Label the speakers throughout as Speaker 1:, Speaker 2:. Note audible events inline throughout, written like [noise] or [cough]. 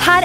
Speaker 1: her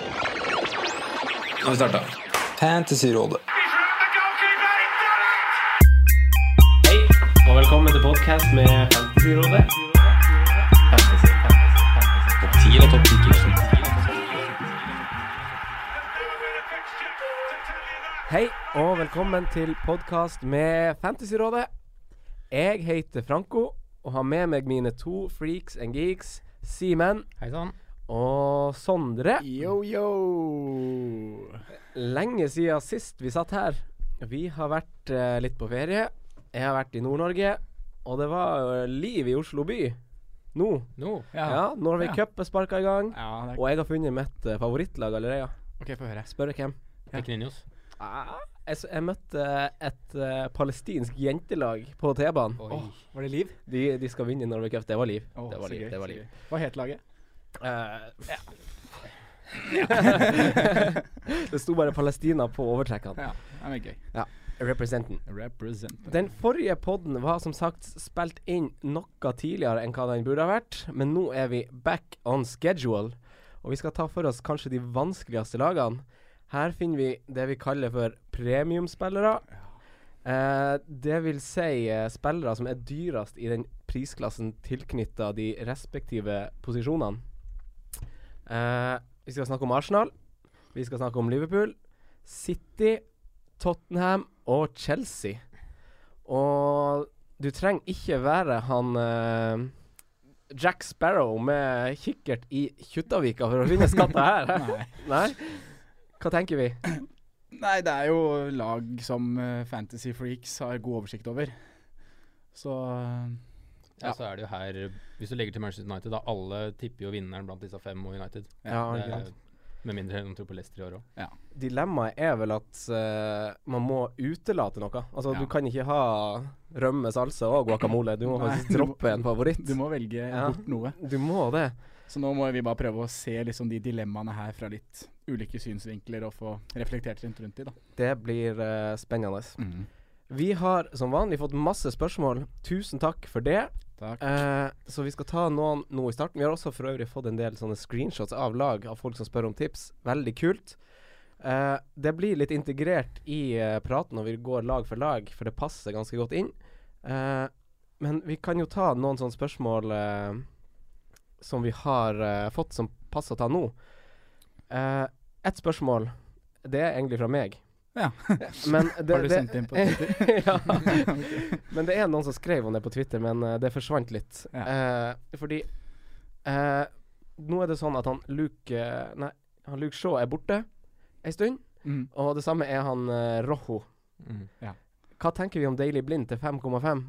Speaker 2: Nå har vi starta. Fantasyrådet.
Speaker 3: Hei, og velkommen til podcast med Fantasyrådet. Topp 10 eller topp 10 000? Hei, og velkommen til podcast med Fantasyrådet. Jeg heter Franco, og har med meg mine to freaks and geeks, Simen og Sondre.
Speaker 4: Yo, yo!
Speaker 3: Lenge siden sist vi satt her. Vi har vært eh, litt på ferie. Jeg har vært i Nord-Norge, og det var eh, liv i Oslo by. Nå.
Speaker 4: Nå?
Speaker 3: Ja, Norway
Speaker 4: Ja.
Speaker 3: Cup er sparka i gang.
Speaker 4: Ja, det er-
Speaker 3: Og jeg har funnet mitt eh, favorittlag allerede.
Speaker 4: OK, få høre.
Speaker 3: Spør hvem. Ah, jeg, s- jeg møtte et eh, palestinsk jentelag på T-banen.
Speaker 4: Åh, var det liv?
Speaker 3: De, de skal vinne Norway Cup. Det var liv.
Speaker 4: Åh,
Speaker 3: det var
Speaker 4: så
Speaker 3: liv.
Speaker 4: gøy,
Speaker 3: Det var
Speaker 4: så
Speaker 3: liv.
Speaker 4: gøy. Hva het laget?
Speaker 3: Eh, [laughs] det sto bare Palestina på overtrekkene.
Speaker 4: Ja, det var gøy.
Speaker 3: Representen.
Speaker 4: Represent.
Speaker 3: Den forrige podden var som sagt spilt inn noe tidligere enn hva den burde ha vært, men nå er vi back on schedule. Og vi skal ta for oss kanskje de vanskeligste lagene. Her finner vi det vi kaller for premiumspillere. Eh, det vil si eh, spillere som er dyrest i den prisklassen tilknytta de respektive posisjonene. Eh, vi skal snakke om Arsenal. Vi skal snakke om Liverpool, City, Tottenham og Chelsea. Og du trenger ikke være han eh, Jack Sparrow med kikkert i Kjuttaviga for å finne skatta her.
Speaker 4: [laughs] Nei.
Speaker 3: Nei? Hva tenker vi?
Speaker 4: Nei, det er jo lag som eh, Fantasy Freaks har god oversikt over. Så eh,
Speaker 3: Ja.
Speaker 5: Ja, så er det jo her Hvis du legger til Manchester United, da alle tipper jo vinneren blant disse fem og United.
Speaker 3: Ja,
Speaker 5: Det
Speaker 3: ikke
Speaker 5: er-
Speaker 3: sant.
Speaker 5: Med mindre noen tror på Leicester i år òg.
Speaker 3: Dilemmaet er vel at eh, man må utelate noe. Altså,
Speaker 4: Ja.
Speaker 3: du kan ikke ha rømme, salsa og guacamole. Du må
Speaker 4: Nei,
Speaker 3: faktisk
Speaker 4: du må-
Speaker 3: droppe en favoritt.
Speaker 4: du må velge
Speaker 3: Ja.
Speaker 4: bort noe.
Speaker 3: Du må det.
Speaker 4: Så nå må vi bare prøve å se liksom de dilemmaene her fra litt ulike synsvinkler og få reflektert litt rundt de, da.
Speaker 3: Det blir eh, spennende. Vi har som vanlig fått masse spørsmål. Tusen takk for det.
Speaker 4: Takk.
Speaker 3: Eh, så vi skal ta noen nå i starten. Vi har også for øvrig fått en del sånne screenshots av lag av folk som spør om tips. Veldig kult. Eh, det blir litt integrert i eh, praten når vi går lag for lag, for det passer ganske godt inn. Eh, men vi kan jo ta noen sånne spørsmål eh, som vi har eh, fått, som passer å ta nå. Uh, Ett spørsmål. Det er egentlig fra meg.
Speaker 4: Ja.
Speaker 3: Men det,
Speaker 4: [laughs] Har du sendt inn på
Speaker 3: Twitter? [laughs] ja.
Speaker 4: [laughs] Ok.
Speaker 3: Men det er noen som skrev om det på Twitter, men eh, det forsvant litt. Eh, fordi eh, nå er det sånn at han Luke eh, Nei, han Luke Shaw er borte ei stund,
Speaker 4: Mm.
Speaker 3: og det samme er han eh, Rojo.
Speaker 4: Ja.
Speaker 3: Hva tenker vi om Daily Blind til 5,5?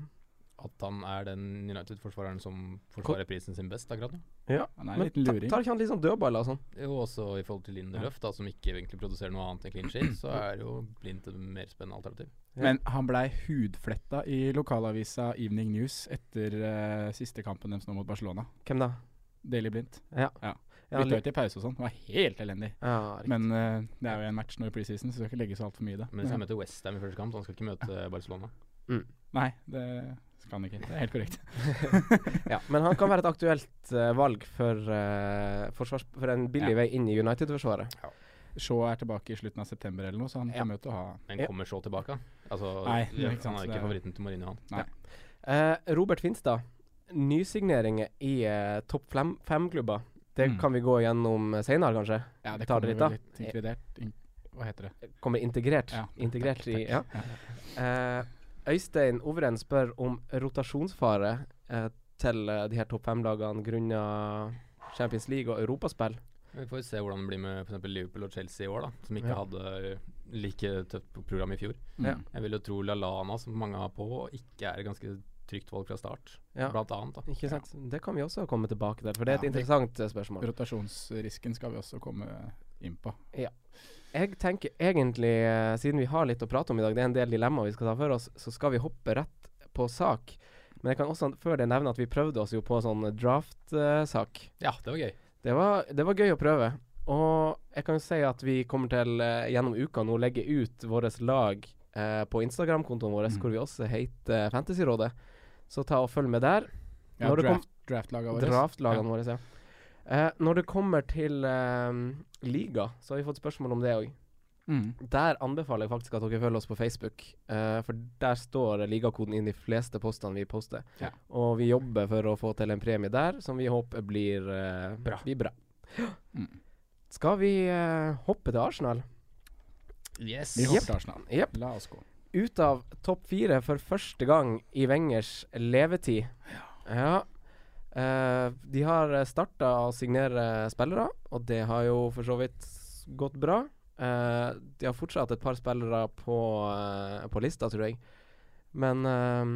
Speaker 5: At han er den United-forsvareren som forsvarer prisen sin best akkurat nå.
Speaker 3: Ja,
Speaker 4: Han er en liten luring.
Speaker 3: tar ikke han litt sånn dødballer og sånn?
Speaker 5: Jo, også i forhold til Lindelöf, da, som ikke egentlig produserer noe annet enn clean sheet, så er jo Blind et mer spennende alternativ.
Speaker 4: Men han blei hudfletta i lokalavisa Evening News etter eh, siste kampen deres nå mot Barcelona.
Speaker 3: Hvem da?
Speaker 4: Daily Blindt.
Speaker 3: Ja,
Speaker 4: Bytta
Speaker 3: Luke-
Speaker 4: ut i pause og sånn. Det var helt elendig.
Speaker 3: ja, riktig.
Speaker 4: Men eh, det er jo en match nå i preseason, så du skal ikke legge så altfor mye i det.
Speaker 5: Men hvis
Speaker 4: Ja.
Speaker 5: han møter Westham i første kamp, så han skal ikke møte Barcelona.
Speaker 4: Nei, det skal han ikke. Det er helt korrekt.
Speaker 3: [laughs] ja, men han kan være et aktuelt eh, valg for, eh, forsvars, for en billig
Speaker 4: Ja.
Speaker 3: vei inn i United-forsvaret.
Speaker 4: [laughs] Shaw er tilbake i slutten av september eller noe, så han
Speaker 3: Ja.
Speaker 4: kommer jo til å ha
Speaker 5: Men
Speaker 3: Ja.
Speaker 5: kommer så tilbake. Altså,
Speaker 4: Nei,
Speaker 5: ja,
Speaker 4: ikke sant,
Speaker 5: han er
Speaker 4: det
Speaker 5: ikke
Speaker 4: er-
Speaker 5: favoritten til Mourinho, han.
Speaker 3: Eh, Robert Finstad, nysigneringer i eh, topp flem- fem-klubber. Det
Speaker 4: Mm.
Speaker 3: kan vi gå gjennom eh, senere, kanskje.
Speaker 4: Ja, det
Speaker 3: Tar
Speaker 4: kommer
Speaker 3: dere
Speaker 4: vel litt inkludert. In Hva heter det?
Speaker 3: Kommer integrert.
Speaker 4: Ja,
Speaker 3: integrert
Speaker 4: takk, takk.
Speaker 3: i ja. Eh, Øystein Overen spør om rotasjonsfare eh, til eh, de her topp fem-lagene grunnet Champions League og europaspill.
Speaker 5: Vi får se hvordan det blir med for eksempel Liverpool og Chelsea i år, da, som ikke
Speaker 3: Ja.
Speaker 5: hadde eh, like tøft program i fjor.
Speaker 4: Mm.
Speaker 3: Ja.
Speaker 5: Jeg vil jo tro LaLana, som mange har på, ikke er et ganske trygt valg fra start,
Speaker 3: Ja.
Speaker 5: blant annet. da.
Speaker 3: Ikke sant? Det kan vi også komme tilbake til, for det er et
Speaker 4: Ja, det-
Speaker 3: interessant eh, spørsmål.
Speaker 4: Rotasjonsrisken skal vi også komme inn på.
Speaker 3: Jeg tenker egentlig, eh, siden vi har litt å prate om i dag, det er en del dilemmaer vi skal ta for oss, så skal vi hoppe rett på sak. Men jeg kan også før det nevne at vi prøvde oss jo på sånn draft-sak.
Speaker 5: Ja, det var gøy.
Speaker 3: Det var, det var gøy å prøve. Og jeg kan jo si at vi kommer til eh, gjennom uka nå legge ut vårt lag eh, på Instagram-kontoen vår, hvor vi også heter Fantasyrådet. Så ta og følg med der.
Speaker 4: Ja,
Speaker 3: Når det kom-
Speaker 4: draft, draftlagene våre.
Speaker 3: Draftlagene våre, ja. Eh, når det kommer til eh, liga, så har vi fått spørsmål om det òg.
Speaker 4: Mm.
Speaker 3: Der anbefaler jeg faktisk at dere følger oss på Facebook, eh, for der står ligakoden inn i de fleste postene vi poster.
Speaker 4: Ja.
Speaker 3: Og vi jobber for å få til en premie der, som vi håper blir eh,
Speaker 5: Bra.
Speaker 3: Blir bra.
Speaker 4: Mm.
Speaker 3: Skal vi eh, hoppe til Arsenal?
Speaker 5: Yes.
Speaker 4: Vi hopper til Arsenal.
Speaker 3: Jepp.
Speaker 4: La oss gå.
Speaker 3: Ut av topp fire for første gang i Wengers levetid. Ja. Eh, de har starta å signere spillere, og det har jo for så vidt gått bra. Eh, de har fortsatt et par spillere på, eh, på lista, tror jeg. Men eh,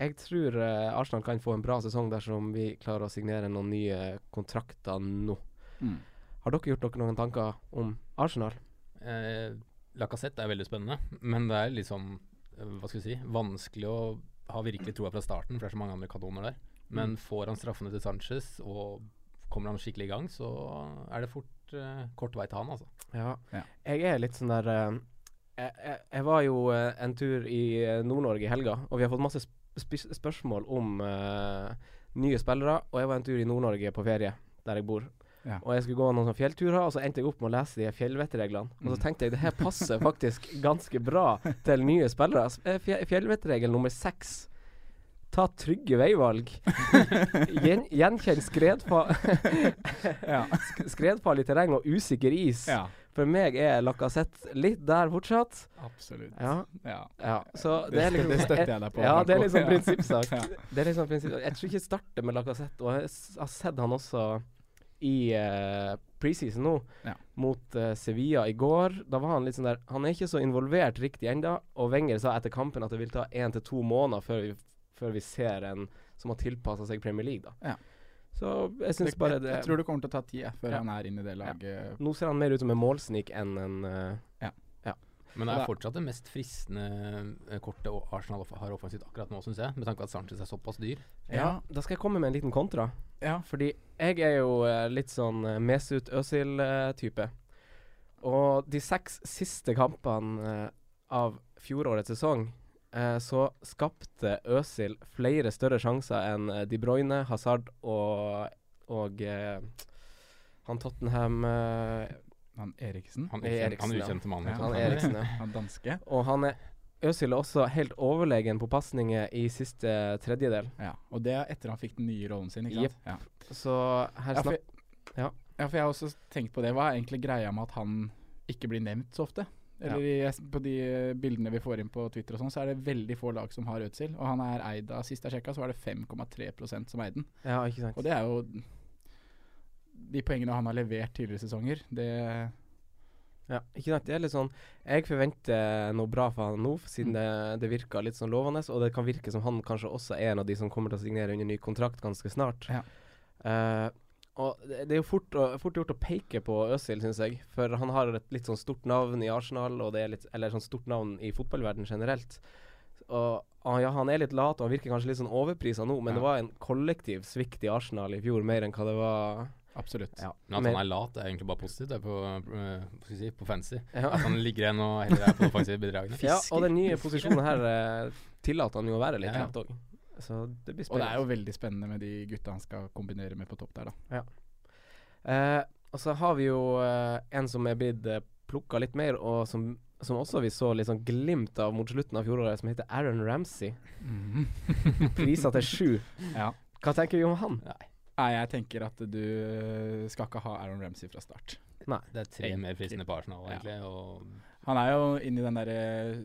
Speaker 3: jeg tror eh, Arsenal kan få en bra sesong dersom vi klarer å signere noen nye kontrakter nå.
Speaker 4: Mm.
Speaker 3: Har dere gjort dere noen tanker om Arsenal?
Speaker 5: Eh, Lacassette er veldig spennende, men det er liksom eh, hva skal vi si, vanskelig å ha virkelig troa fra starten, for det er så mange andre kanoner der. Men
Speaker 3: Mm.
Speaker 5: får han straffene til Sanchez, og kommer han skikkelig i gang, så er det fort eh, kort vei til han, altså.
Speaker 3: Ja.
Speaker 4: Ja.
Speaker 3: Jeg er litt sånn der eh, jeg, jeg, jeg var jo eh, en tur i eh, Nord-Norge i helga, og vi har fått masse sp sp- spørsmål om eh, nye spillere. Og jeg var en tur i Nord-Norge på ferie, der jeg bor.
Speaker 4: Ja.
Speaker 3: Og jeg skulle gå noen sånne fjellturer, og så endte jeg opp med å lese de her fjellvettreglene. Og så
Speaker 4: Mm.
Speaker 3: tenkte jeg det her passer
Speaker 4: [laughs]
Speaker 3: faktisk ganske bra til nye spillere. S- eh, fje- Fjellvettregel nummer seks. Ta trygge
Speaker 4: [laughs]
Speaker 3: veivalg. Gjen, gjenkjenn skredfa [laughs]
Speaker 4: Ja.
Speaker 3: sk- skredfarlig terreng og usikker is.
Speaker 4: [laughs] ja.
Speaker 3: For meg er Lacassette litt der fortsatt.
Speaker 4: Absolutt.
Speaker 3: Ja.
Speaker 4: Ja.
Speaker 3: ja. Så
Speaker 4: Det
Speaker 3: det, er
Speaker 4: støt-
Speaker 3: liksom,
Speaker 4: [laughs] det støtter jeg deg på,
Speaker 3: Ja, det er
Speaker 4: Marco.
Speaker 3: liksom
Speaker 4: [laughs] Ja.
Speaker 3: prinsippsak.
Speaker 4: Ja.
Speaker 3: Det er liksom prinsippsak. Jeg tror ikke jeg starter med Lacassette, og jeg s- har sett han også i eh, preseason nå,
Speaker 4: Ja.
Speaker 3: mot eh, Sevilla i går. Da var han litt sånn der Han er ikke så involvert riktig ennå, og Wenger sa etter kampen at det vil ta én til to måneder før vi, før vi ser en som har tilpassa seg Premier League, da.
Speaker 4: Ja.
Speaker 3: Så jeg syns
Speaker 4: Det-
Speaker 3: bare
Speaker 4: jeg,
Speaker 3: det
Speaker 4: jeg tror det kommer til å ta tid jeg, før
Speaker 3: Ja.
Speaker 4: han er inne i det laget.
Speaker 3: Nå ser han mer ut som en målsnik enn en eh,
Speaker 5: Men det er
Speaker 4: Og det-
Speaker 5: fortsatt det mest fristende eh, kortet o- Arsenal off- har offensivt akkurat nå, syns jeg, med tanke på at Sanchez er såpass dyr.
Speaker 3: Ja, da skal jeg komme med en liten kontra.
Speaker 4: Ja.
Speaker 3: Fordi jeg er jo eh, litt sånn eh, Mesut Özil-type. Og de seks siste kampene eh, av fjorårets sesong, eh, så skapte Özil flere større sjanser enn eh, De Bruyne, Hazard og, og eh, han Tottenham eh,
Speaker 4: Han Eriksen,
Speaker 5: Han,
Speaker 3: Det er
Speaker 5: ukjente- han
Speaker 3: Eriksen, ja.
Speaker 5: ukjente mannen. liksom.
Speaker 4: Ja,
Speaker 5: ikke
Speaker 3: Han
Speaker 5: sant?
Speaker 3: Eriksen, ja.
Speaker 4: han danske.
Speaker 3: Og han er Øzil er også helt overlegen på pasninger i siste tredjedel.
Speaker 4: Ja. Og det er etter han fikk den nye rollen sin, ikke sant? Ja.
Speaker 3: Så her
Speaker 4: Ja, for,
Speaker 3: snakker Ja.
Speaker 4: ja, for jeg har også tenkt på det. Hva er egentlig greia med at han ikke blir nevnt så ofte? Eller i- jeg- På de eh, bildene vi får inn på Twitter, og sånn, så er det veldig få lag som har Ødsild. Og han er eid av, sist jeg sjekka, så var det 5,3 som eide den.
Speaker 3: Ja, ikke sant.
Speaker 4: Og det er jo De poengene han har levert tidligere sesonger, det
Speaker 3: Ja, ikke sant. Det er litt sånn Jeg forventer noe bra fra han nå,
Speaker 4: Mm.
Speaker 3: siden det, det virker litt sånn lovende. Og det kan virke som han kanskje også er en av de som kommer til å signere under ny kontrakt ganske snart.
Speaker 4: Ja.
Speaker 3: Eh, og det det er jo fort, å, fort gjort å peke på Øzil, syns jeg. For han har et litt sånn stort navn i Arsenal, og det er litt, eller sånn stort navn i fotballverden generelt. Og ah, ja, han er litt lat, og han virker kanskje litt sånn overprisa nå, men
Speaker 4: Ja.
Speaker 3: det var en kollektiv svikt i Arsenal i fjor, mer enn hva det var
Speaker 4: Absolutt.
Speaker 5: Men at
Speaker 3: Men-
Speaker 5: han er lat, er egentlig bare positivt. Det er på, eh, hva skal vi si, på fancy.
Speaker 3: [laughs] Ja.
Speaker 5: At han ligger igjen og heller er på de offensive bidragene.
Speaker 3: Ja, og den nye posisjonen
Speaker 4: [laughs]
Speaker 3: her eh, tillater han jo å være litt
Speaker 5: Ja.
Speaker 3: kjapt òg. Så det blir
Speaker 4: Og det er
Speaker 3: spennende.
Speaker 4: jo veldig spennende med de gutta han skal kombinere med på topp der, da.
Speaker 3: Eh, og så har vi jo eh, en som er blitt uh, plukka litt mer, og som, som også vi så litt sånn glimt av mot slutten av fjoråret, som heter Aaron Ramsey. [laughs] Prisa til sju.
Speaker 4: Mm. Ja.
Speaker 3: Hva tenker vi om han?
Speaker 4: Nei, jeg tenker at du skal ikke ha Aaron Ramsey fra start.
Speaker 5: Det er tre mer fristende på Arsenal, egentlig. Og
Speaker 4: Han er jo inne i den der eh,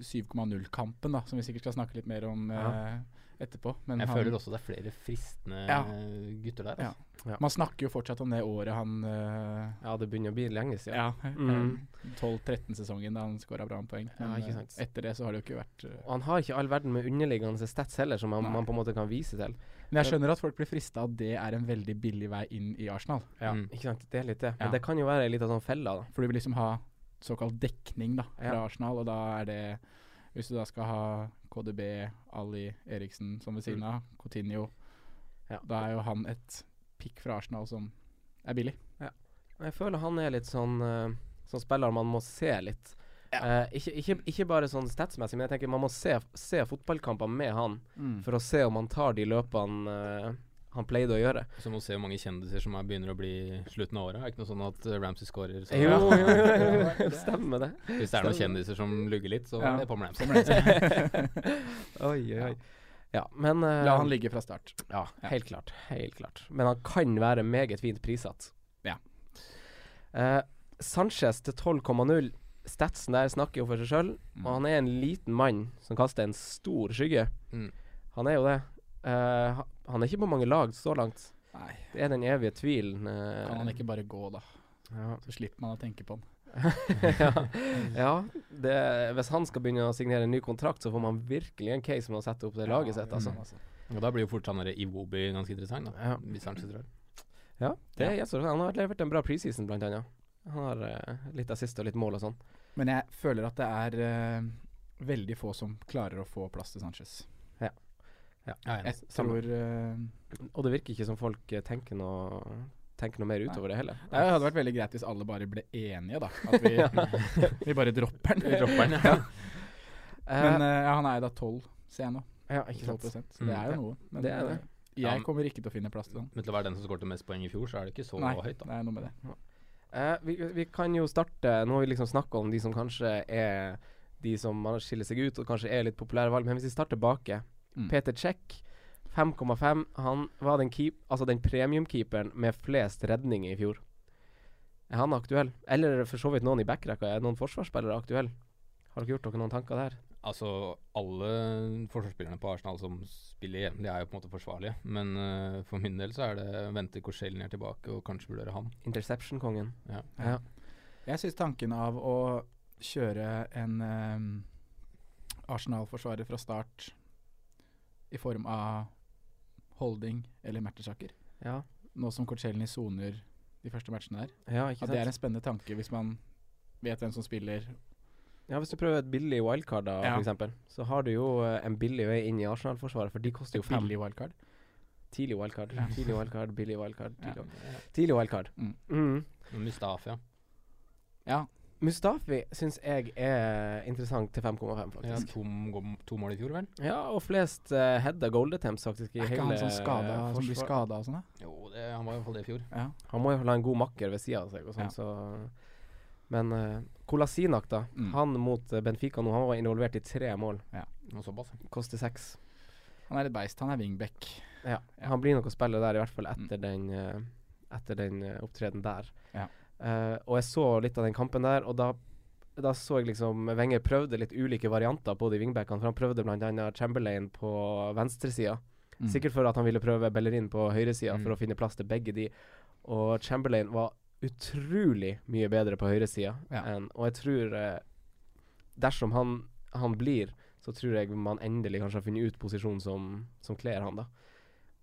Speaker 4: 7,0-kampen, da, som vi sikkert skal snakke litt mer om
Speaker 5: Ja.
Speaker 4: eh, etterpå. Men
Speaker 5: jeg
Speaker 4: han-
Speaker 5: føler også det er flere fristende
Speaker 4: Ja.
Speaker 5: gutter der.
Speaker 4: ja.
Speaker 5: Altså.
Speaker 4: Man snakker jo fortsatt om det året han eh,
Speaker 3: Ja, det begynner å bli lenge siden.
Speaker 4: Ja.
Speaker 3: Mm.
Speaker 4: eh, 12-13-sesongen da han skåra bra med poeng.
Speaker 3: Ja,
Speaker 4: Men,
Speaker 3: ikke
Speaker 4: eh,
Speaker 3: sant. Ah.
Speaker 4: etter det så har det jo ikke vært eh,
Speaker 3: Og han har ikke all verden med underliggende stats heller, som man,
Speaker 4: Nei.
Speaker 3: man på en måte kan vise til.
Speaker 4: Men jeg skjønner at folk blir frista av at det er en veldig billig vei inn i Arsenal.
Speaker 5: Mm.
Speaker 3: Ikke sant, det er litt det. Men
Speaker 4: Ja.
Speaker 3: det kan jo være ei lita sånn felle, da.
Speaker 4: For du vil liksom ha såkalt dekning da, fra
Speaker 3: Ja.
Speaker 4: Arsenal, og da er det Hvis du da skal ha KDB, Ali Eriksen som ved siden av, Coutinho
Speaker 3: Ja.
Speaker 4: Da er jo han et pick fra Arsenal som er billig.
Speaker 3: Og Jeg føler han er litt sånn eh, Sånn spiller man må se litt. Eh, ikke, ikke, ikke bare sånn statsmessig, men jeg tenker man må se, se fotballkamper med han
Speaker 4: Mm.
Speaker 3: for å se om han tar de løpene eh, han pleide å gjøre.
Speaker 5: Så må vi se hvor mange kjendiser som er, begynner å bli slutten av året. Er det ikke noe sånn at eh, Ramsey scorer? Så
Speaker 3: Jo, jo, jo, jo. [laughs] stemmer det.
Speaker 5: Hvis det er noen kjendiser som lugger litt, så
Speaker 4: Ja.
Speaker 5: er det Pam Ramsey.
Speaker 4: [laughs]
Speaker 3: Oi, oi, oi. Ja, men eh,
Speaker 4: La han ligge fra start.
Speaker 3: Ja, helt klart. Helt klart. Men han kan være meget fint prissatt.
Speaker 4: Ja.
Speaker 3: Eh, Sanchez til 12,0. Statsen der snakker jo for seg sjøl, og han er en liten mann som kaster en stor skygge.
Speaker 5: Mm.
Speaker 3: Han er jo det. Eh, ha- han er ikke på mange lag så langt.
Speaker 4: Nei.
Speaker 3: Det er den evige tvilen. eh,
Speaker 4: Kan han ikke bare gå, da?
Speaker 3: ja.
Speaker 4: Så slipper man å tenke på han.
Speaker 3: ja, ja det, hvis han skal begynne å signere en ny kontrakt, så får man virkelig en case med å sette opp det laget sitt,
Speaker 4: mm.
Speaker 3: altså.
Speaker 5: Og da blir jo fort sånn der Iwobi ganske interessant, da.
Speaker 3: Ja.
Speaker 5: Hvis Sanchez drar.
Speaker 3: Ja, det er Jesper. Han har levert en bra preseason, blant annet. Han har eh, litt assist og litt mål og sånn.
Speaker 4: Men jeg føler at det er eh, veldig få som klarer å få plass til Sanchez.
Speaker 5: Ja, jeg er enig.
Speaker 4: Jeg tror eh,
Speaker 3: Og det virker ikke som folk eh, tenker noe Tenker noe mer utover det heller.
Speaker 4: eh, Det hadde vært veldig greit hvis alle bare ble enige, da. At [laughs] vi, vi bare dropper den. [laughs]
Speaker 3: Eh,
Speaker 4: Men eh, ja, han er jo da 12, ser jeg nå.
Speaker 3: ja, ikke sant.
Speaker 4: 12
Speaker 3: Mm.
Speaker 4: prosent. Det er jo noe. Men
Speaker 3: Det er det.
Speaker 4: eh,
Speaker 5: Ja, men-
Speaker 4: jeg kommer ikke til å finne plass til han.
Speaker 5: Men til å være den som skårte mest poeng i fjor, så er det ikke så
Speaker 4: Nei,
Speaker 5: høyt, da.
Speaker 4: det er noe med det.
Speaker 3: Eh, vi, vi kan jo starte Nå har vi liksom snakka om de som kanskje er De som man skiller seg ut og kanskje er litt populære valg, men hvis vi starter baki
Speaker 4: Mm.
Speaker 3: Peter Check, 5,5. Han var den, keep, altså den premiumkeeperen med flest redninger i fjor. Er han aktuell? Eller for så vidt noen i backrekka. Er noen forsvarsspillere aktuelle? Har dere gjort dere noen tanker der?
Speaker 5: Altså, alle forsvarsspillerne på Arsenal som spiller jevnlig, er jo på en måte forsvarlige. Men eh, for min del så er det vente Korselny er tilbake, og kanskje vurdere han.
Speaker 3: Interception-kongen.
Speaker 5: Ja.
Speaker 3: Ja.
Speaker 4: Jeg syns tanken av å kjøre en eh, Arsenal-forsvarer fra start i form av holding eller matchersaker,
Speaker 3: Ja.
Speaker 4: nå som Kortsjelen i soner de første matchene der,
Speaker 3: Ja, ikke
Speaker 4: at
Speaker 3: sant?
Speaker 4: det er en spennende tanke hvis man vet hvem som spiller.
Speaker 3: ja, Hvis du prøver et billig wildcard, da,
Speaker 4: Ja.
Speaker 3: for eksempel så har du jo eh, en billig vei inn i Arsenal-forsvaret, for de koster jo fem.
Speaker 4: Billig wildcard.
Speaker 3: Tidlig wildcard,
Speaker 4: Ja.
Speaker 3: tidlig wildcard, billig wildcard,
Speaker 4: Ja.
Speaker 3: tidlig, tidlig wildcard.
Speaker 4: Mm.
Speaker 3: Mm.
Speaker 5: Mustafia.
Speaker 4: Ja,
Speaker 3: Mustafi syns jeg er interessant til 5,5,
Speaker 5: Ja,
Speaker 3: faktisk.
Speaker 5: to, m- to mål i fjor, vel?
Speaker 3: Ja. og flest uh, heada goal attempts, faktisk. I
Speaker 4: er ikke
Speaker 3: hele
Speaker 4: han sånn som, skada,
Speaker 3: eh,
Speaker 4: som blir
Speaker 3: forsvar-
Speaker 4: skada og sånn, da?
Speaker 5: Jo, det, han var i hvert fall det i fjor.
Speaker 4: Ja.
Speaker 3: Han må jo ha en god makker ved sida av seg, og sånn,
Speaker 4: Ja.
Speaker 3: så Men eh, Kolasinak, da.
Speaker 4: Mm.
Speaker 3: Han mot eh, Benfica nå, han var involvert i tre mål.
Speaker 5: Og såpass.
Speaker 3: Koster seks.
Speaker 4: Han er et beist. Han er wingback.
Speaker 3: Ja,
Speaker 4: Ja.
Speaker 3: han blir nok å spille der, i hvert fall
Speaker 4: Mm.
Speaker 3: etter den, eh, etter den eh, opptredenen der.
Speaker 4: Ja.
Speaker 3: Eh, og jeg så litt av den kampen der, og da, da så jeg liksom Wenger prøvde litt ulike varianter på de wingbackene, for han prøvde bl.a. Chamberlain på venstresida.
Speaker 4: Mm.
Speaker 3: Sikkert for at han ville prøve Bellerin på høyresida
Speaker 5: Mm.
Speaker 3: for å finne plass til begge de. Og Chamberlain var utrolig mye bedre på høyresida,
Speaker 4: Ja.
Speaker 3: enn- og jeg tror eh, Dersom han, han blir, så tror jeg man endelig kanskje har funnet ut posisjonen som, som kler han, da.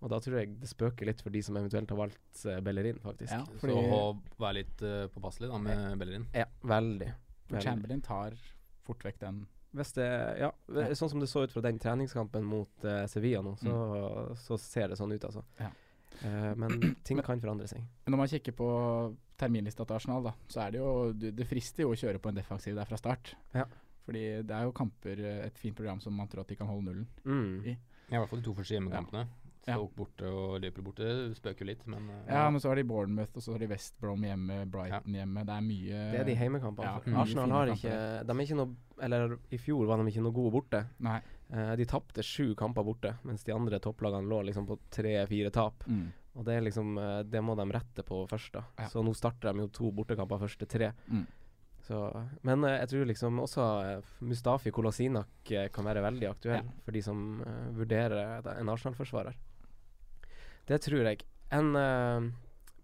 Speaker 3: Og da tror jeg det spøker litt for de som eventuelt har valgt eh, Bellerin, faktisk.
Speaker 4: Ja,
Speaker 5: Så
Speaker 4: fordi
Speaker 5: å være litt eh, påpasselig da med Bellerin.
Speaker 3: Ja, veldig.
Speaker 4: for
Speaker 3: veldig.
Speaker 4: Chamberlain tar fort vekk den.
Speaker 3: Hvis det, ja, v- sånn som det så ut fra den treningskampen mot eh, Sevilla nå, så, så ser det sånn ut, altså.
Speaker 4: Mm. Ja.
Speaker 3: Eh,
Speaker 4: [clears throat]
Speaker 3: men ting kan forandre seg.
Speaker 4: Men når man kikker på terminlista til Arsenal, da, så er det jo du- Det frister jo å kjøre på en defensiv der fra start.
Speaker 3: Ja.
Speaker 4: Fordi det er jo kamper, eh, et fint program som man tror at de kan holde nullen.
Speaker 3: Mm.
Speaker 5: Ja, I hvert fall de to første hjemmekampene.
Speaker 4: Ja.
Speaker 5: Stoke borte og Liverpool borte spøker jo litt, men eh,
Speaker 4: Ja, men så har de Bournemouth, og så har de West Brom hjemme, Brighton hjemme. Det er mye
Speaker 3: Det er de heimekampene.
Speaker 4: eh, Ja,
Speaker 3: for
Speaker 4: mye
Speaker 3: Arsenal
Speaker 4: fine
Speaker 3: har
Speaker 4: kamper
Speaker 3: ikke De er ikke noe Eller i fjor var de ikke noe gode borte.
Speaker 4: Nei.
Speaker 3: Eh, de tapte sju kamper borte, mens de andre topplagene lå liksom på tre-fire tap.
Speaker 4: Mm.
Speaker 3: Og det er liksom eh, Det må de rette på først, da.
Speaker 4: Ja.
Speaker 3: Så nå starter de jo to bortekamper først til tre.
Speaker 4: Mm.
Speaker 3: Så, men eh, jeg tror liksom også eh, Mustafi Kolasinak eh, kan være veldig aktuell for de som eh, vurderer da- en Arsenal-forsvarer. Det tror jeg. En eh,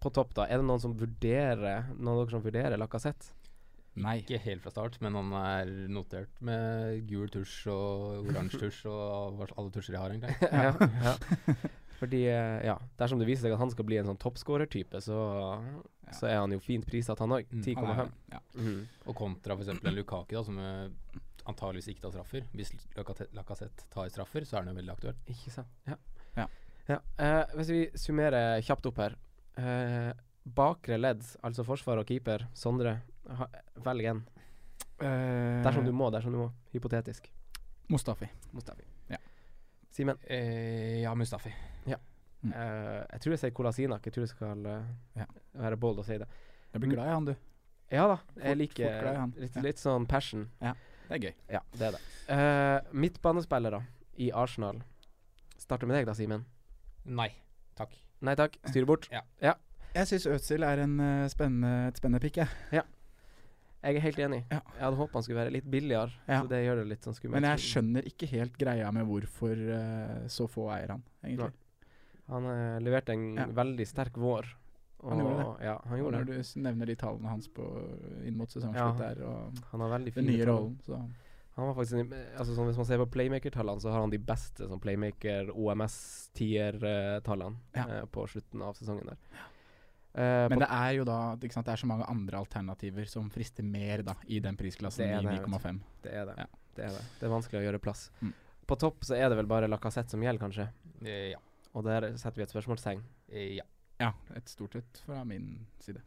Speaker 3: på topp, da. Er det noen som vurderer Noen av dere som vurderer Lacassette? [laughs]
Speaker 4: Nei.
Speaker 5: Ikke helt fra start, men han er notert med gul tusj og oransje tusj og hva- alle tusjer jeg har, egentlig.
Speaker 3: ja, ja. Fordi, eh, ja Dersom det viser seg at han skal bli en sånn toppskårertype, så, så er han jo fint priset, han òg.
Speaker 5: Mm, han er
Speaker 3: 10,5.
Speaker 5: det, ja.
Speaker 3: Mhm.
Speaker 5: Og kontra f.eks. en Lukaki, da, som eh, antageligvis ikke tar straffer. Hvis Lacazette- Lacazette tar straffer, så er han jo veldig aktuell.
Speaker 3: Ikke sant. Ja.
Speaker 4: Ja.
Speaker 3: Ja, eh, hvis vi summerer kjapt opp her. Eh, bakre ledd, altså forsvar og keeper, Sondre, ha, velg en.
Speaker 4: Eh,
Speaker 3: Dersom du må, dersom du må. Hypotetisk.
Speaker 4: Mustafi.
Speaker 3: Mustafi.
Speaker 4: Ja.
Speaker 3: Simen.
Speaker 5: Eh, ja, Mustafi.
Speaker 3: eh, jeg tror jeg sier Kolasinak. Jeg tror jeg skal eh,
Speaker 4: Mm. Ja.
Speaker 3: være bold og si det.
Speaker 4: Jeg blir glad i han, du.
Speaker 3: Ja da, jeg
Speaker 4: Fort- fort glad i
Speaker 3: liker
Speaker 4: han.
Speaker 3: litt,
Speaker 4: Ja.
Speaker 3: litt sånn passion.
Speaker 4: Det er gøy.
Speaker 3: Ja, det er det. Eh, midtbanespillere i Arsenal. Starter med deg da, Simen.
Speaker 5: Nei, takk.
Speaker 3: Nei takk, styr bort.
Speaker 4: Jeg syns Øzil er en eh, spennende, et spennende pick, jeg.
Speaker 3: Jeg er helt enig.
Speaker 4: Ja.
Speaker 3: Jeg hadde håpet han skulle være litt billigere,
Speaker 4: Ja.
Speaker 3: så det gjør det litt sånn skummelt.
Speaker 4: Men jeg skjønner ikke helt greia med hvorfor eh, så få eier han, egentlig.
Speaker 3: Han eh, leverte en
Speaker 4: Ja.
Speaker 3: veldig sterk vår.
Speaker 4: Han gjorde
Speaker 3: det. Ja, han gjorde
Speaker 4: Når
Speaker 3: det.
Speaker 4: du s- nevner de tallene hans på, inn mot sesongslutt
Speaker 3: Ja.
Speaker 4: der, og
Speaker 3: Han har veldig
Speaker 4: den
Speaker 3: fine
Speaker 4: nye
Speaker 3: tall.
Speaker 4: rollen, så
Speaker 3: Han var faktisk en, altså sånn Hvis man ser på playmaker-tallene, så har han de beste sånn playmaker OMS-tier-tallene
Speaker 4: Ja.
Speaker 3: eh, på slutten av sesongen der. Eh,
Speaker 4: Men
Speaker 3: på-
Speaker 4: det er jo da ikke sant, Det er så mange andre alternativer som frister mer da i den
Speaker 3: Det
Speaker 4: prisklassen
Speaker 3: er
Speaker 4: i
Speaker 3: det, vet du.
Speaker 4: 9,5.
Speaker 3: det er det.
Speaker 4: Ja.
Speaker 3: det er det. Det er vanskelig å gjøre plass.
Speaker 4: Mm.
Speaker 3: På topp så er det vel bare Lacassette som gjelder, kanskje.
Speaker 5: Eh, ja.
Speaker 3: Og der setter vi et spørsmålstegn.
Speaker 5: Eh, ja.
Speaker 4: Ja, et stort et fra min side.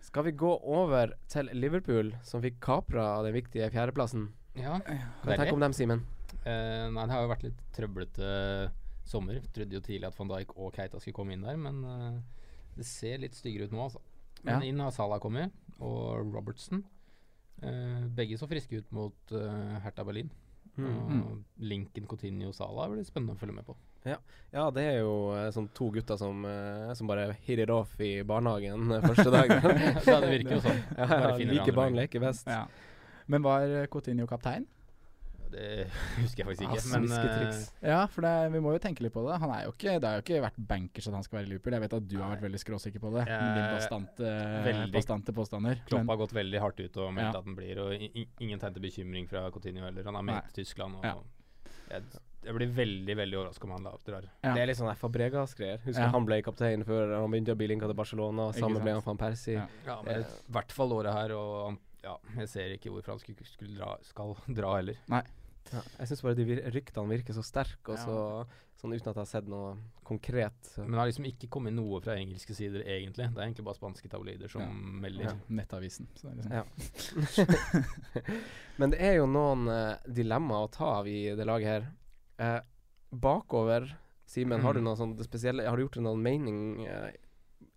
Speaker 3: Skal vi gå over til Liverpool, som fikk kapra den viktige fjerdeplassen?
Speaker 5: ja.
Speaker 3: Hva tenker du om dem, Simen?
Speaker 5: Eh, nei, det har jo vært litt trøblete eh, sommer. Trodde jo tidlig at van Dijk og Keita skulle komme inn der, men eh, det ser litt styggere ut nå, altså. Men
Speaker 4: Ja.
Speaker 5: inn har Salah kommet, og Robertson. Eh, begge så friske ut mot eh, Hertha Berlin. Mm. Og Lincoln, Coutinho og Salah blir spennende å følge med på.
Speaker 3: Ja, det er jo eh, sånn to gutter som, eh, som bare hit it off i barnehagen eh, første dagen.
Speaker 5: [laughs] ja, det virker jo sånn.
Speaker 3: ja, ja,
Speaker 5: Bare finner
Speaker 3: like
Speaker 5: hverandre.
Speaker 3: barn leker best.
Speaker 4: Ja. Men var eh, Coutinho kaptein?
Speaker 5: Det [laughs] husker jeg faktisk ikke.
Speaker 3: Altså,
Speaker 5: men eh,
Speaker 3: visketriks.
Speaker 4: Ja, for det, er- vi må jo tenke litt på det. Han er jo ikke, det har jo ikke vært bankers at han skal være i Liverpool. Jeg vet at du har vært veldig skråsikker på det.
Speaker 5: Jeg-
Speaker 4: Med din bastante,
Speaker 5: Veldig.
Speaker 4: bastante påstander.
Speaker 5: Klopp har gått veldig hardt ut og meldt
Speaker 4: Ja.
Speaker 5: at den blir, og i- i- ingen tegn til bekymring fra Coutinho heller. Han er
Speaker 4: Nei.
Speaker 5: med til Tyskland, og
Speaker 4: Ja.
Speaker 5: jeg, jeg blir veldig veldig overraska om han la- drar.
Speaker 4: Ja.
Speaker 3: Det er litt sånn der Fabregas-greier. Husker
Speaker 4: Ja.
Speaker 3: han ble kaptein før han begynte å bli linka til Barcelona.
Speaker 4: Ikke
Speaker 3: Sammen
Speaker 4: sant?
Speaker 3: ble han van Persie.
Speaker 4: Ja.
Speaker 5: Ja, men Eh, I hvert fall året her, og han, ja, jeg ser ikke hvorfor han skulle, skulle dra, skal [laughs] dra heller.
Speaker 3: Ja, jeg syns bare de vir ryktene virker så sterke, og
Speaker 4: Ja.
Speaker 3: så sånn uten at jeg har sett noe konkret. eh, så-
Speaker 5: Men det har liksom ikke kommet noe fra engelske sider, egentlig. Det er egentlig bare spanske tabloider som
Speaker 4: Ja.
Speaker 5: melder.
Speaker 4: Ja. Nettavisen. Så det er liksom,
Speaker 3: Ja. Men det er jo noen eh, dilemmaer å ta av i det laget her. Eh, bakover, Simen, har du
Speaker 5: Mm.
Speaker 3: noe sånt spesielle Har du gjort deg noen mening eh,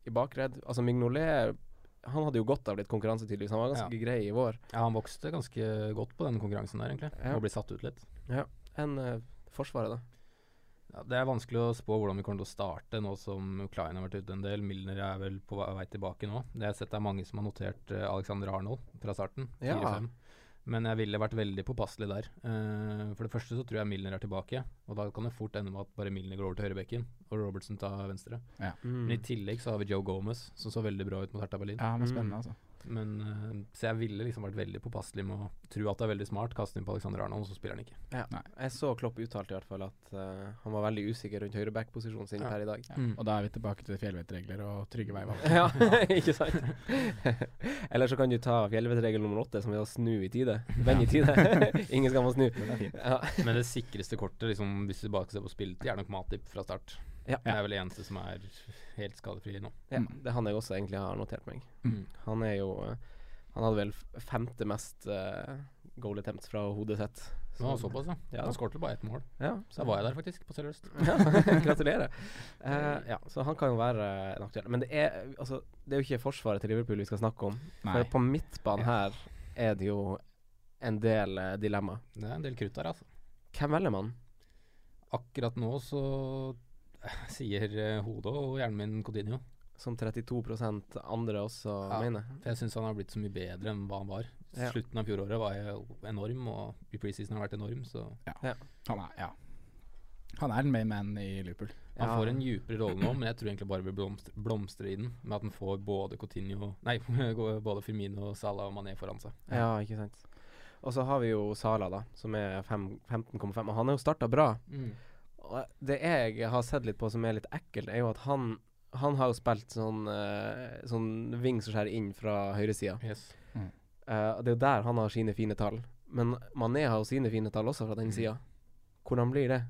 Speaker 3: i bakredd? Altså Mignolet han hadde jo godt av litt konkurranse, tydeligvis. Han var ganske grei i vår.
Speaker 5: Ja, han vokste ganske godt på den konkurransen der, egentlig,
Speaker 3: Ja.
Speaker 5: og ble satt ut litt.
Speaker 3: Enn eh, Forsvaret, da.
Speaker 5: Ja, det er vanskelig å spå hvordan vi kommer til å starte nå som Klein har vært ute en del. Milner er vel på ve- vei tilbake nå. Det jeg har sett er mange som har notert eh, Alexander Arnold fra starten.
Speaker 3: Ja.
Speaker 5: 4-5. Men jeg ville vært veldig påpasselig der. Eh, for det første så tror jeg Milner er tilbake. Og da kan det fort ende med at bare Milner går over til høyrebekken, og Robertson tar venstre. Men i tillegg så har vi Joe Gomez, som så veldig bra ut mot Hertha Berlin.
Speaker 4: ja, men
Speaker 3: Mm.
Speaker 4: spennende, altså.
Speaker 5: Men, eh, så jeg ville liksom vært veldig påpasselig med å tro at det er veldig smart, kaste inn på Alexander Arnold, og så spiller han ikke.
Speaker 3: Jeg så Klopp uttalte i hvert fall at eh, han var veldig usikker rundt høyreback-posisjonen sin
Speaker 5: Ja.
Speaker 3: per i
Speaker 4: [laughs]
Speaker 3: dag.
Speaker 4: Ja.
Speaker 5: Mm.
Speaker 4: Og da er vi tilbake til fjellvettregler og trygge veivalg. [laughs]
Speaker 3: Ja, [laughs] ikke sant? Eller så kan du ta fjellvettregel nummer åtte, som er å snu i tide. Vend i tide. [laughs] Ingen skal få snu.
Speaker 4: Den er fin.
Speaker 3: Ja.
Speaker 5: Men det sikreste kortet, liksom, hvis du bare skal se på spillet, er nok Matip fra start.
Speaker 3: Ja.
Speaker 5: Det er vel det eneste som er helt skadefri nå.
Speaker 3: Ja, det er han jeg også egentlig har notert meg.
Speaker 5: Mm.
Speaker 3: Han er jo eh, Han hadde vel f- femte mest eh, goal attempts fra hodet sitt.
Speaker 5: Det var såpass, ja.
Speaker 3: Mm. Ja.
Speaker 5: Han skårte bare ett mål.
Speaker 3: Ja,
Speaker 5: Så da var jeg der faktisk, på Sølvøst.
Speaker 3: [laughs] Ja, [laughs] gratulerer.
Speaker 5: [laughs]
Speaker 3: Eh, ja, så han kan jo være en aktuell. Men det er, altså, det er jo ikke forsvaret til Liverpool vi skal snakke om.
Speaker 4: Nei.
Speaker 3: For på midtbanen her er det jo en del eh, dilemma.
Speaker 5: Det er en del krutt der, altså.
Speaker 3: Hvem velger man?
Speaker 5: Akkurat nå så sier eh, hodet og hjernen min Coutinho.
Speaker 3: Som 32 andre også
Speaker 5: Ja,
Speaker 3: mener.
Speaker 5: For jeg syns han har blitt så mye bedre enn hva han var.
Speaker 3: Ja.
Speaker 5: Slutten av fjoråret var jeg jo enorm, og i preseason har han vært enorm, så
Speaker 4: Han er, ja. Han er en main man i Liverpool.
Speaker 5: Han
Speaker 3: Ja.
Speaker 5: får en djupere rolle nå, men jeg tror egentlig bare vil blomstre, blomstre i den. Med at han får både Coutinho Nei, [laughs] både Firmino, Salah og Mané foran seg.
Speaker 3: Ja, ikke sant. Og så har vi jo Sala, da, som er fem- 15,5. Og han har jo starta bra. Og det jeg har sett litt på som er litt ekkelt, er jo at han han har jo spilt sånn, eh, sånn ving som skjærer inn fra høyresida.
Speaker 5: Yes.
Speaker 3: Eh, og det er jo der han har sine fine tall. Men Mané har jo sine fine tall også fra
Speaker 5: Mm.
Speaker 3: den sida. Hvordan blir det?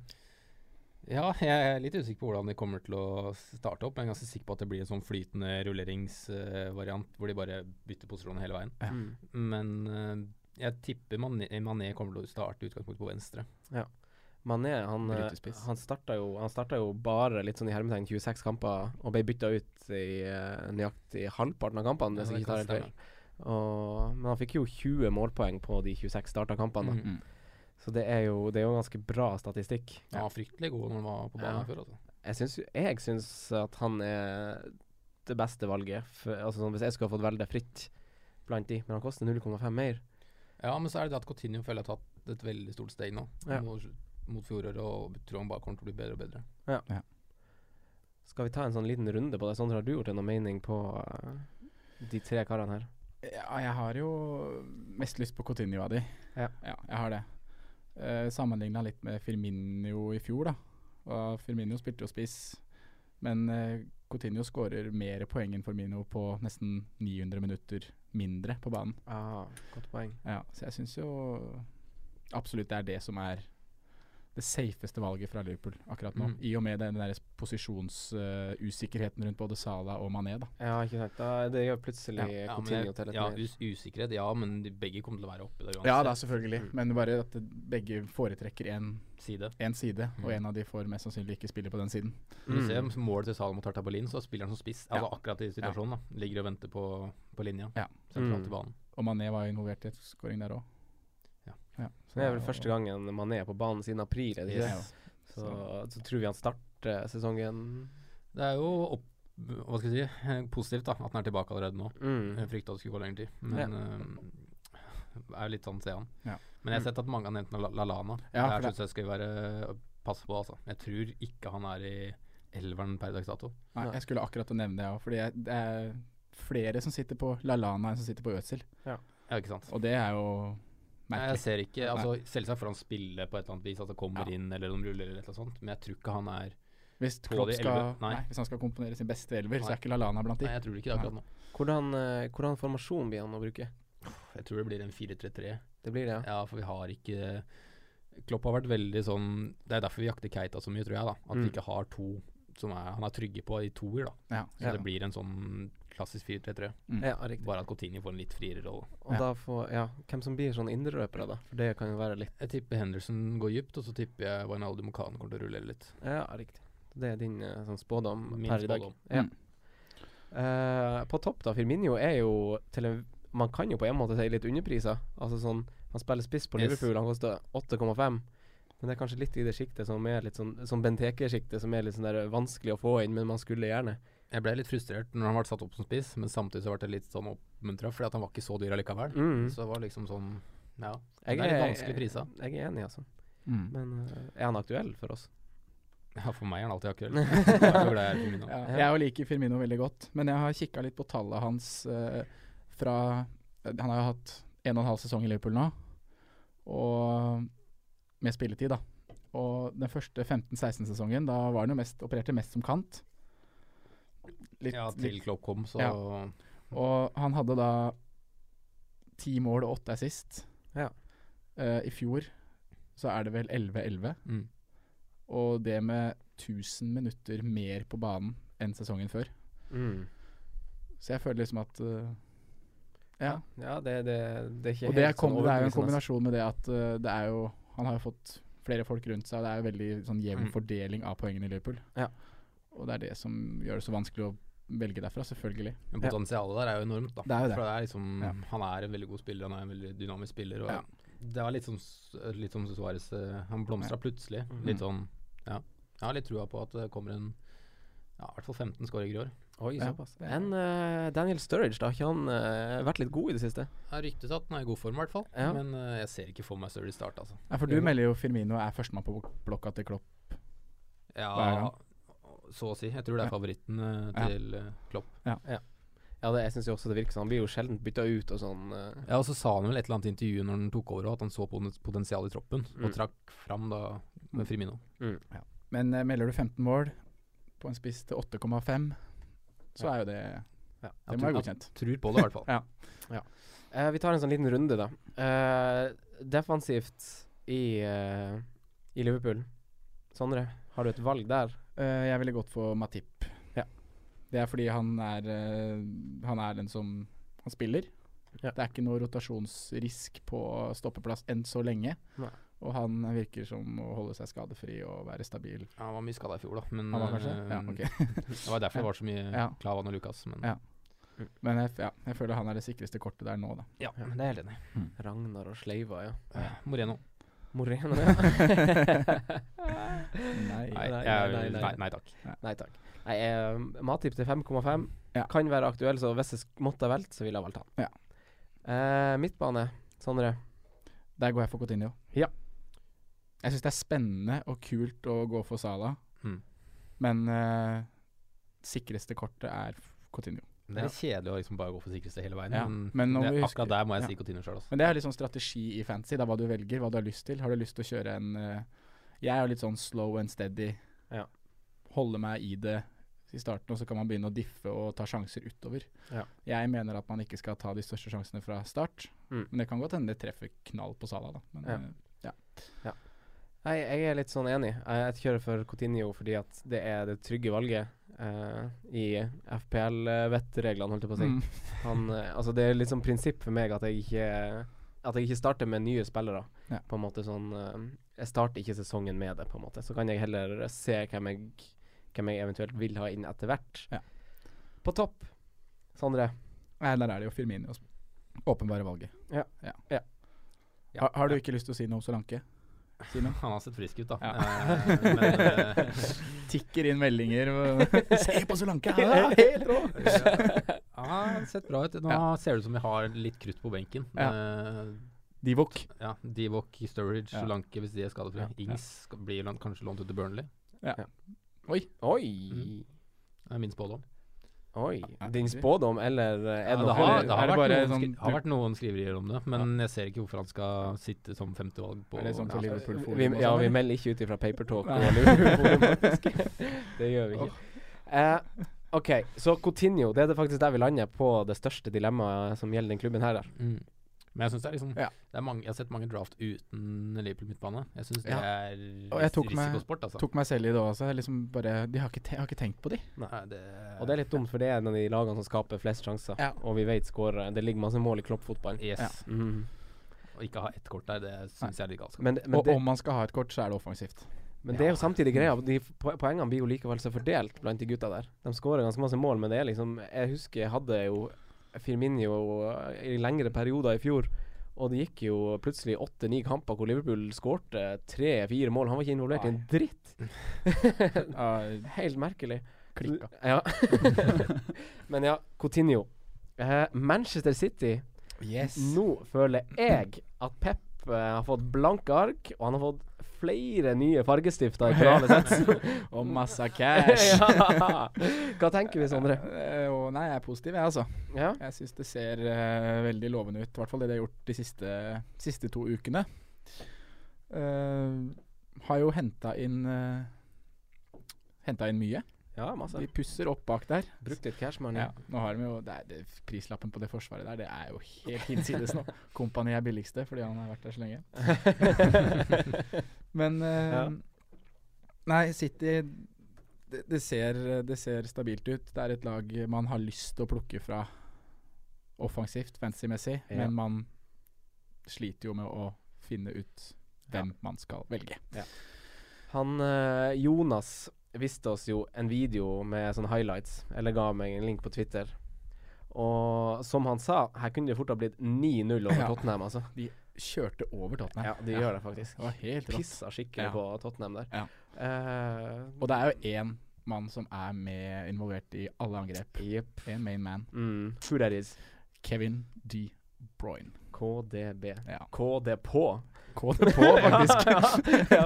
Speaker 5: Ja, jeg er litt usikker på hvordan de kommer til å starte opp. men Jeg er ganske sikker på at det blir en sånn flytende rulleringsvariant hvor de bare bytter posisjon hele veien.
Speaker 3: Mm.
Speaker 5: Men eh, jeg tipper Mané, Mané kommer til å starte i utgangspunktet på venstre.
Speaker 3: Mané han, eh,
Speaker 4: Brytespiss.
Speaker 3: han, starta jo, han starta jo bare litt sånn i hermetegn 26 kamper, og ble bytta ut i eh, nøyaktig halvparten av kampene,
Speaker 5: Ja,
Speaker 3: hvis
Speaker 5: det
Speaker 3: jeg ikke tar
Speaker 5: kan
Speaker 3: helt feil. Og, men han fikk jo 20 målpoeng på de 26 starta kampene. da.
Speaker 5: Mhm.
Speaker 3: Så det er, jo, det er jo ganske bra statistikk.
Speaker 5: Han var fryktelig god når han var på banen
Speaker 3: Ja.
Speaker 5: før. Altså.
Speaker 3: Jeg syns, jo- jeg syns at han er det beste valget. For, altså sånn, Hvis jeg skulle ha fått velge fritt blant de, men han koster 0,5 mer.
Speaker 5: Ja, men så er det det at Coutinho føler jeg har tatt et veldig stort steg nå.
Speaker 3: Ja.
Speaker 5: Mot, mot fjoråret, og tror han bare kommer til å bli bedre og bedre.
Speaker 3: Skal vi ta en sånn liten runde på det? Sondre, har du gjort deg noen mening på eh, de tre karene her?
Speaker 4: Ja, jeg har jo mest lyst på Coutinho av de.
Speaker 3: Ja.
Speaker 4: jeg har det. Uh, Sammenligna litt med Firmino i fjor, da. Og Firmino spilte jo spiss, men eh, Coutinho skårer mer poeng enn Firmino på nesten 900 minutter mindre på banen.
Speaker 3: Ah, godt poeng.
Speaker 4: Ja, så jeg syns jo absolutt det er det som er det safeste valget fra Liverpool akkurat nå.
Speaker 5: Mm.
Speaker 4: I og med den der posisjonsusikkerheten rundt både Sala og Mané, da.
Speaker 3: Ja, ikke sant. Da, det gjør plutselig
Speaker 5: Ja, men
Speaker 3: Coutinho
Speaker 5: jeg-
Speaker 3: til et
Speaker 5: ja,
Speaker 3: mer.
Speaker 5: us usikkerhet, ja, men de begge kommer til å være oppe der uansett.
Speaker 4: Ja da, selvfølgelig.
Speaker 3: Mm.
Speaker 4: Men bare at begge foretrekker én
Speaker 5: Si det.
Speaker 4: side, og
Speaker 5: Mm.
Speaker 4: en av de får mest sannsynlig ikke spille på den siden.
Speaker 5: Når Du ser målet til Salo mot Tartabalin, så spiller han som spiss.
Speaker 4: Mm. Ja.
Speaker 5: Altså akkurat i situasjonen, da. Ligger og venter på, på linja.
Speaker 4: Ja.
Speaker 3: Mm.
Speaker 5: Sentralt i banen.
Speaker 4: Og Mané var jo involvert i et scoring der òg.
Speaker 5: Ja.
Speaker 4: så
Speaker 3: Det er vel første gangen man er på banen siden april, er det ikke det?
Speaker 4: Yes.
Speaker 3: Så, så tror vi han starter sesongen
Speaker 5: Det er jo opp, hva skal jeg si, [laughs] eh, positivt da, at han er tilbake allerede nå.
Speaker 3: mm.
Speaker 5: Jeg frykta det skulle gå lengre tid, men eh, er jo litt sånn se han.
Speaker 4: Ja. Mm.
Speaker 5: Men jeg har sett at mange har nevnt La- Lalana.
Speaker 4: Ja,
Speaker 5: Der
Speaker 4: for det-
Speaker 5: syns jeg skal vi være passe på, altså. Jeg tror ikke han er i elveren per dags dato.
Speaker 4: Nei, jeg skulle akkurat å nevne det òg, fordi jeg, det er flere som sitter på Lalana enn som sitter på Øzil.
Speaker 5: Ja, ikke sant.
Speaker 4: Og det er jo
Speaker 5: Nei,
Speaker 4: merkelig.
Speaker 5: jeg ser ikke, altså Selvsagt får han spille på et eller annet vis, at han kommer
Speaker 4: Ja.
Speaker 5: inn eller de ruller eller noe sånt, men jeg tror ikke han er
Speaker 4: Hvis,
Speaker 5: På
Speaker 4: Klopp
Speaker 5: de
Speaker 4: skal,
Speaker 5: elleve?
Speaker 4: nei.
Speaker 5: Nei.
Speaker 4: hvis han skal komponere sin beste elver, så
Speaker 5: Nei.
Speaker 4: er ikke Lallana blant de.
Speaker 5: Nei, jeg tror ikke det akkurat nå.
Speaker 3: hvordan, eh, hvordan formasjon blir han å bruke?
Speaker 5: Jeg tror det blir en 4-3-3.
Speaker 3: Det blir det, ja.
Speaker 5: Ja, for vi har ikke Klopp har vært veldig sånn Det er derfor vi jakter Keita så mye, tror jeg, da. At vi
Speaker 3: Mm.
Speaker 5: ikke har to som er, han er trygge på i toer, da.
Speaker 4: Ja,
Speaker 5: Så det blir en sånn klassisk 4-3-3.
Speaker 3: Ja, riktig.
Speaker 5: Bare at Coutinho får en litt friere rolle.
Speaker 3: Og
Speaker 4: Ja.
Speaker 3: da får Ja, hvem som blir sånn indreløpere, da? For det kan jo være litt
Speaker 5: Jeg tipper Henderson går dypt, og så tipper jeg Wijnaldum og Khan kommer til å rulle litt.
Speaker 3: Ja, riktig. Det er din eh, sånn spådom
Speaker 5: Min
Speaker 3: per i dag.
Speaker 5: spådom.
Speaker 3: Ja.
Speaker 4: Mm.
Speaker 3: Eh, på topp, da. Firmino er jo til en Man kan jo på en måte si litt underprisa. Altså sånn Han spiller spiss på
Speaker 5: Yes.
Speaker 3: Liverpool, han koster 8,5. Men det er kanskje litt i det sjiktet som er litt sånn Som Benteke-sjiktet, som er litt sånn der vanskelig å få inn, men man skulle gjerne.
Speaker 5: Jeg ble litt frustrert når han ble satt opp som spiss, men samtidig så ble jeg litt sånn oppmuntra, fordi at han var ikke så dyr allikevel.
Speaker 3: Mm.
Speaker 5: Så det var liksom sånn Ja.
Speaker 3: Jeg
Speaker 5: det er litt
Speaker 3: er-
Speaker 5: vanskelig prisa.
Speaker 3: Jeg er enig, altså.
Speaker 4: Mm.
Speaker 3: Men eh, er han aktuell for oss?
Speaker 5: Ja, for meg er han alltid [laughs] akkurat. Jeg er så glad jeg er i Firmino.
Speaker 4: Ja, jeg jo liker Firmino veldig godt, men jeg har kikka litt på tallet hans eh, fra eh, Han har jo hatt en og en halv sesong i Liverpool nå, og med spilletid, da. Og den første 15-16-sesongen, da var han jo mest, opererte mest som kant. Litt,
Speaker 5: Ja, til
Speaker 4: litt,
Speaker 5: Klopp kom, så
Speaker 4: og han hadde da ti mål og åtte assist.
Speaker 3: Ja.
Speaker 4: Eh, I fjor så er det vel 11-11,
Speaker 5: Mm.
Speaker 4: og det med 1000 minutter mer på banen enn sesongen før. Så jeg føler liksom at øh, Ja.
Speaker 3: Ja, det, det, det er ikke
Speaker 4: Og det er,
Speaker 3: helt sånn
Speaker 4: kom, det er jo en
Speaker 3: overbevisende, altså.
Speaker 4: kombinasjon med det at øh, det er jo Han har jo fått flere folk rundt seg, og det er jo veldig sånn jevn
Speaker 5: Mm.
Speaker 4: fordeling av poengene i Liverpool.
Speaker 3: Ja.
Speaker 4: Og det er det som gjør det så vanskelig å velge derfra, selvfølgelig.
Speaker 5: Men
Speaker 3: Ja.
Speaker 5: potensialet der er jo enormt, da.
Speaker 4: Det er jo det.
Speaker 5: For det er liksom,
Speaker 4: Ja.
Speaker 5: Han er en veldig god spiller, han er en veldig dynamisk spiller. Og
Speaker 4: Ja.
Speaker 5: sånn Det var litt som, litt som Suarez eh, Han blomstra plutselig.
Speaker 3: Mhm.
Speaker 5: Litt sånn Jeg har litt trua på at det kommer en ja, i hvert fall 15 skåringer i år.
Speaker 3: Oi,
Speaker 4: Ja,
Speaker 3: såpass.
Speaker 4: det er-
Speaker 3: Enn eh, Daniel Sturridge, da? Har ikke han eh, vært litt god i det siste?
Speaker 5: Det er ryktes at den er i god form, i hvert fall.
Speaker 3: Ja.
Speaker 5: Men eh, jeg ser ikke for meg Sturley start, altså.
Speaker 4: Ja, for du melder jo Firmino er førstemann på blokka til Klopp. Hva er
Speaker 5: Ja,
Speaker 4: han?
Speaker 5: så å si. Jeg tror det
Speaker 4: Ja.
Speaker 5: er favoritten eh,
Speaker 4: Ja.
Speaker 5: til eh, Klopp.
Speaker 3: Ja, det, jeg syns jo også det virker sånn. Han blir jo sjelden bytta ut og sånn. eh.
Speaker 5: Ja, og så sa han vel et eller annet i intervjuet når han tok over, også, at han så poten- potensial i troppen,
Speaker 3: Mm.
Speaker 5: og trakk fram da
Speaker 4: Mm.
Speaker 5: med Firmino.
Speaker 4: Men eh, melder du 15 mål på en spiss til 8,5, så
Speaker 5: Ja.
Speaker 4: er jo det
Speaker 5: Ja.
Speaker 4: Det
Speaker 5: Jeg
Speaker 4: må
Speaker 5: tror,
Speaker 4: være
Speaker 5: jeg
Speaker 4: godkjent.
Speaker 5: tror på det, i hvert fall.
Speaker 4: Ja.
Speaker 3: Eh, vi tar en sånn liten runde, da. Eh, defensivt i, eh, i Liverpool. Sondre, har du et valg der?
Speaker 4: Eh, jeg ville gått for Matip.
Speaker 3: Ja.
Speaker 4: Det er fordi han er, eh, han er den som Han spiller.
Speaker 3: Ja.
Speaker 4: Det er ikke noe rotasjonsrisk på stoppeplass enn så lenge.
Speaker 3: Nei.
Speaker 4: Og han virker som å holde seg skadefri og være stabil.
Speaker 5: Ja, han var mye skada i fjor, da. Men
Speaker 4: Han var
Speaker 5: eh,
Speaker 4: kanskje? Ja,
Speaker 5: [laughs]
Speaker 4: ok. [laughs]
Speaker 5: det var derfor det var så [laughs] mye
Speaker 4: Ja.
Speaker 5: Klavan og Lukas. Men
Speaker 4: Ja. Men jeg, f- ja, jeg føler han er det sikreste kortet der nå, da.
Speaker 5: Ja, men det er jeg helt enig i.
Speaker 3: Hmm. Ragnar og Sleiva, ja.
Speaker 5: Eh, Moreno.
Speaker 3: [laughs] Moreno, ja. [laughs]
Speaker 4: [laughs] Nei.
Speaker 5: Nei,
Speaker 3: nei,
Speaker 5: jeg-
Speaker 3: nei, nei.
Speaker 5: nei, nei takk.
Speaker 3: Nei takk. Nei, eh, Matip til 5,5
Speaker 4: Ja.
Speaker 3: kan være aktuell, så hvis jeg sk- måtte ha valgt, så ville jeg valgt han.
Speaker 4: Ja.
Speaker 3: Eh, midtbane, Sondre.
Speaker 4: Der går jeg for Coutinho.
Speaker 3: Ja.
Speaker 4: Jeg syns det er spennende og kult å gå for Sala,
Speaker 5: Mm.
Speaker 4: men eh, sikreste kortet er Coutinho.
Speaker 5: Det er litt kjedelig å liksom bare gå for sikreste hele veien.
Speaker 4: Ja, men
Speaker 5: Men,
Speaker 4: nå må
Speaker 5: det,
Speaker 4: vi huske-
Speaker 5: akkurat der må jeg
Speaker 4: ja.
Speaker 5: si Coutinho sjøl, altså.
Speaker 4: Men det er litt sånn strategi i fantasy, da hva du velger, hva du har lyst til. Har du lyst til å kjøre en eh, Jeg er jo litt sånn slow and steady.
Speaker 3: Ja.
Speaker 4: Holde meg i det i starten, og så kan man begynne å diffe og ta sjanser utover.
Speaker 3: Ja.
Speaker 4: Jeg mener at man ikke skal ta de største sjansene fra start,
Speaker 3: Mm.
Speaker 4: men det kan godt hende det treffer knall på Sala, da. Men,
Speaker 3: Ja.
Speaker 4: eh,
Speaker 3: Nei, jeg er litt sånn enig. Jeg jeg kjører for Coutinho fordi at det er det trygge valget eh, i FPL-vettreglene, holdt jeg på å si.
Speaker 4: mm.
Speaker 3: Han, eh, altså det er litt sånn prinsipp for meg at jeg ikke At jeg ikke starter med nye spillere.
Speaker 4: Ja.
Speaker 3: På en måte sånn eh, Jeg starter ikke sesongen med det, på en måte. Så kan jeg heller se hvem jeg, hvem jeg eventuelt vil ha inn etter hvert.
Speaker 4: Ja.
Speaker 3: På topp, Sondre.
Speaker 4: Nei, der er det jo Firmino som åpenbare valget.
Speaker 3: Ja.
Speaker 4: Ja.
Speaker 3: Ja.
Speaker 4: Har, har du ikke lyst til å si noe om Solanke? Simen?
Speaker 5: Han har sett frisk ut, da.
Speaker 4: Ja.
Speaker 5: [laughs] Eh,
Speaker 4: [laughs]
Speaker 5: men eh,
Speaker 4: Tikker inn meldinger [laughs] og Se på Solanke! han er helt rå!
Speaker 5: ja, han har sett bra ut. Nå
Speaker 4: Ja.
Speaker 5: ser det ut som vi har litt krutt på benken.
Speaker 4: Ja.
Speaker 5: Eh,
Speaker 4: [laughs] [laughs] Divok.
Speaker 5: Ja, Divok, Sturridge,
Speaker 4: Ja.
Speaker 5: Solanke hvis de er skadefrie.
Speaker 4: Ja, ja.
Speaker 5: Ings skal- blir lånt- kanskje lånt ut til Burnley.
Speaker 3: Oi!
Speaker 5: Mhm. Det er min spådom.
Speaker 3: Oi. Mm. Din spådom, eller eh, er
Speaker 5: Ja,
Speaker 3: det
Speaker 5: det
Speaker 3: noe
Speaker 5: har,
Speaker 4: eller
Speaker 5: det har,
Speaker 4: er det
Speaker 5: vært,
Speaker 4: bare
Speaker 5: noen,
Speaker 4: sånn-
Speaker 5: skri- har vært noen skriverier om det, men jeg ser ikke hvorfor han skal sitte som femtevalg på
Speaker 4: Er det sånn på Liverpool Forum?
Speaker 3: vi,
Speaker 4: og
Speaker 3: ja,
Speaker 4: sånn,
Speaker 3: vi
Speaker 4: eller?
Speaker 3: melder ikke ut ifra Papertalk
Speaker 4: Nei.
Speaker 3: og Liverpool,
Speaker 4: [laughs]
Speaker 3: faktisk. Det gjør vi ikke. Eh, OK, så Coutinho, det er det faktisk der vi lander på det største dilemmaet som gjelder den klubben her. der.
Speaker 5: Mm. Men jeg synes det er liksom
Speaker 4: Ja.
Speaker 5: det er mange, Jeg har sett mange draft uten Liverpool midtbane. Jeg syns det
Speaker 4: Ja.
Speaker 5: er
Speaker 4: Og jeg
Speaker 5: ris-
Speaker 4: tok meg-
Speaker 5: risikosport, altså.
Speaker 4: Tok meg selv i det også. Jeg Liksom bare, de har ikke, te jeg har ikke tenkt på de.
Speaker 5: Nei, det,
Speaker 3: Og det er litt dumt, for det er en av de lagene som skaper flest sjanser.
Speaker 4: Ja.
Speaker 3: Og vi vet skårer. Det ligger masse mål i kloppfotballen.
Speaker 5: Yes.
Speaker 4: Ja.
Speaker 3: Mhm.
Speaker 5: Å ikke ha ett kort der, det syns jeg er litt galskap.
Speaker 3: Men, men,
Speaker 4: og
Speaker 3: det,
Speaker 4: om man skal ha et kort, så er det [laughs] offensivt.
Speaker 3: men det er jo samtidig greia. De po- poengene blir jo likevel så fordelt blant de gutta der. De skårer ganske masse mål, men det er liksom Jeg husker jeg hadde jo Firminio i lengre perioder i fjor. Og det gikk jo plutselig åtte-ni kamper hvor Liverpool skårte tre-fire mål. Han var ikke involvert i en dritt.
Speaker 4: Uh,
Speaker 3: Helt merkelig.
Speaker 4: Klikka.
Speaker 3: Ja. Men ja, Coutinho. Eh, Manchester City.
Speaker 4: yes.
Speaker 3: Nå føler jeg at Pep eh, har fått blanke ark, og han har fått flere nye
Speaker 4: [laughs]
Speaker 3: fargestifter i kanalen sin.
Speaker 4: Og [laughs] masse cash. [laughs]
Speaker 3: ja. [laughs] Hva tenker vi, Sondre?
Speaker 4: Eh, og nei, jeg er positiv, jeg, altså.
Speaker 3: Ja.
Speaker 4: Jeg syns det ser eh, veldig lovende ut. I hvert fall det de har gjort de siste, siste to ukene. Eh, har jo henta inn uh, Henta inn mye.
Speaker 3: ja,
Speaker 4: De
Speaker 3: masse.
Speaker 4: pusser opp bak der.
Speaker 3: Brukt litt cash money.
Speaker 4: Ja, nå har de jo det er, det, Prislappen på det forsvaret der, det er jo helt hinsides nå. Kompani er billigste fordi han har vært der så lenge.
Speaker 3: [laughs]
Speaker 4: Men eh,
Speaker 3: Ja.
Speaker 4: Nei, City det, det, ser, det ser stabilt ut. Det er et lag man har lyst til å plukke fra offensivt, fancy-messig,
Speaker 3: Ja.
Speaker 4: men man sliter jo med å finne ut hvem man skal velge.
Speaker 3: Han eh, Jonas viste oss jo en video med sånne highlights, eller ga meg en link på Twitter. Og som han sa, her kunne det fort ha blitt 9-0 over
Speaker 4: Ja.
Speaker 3: Tottenham, altså.
Speaker 4: De kjørte over Tottenham.
Speaker 3: Ja, de gjør det faktisk.
Speaker 4: Det var helt rått.
Speaker 3: Pissa skikkelig
Speaker 4: Ja.
Speaker 3: på Tottenham der.
Speaker 4: Ja.
Speaker 3: Eh,
Speaker 4: Og det er jo én mann som er med involvert i alle angrep. En main man.
Speaker 3: mm, who that is?
Speaker 4: Kevin D. Bruyne.
Speaker 3: KDB.
Speaker 4: Ja.
Speaker 3: KD på.
Speaker 4: Gå [laughs] det på, faktisk.
Speaker 3: [laughs] ja.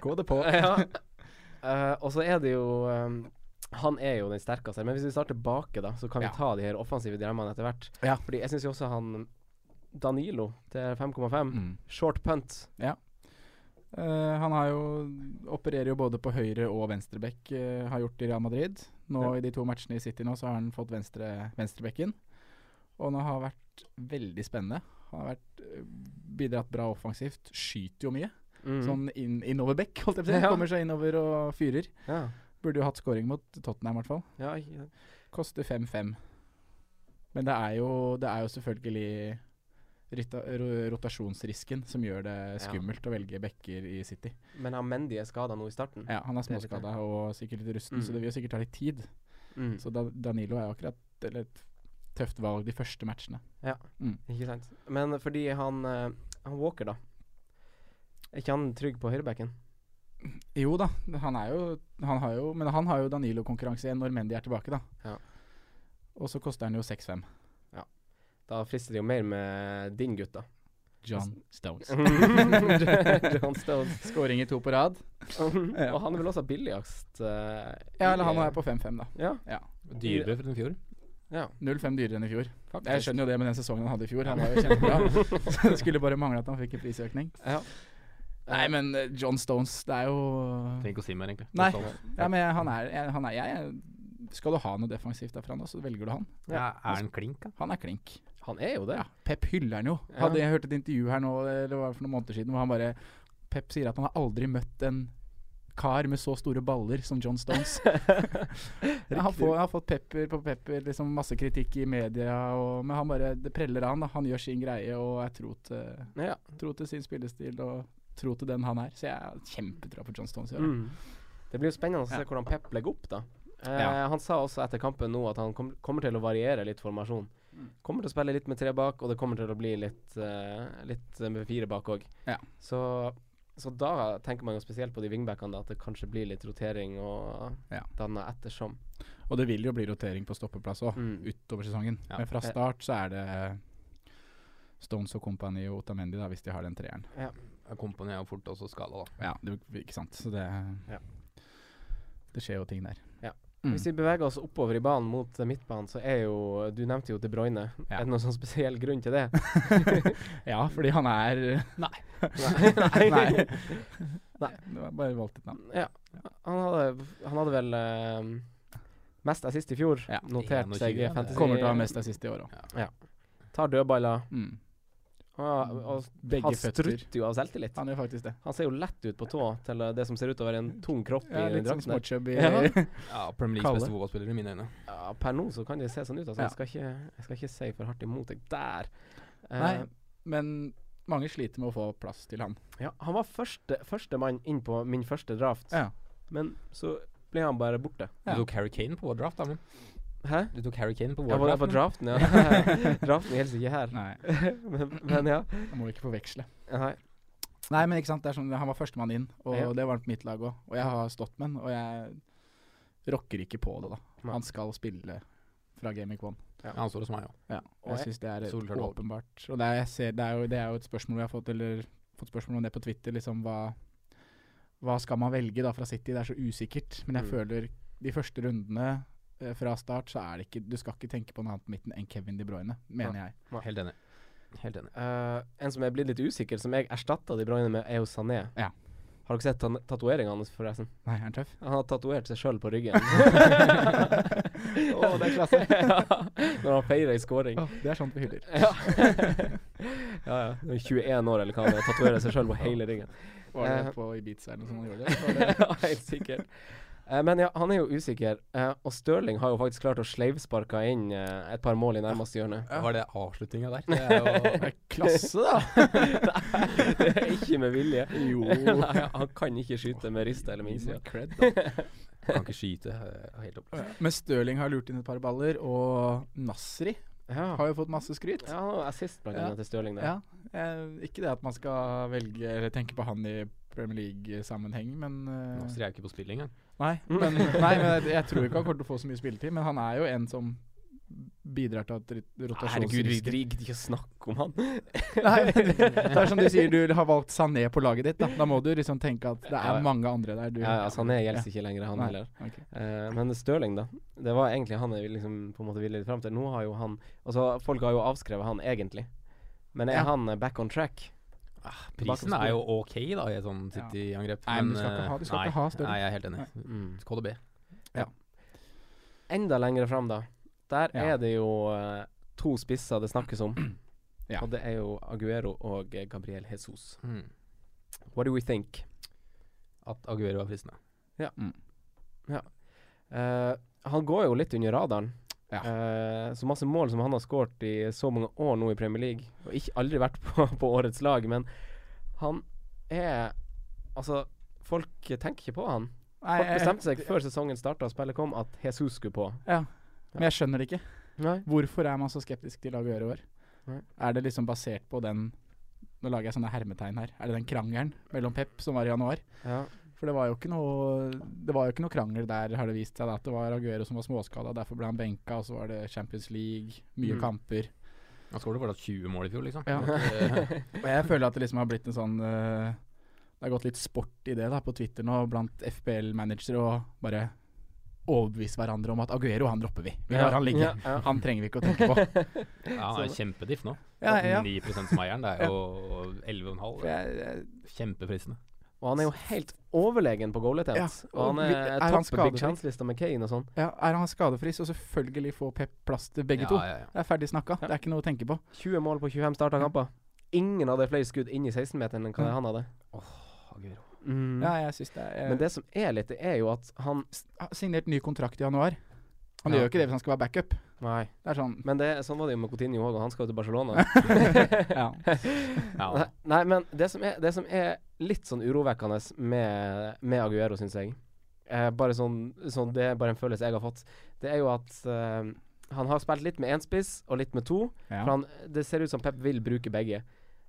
Speaker 4: Gå det på.
Speaker 3: ja. Eh, og så er det jo eh, Han er jo den sterkeste, her, men hvis vi starter bake, da, så kan
Speaker 4: Ja.
Speaker 3: vi ta de her offensive dilemmaene etter hvert.
Speaker 4: Ja.
Speaker 3: Fordi jeg syns jo også han Danilo til 5,5
Speaker 4: Mm.
Speaker 3: Short punt.
Speaker 4: Eh, han har jo, opererer jo både på høyre og venstreback, eh, har gjort i Real Madrid. Nå I de to matchene i City nå, så har han fått venstre, venstrebacken. Og han har vært veldig spennende. Han har vært, eh, bidratt bra offensivt, skyter jo mye.
Speaker 3: Mm.
Speaker 4: Sånn inn, innoverback, holdt jeg på å si.
Speaker 3: Ja.
Speaker 4: Kommer seg innover og fyrer.
Speaker 3: Ja.
Speaker 4: Burde jo hatt scoring mot Tottenham i hvert fall.
Speaker 3: Ja, ikke sant.
Speaker 4: Koster 5-5. Men det er jo, det er jo selvfølgelig rita- ro- rotasjonsrisken som gjør det
Speaker 3: Ja.
Speaker 4: skummelt å velge backer i City.
Speaker 3: Men han Mendy er skada nå i starten.
Speaker 4: Ja, Han er
Speaker 3: Det er litt
Speaker 4: småskada og sikkert litt rusten,
Speaker 3: Mm.
Speaker 4: så det vil jo sikkert ta litt tid.
Speaker 3: Mm.
Speaker 4: Så da, Danilo er jo akkurat eller et tøft valg de første matchene. Mm.
Speaker 3: Ikke sant. Men fordi han, eh, han Walker, da. Er ikke han trygg på høyrebacken?
Speaker 4: Jo da, han er jo, han har jo Men han har jo Danilo-konkurranse igjen når Mendy er tilbake, da.
Speaker 3: Ja.
Speaker 4: Og så koster han jo 6-5.
Speaker 3: Da frister det jo mer med din gutt,
Speaker 4: [laughs]
Speaker 3: da.
Speaker 4: John
Speaker 3: [laughs]
Speaker 4: Stones. [laughs]
Speaker 3: John Stones.
Speaker 4: Skåring i to på rad.
Speaker 3: [laughs]
Speaker 4: Ja.
Speaker 3: Og han er vel også billigst. eh,
Speaker 4: Ja, eller
Speaker 3: i-
Speaker 4: han er på 5-5, da.
Speaker 3: Ja.
Speaker 5: Dyrere enn i fjor.
Speaker 3: ja.
Speaker 4: 0-5 dyrere enn i fjor.
Speaker 3: Faktisk.
Speaker 4: Jeg skjønner jo det med den sesongen han hadde i fjor.
Speaker 3: [laughs]
Speaker 4: Han var jo kjempebra. [laughs] Så det skulle bare mangle at han fikk en prisøkning.
Speaker 3: Ja.
Speaker 4: Nei, men eh, John Stones, det er jo
Speaker 5: Trenger ikke å si mer, egentlig.
Speaker 4: Nei.
Speaker 5: Det er sant.
Speaker 4: Ja, men han er, jeg- han er jeg, Skal du ha noe defensivt derfra nå, så velger du han.
Speaker 5: Ja, er han klink, da?
Speaker 4: Han er klink.
Speaker 3: Han er jo det.
Speaker 4: Ja, Pep hyller han jo.
Speaker 3: Ja.
Speaker 4: Hadde jeg hørt et intervju her nå Eller hva var det for noen måneder siden hvor han bare Pep sier at han har aldri møtt en kar med så store baller som
Speaker 3: [laughs]
Speaker 4: John Stones. Ja, han, får, han har fått pepper på pepper, liksom masse kritikk i media, og, men han bare Det preller av han. da. Han gjør sin greie og er tro til,
Speaker 3: Ja.
Speaker 4: tro til sin spillestil og tro til den han er. Så jeg har kjempetroa på John Stones i år.
Speaker 3: Mm. Det blir jo spennende å se
Speaker 4: Ja.
Speaker 3: hvordan Pep legger opp, da. Eh,
Speaker 4: Ja.
Speaker 3: Han sa også etter kampen nå at han kom, kommer til å variere litt formasjon.
Speaker 4: Mm.
Speaker 3: Kommer til å spille litt med tre bak, og det kommer til å bli litt, eh, litt eh, med fire bak òg.
Speaker 4: Ja.
Speaker 3: Så, så da tenker man jo spesielt på de wingbackene, da, at det kanskje blir litt rotering og
Speaker 4: Ja.
Speaker 3: danne ettersom.
Speaker 4: Og det vil jo bli rotering på stoppeplass òg,
Speaker 3: Mm.
Speaker 4: utover sesongen.
Speaker 5: Ja.
Speaker 4: Men fra
Speaker 3: Eh.
Speaker 4: start så er det Stones og Company og Otamendi, da, hvis de har den treeren.
Speaker 5: Kompani er jo fort også skada, da.
Speaker 4: Ja, det, ikke sant. Så det
Speaker 3: Ja.
Speaker 4: Det skjer jo ting der. Mm.
Speaker 3: Hvis vi beveger oss oppover i banen mot eh, midtbanen, så er jo Du nevnte jo De Bruyne.
Speaker 4: Ja.
Speaker 3: Er det noen sånn spesiell grunn til det?
Speaker 4: [laughs] Ja, fordi han er Nei.
Speaker 3: [laughs] Nei.
Speaker 4: [laughs] [laughs] Nei.
Speaker 3: Nei.
Speaker 4: Det var bare valgt et navn.
Speaker 3: Ja. Han hadde, han hadde vel eh, mest assist i fjor,
Speaker 4: Ja.
Speaker 3: notert seg i
Speaker 5: 21, det
Speaker 3: fantasy.
Speaker 4: Kommer til å ha mest assist i år òg.
Speaker 3: Tar dødballer.
Speaker 4: Mm.
Speaker 3: Og, og
Speaker 4: Begge
Speaker 3: han
Speaker 4: føtter.
Speaker 3: strutter jo av selvtillit.
Speaker 4: Han gjør faktisk det.
Speaker 3: Han ser jo lett ut på tå til eh, det som ser ut til å være en tung kropp
Speaker 4: Ja,
Speaker 3: i den
Speaker 4: litt sånn
Speaker 3: drakten. der.
Speaker 4: småchubby.
Speaker 3: Ja.
Speaker 5: Ja, Premier
Speaker 4: Kalle.
Speaker 5: Leagues beste fotballspiller i mine øyne.
Speaker 3: Ja, per nå så kan det se sånn ut. Altså.
Speaker 4: Ja.
Speaker 3: Jeg, skal ikke, jeg skal ikke si for hardt imot deg der. Eh,
Speaker 4: [laughs] Nei, men mange sliter med å få plass til han.
Speaker 3: ja, han var første, første mann inn på min første draft,
Speaker 4: Ja.
Speaker 3: men så ble han bare borte.
Speaker 4: Ja.
Speaker 5: Du tok Harry Kane på vår draft, da. men.
Speaker 3: Hæ?
Speaker 5: Du tok Harry Kane på
Speaker 3: Ja,
Speaker 5: vår
Speaker 3: var det
Speaker 5: draft.
Speaker 3: på
Speaker 5: men.
Speaker 3: draften, ja. [laughs] draften er helst ikke her.
Speaker 4: Nei,
Speaker 3: men, men ja.
Speaker 4: jeg må ikke forveksle.
Speaker 3: Nei.
Speaker 4: Nei, men ikke sant, det er sånn, han var førstemann inn, og
Speaker 3: Ja.
Speaker 4: det var han på mitt lag òg. Og jeg har stått med han, og jeg rocker ikke på det, da.
Speaker 3: Nei.
Speaker 4: Han skal spille fra Gaming One.
Speaker 5: Ja, han står hos meg òg.
Speaker 4: Ja,
Speaker 3: Og jeg-
Speaker 4: jeg syns det er et
Speaker 5: Solklart valg.
Speaker 4: åpenbart. Og det er, jeg ser, det, er jo, det er jo et spørsmål vi har fått, eller, fått spørsmål om det på Twitter. Liksom, hva, hva skal man velge da fra City? Det er så usikkert. Men jeg
Speaker 3: Mm.
Speaker 4: føler de første rundene eh, fra start, så er det ikke Du skal ikke tenke på noe annet på midten enn Kevin De Bruyne, mener jeg.
Speaker 5: Helt enig. Helt enig.
Speaker 3: Eh, en som er blitt litt usikker, som jeg erstatta De Bruyne med, er jo Sané.
Speaker 4: Ja.
Speaker 3: Har dere sett han- tatueringen hans, forresten?
Speaker 4: Nei, er han
Speaker 3: [laughs]
Speaker 4: tøff? [laughs]
Speaker 3: Han har tatovert seg sjøl på ryggen. Å, det er
Speaker 4: [laughs]
Speaker 3: klasse. ja, når han feirer ei scoring.
Speaker 4: det er sånt vi hyller.
Speaker 3: [laughs] Ja. ja, ja. Han er 21 år, eller hva han er. Tatoverer seg sjøl på hele ryggen.
Speaker 4: Var
Speaker 3: Eh.
Speaker 4: det på Ibiza eller
Speaker 3: [laughs]
Speaker 4: noe sånt han gjorde det? Var det?
Speaker 3: ja, helt sikkert. Eh, men ja, han er jo usikker. Eh, og Stirling har jo faktisk klart å sleivsparke inn eh, et par mål i nærmeste hjørne.
Speaker 5: Var det avslutninga der? Det er jo
Speaker 4: Det er klasse,
Speaker 3: [laughs]
Speaker 4: da!
Speaker 3: Det er ikke med vilje.
Speaker 4: Jo.
Speaker 3: [laughs] Nei, han kan ikke skyte med rista eller med innsida.
Speaker 4: Cred,
Speaker 3: [laughs]
Speaker 4: da.
Speaker 5: Kan ikke skyte. eh, Helt opplagt.
Speaker 4: Men Stirling har lurt inn et par baller, og Nasri Har jo fått masse skryt.
Speaker 3: Ja, han var assist blant annet til Stirling der.
Speaker 4: Ja. Eh, ikke det at man skal velge eller tenke på han i Premier League-sammenheng, men eh,
Speaker 5: Nå ser jeg jo ikke på spill engang.
Speaker 4: Nei,
Speaker 3: Mm.
Speaker 4: men, nei, men jeg, jeg tror
Speaker 3: [laughs]
Speaker 4: ikke han kommer til å få så mye spilletid, men han er jo en som bidrar til at rit-
Speaker 3: Herregud, vi
Speaker 4: rotasjonsrisken
Speaker 3: gidder ikke å snakke om han.
Speaker 4: [laughs] Nei, men det
Speaker 3: [laughs]
Speaker 4: det er som du sier, du har valgt Sané på laget ditt. Da, da må du liksom tenke at det
Speaker 3: Ja,
Speaker 4: er
Speaker 3: ja.
Speaker 4: mange andre der. Du,
Speaker 3: Ja, altså han er gjelder
Speaker 4: Ja.
Speaker 3: ikke lenger, han
Speaker 4: Nei,
Speaker 3: heller.
Speaker 4: ok.
Speaker 3: Eh, men Stirling, da. Det var egentlig han jeg liksom på en måte ville litt fram til. Nå har jo han Altså, folk har jo avskrevet han egentlig. Men er
Speaker 4: Ja.
Speaker 3: han eh, back on track?
Speaker 5: Prisen er jo ok, da, i et sånn City-angrep.
Speaker 4: Nei, men du skal ikke
Speaker 5: eh,
Speaker 4: ha- du skal
Speaker 5: nei,
Speaker 4: ikke ha Stirling.
Speaker 5: Nei, jeg er helt enig.
Speaker 3: Mm.
Speaker 5: KDB.
Speaker 3: Enda lenger fram, da. Der
Speaker 4: Ja.
Speaker 3: er det jo eh, to spisser det snakkes om.
Speaker 4: [clears throat] Ja.
Speaker 3: Og det er jo Aguero og eh, Gabriel Jesus.
Speaker 5: Mm.
Speaker 3: What do we think?
Speaker 5: At Aguero er fristende.
Speaker 3: Eh, han går jo litt under radaren.
Speaker 4: Ja.
Speaker 3: Eh, så masse mål som han har skåret i så mange år nå i Premier League, og ikke aldri vært [laughs] på, på årets lag, men han er Altså, folk tenker ikke på han.
Speaker 4: Nei,
Speaker 3: Folk
Speaker 4: jeg-
Speaker 3: bestemte seg før sesongen starta og spillet kom, at Jesus skulle på.
Speaker 4: Ja. Men jeg skjønner det ikke.
Speaker 3: Nei.
Speaker 4: Hvorfor er man så skeptisk til Aguero i år?
Speaker 3: Nei.
Speaker 4: Er det liksom basert på den Nå lager jeg sånne hermetegn her. Er det den krangelen mellom Pep som var i januar?
Speaker 3: Ja.
Speaker 4: For det var jo ikke noe Det var jo ikke noe krangel der, har det vist seg. da, At det var Aguero som var småskada, derfor ble han benka, og så var det Champions League, mye
Speaker 3: Mm.
Speaker 4: kamper.
Speaker 5: Han skåret fortsatt 20 mål i fjor, liksom.
Speaker 4: Ja. [laughs]
Speaker 5: Eh,
Speaker 4: Og jeg føler at det liksom har blitt en sånn eh, Det har gått litt sport i det da på Twitter nå blant FBL-managere å bare overbevise hverandre om at Aguero, han dropper vi. Vi lar han ligge.
Speaker 3: Ja, ja.
Speaker 4: Han trenger vi ikke å
Speaker 3: [laughs]
Speaker 4: tenke på.
Speaker 5: ja, han er kjempediff nå.
Speaker 4: Ja, ja.
Speaker 5: 9 som eieren, det er jo 11,5.
Speaker 4: Jeg, jeg,
Speaker 5: Kjempefristende.
Speaker 3: Og han er jo helt overlegen på goal attempt.
Speaker 4: Ja,
Speaker 3: Og han
Speaker 4: og vi- er
Speaker 3: er
Speaker 4: han
Speaker 3: topp på
Speaker 4: skadefri?
Speaker 3: big chance-lista med Kane og sånn.
Speaker 4: ja, er han skadefri, så selvfølgelig får Pep plass til begge
Speaker 5: ja,
Speaker 4: to.
Speaker 5: Ja, ja.
Speaker 4: Det er ferdig snakka. Det er ikke noe å tenke på.
Speaker 3: 20 mål på 25 starta kamper. Ingen hadde flere skudd inn i 16-meteren enn hva
Speaker 4: Ja.
Speaker 3: han hadde.
Speaker 5: Aguero.
Speaker 3: Mm.
Speaker 4: Ja, eh. jeg synes det er jeg,
Speaker 3: Men det som er litt, det er jo at han
Speaker 4: har Signert ny kontrakt i januar. Han
Speaker 3: Ja.
Speaker 4: gjør jo ikke det hvis han skal være backup.
Speaker 3: Nei.
Speaker 4: Det er sånn
Speaker 3: [laughs]
Speaker 4: [laughs]
Speaker 3: Men det, sånn var det jo med Coutinho òg, og han skal jo til Barcelona.
Speaker 4: ja.
Speaker 5: Ja.
Speaker 3: Nei, nei, men det som, er, det som er litt sånn urovekkende med, med Aguero, syns jeg eh, bare sånn, sånn, Det er bare en følelse jeg har fått. Det er jo at eh, han har spilt litt med én spiss og litt med to.
Speaker 4: Ja.
Speaker 3: For han, det ser ut som Pep vil bruke begge.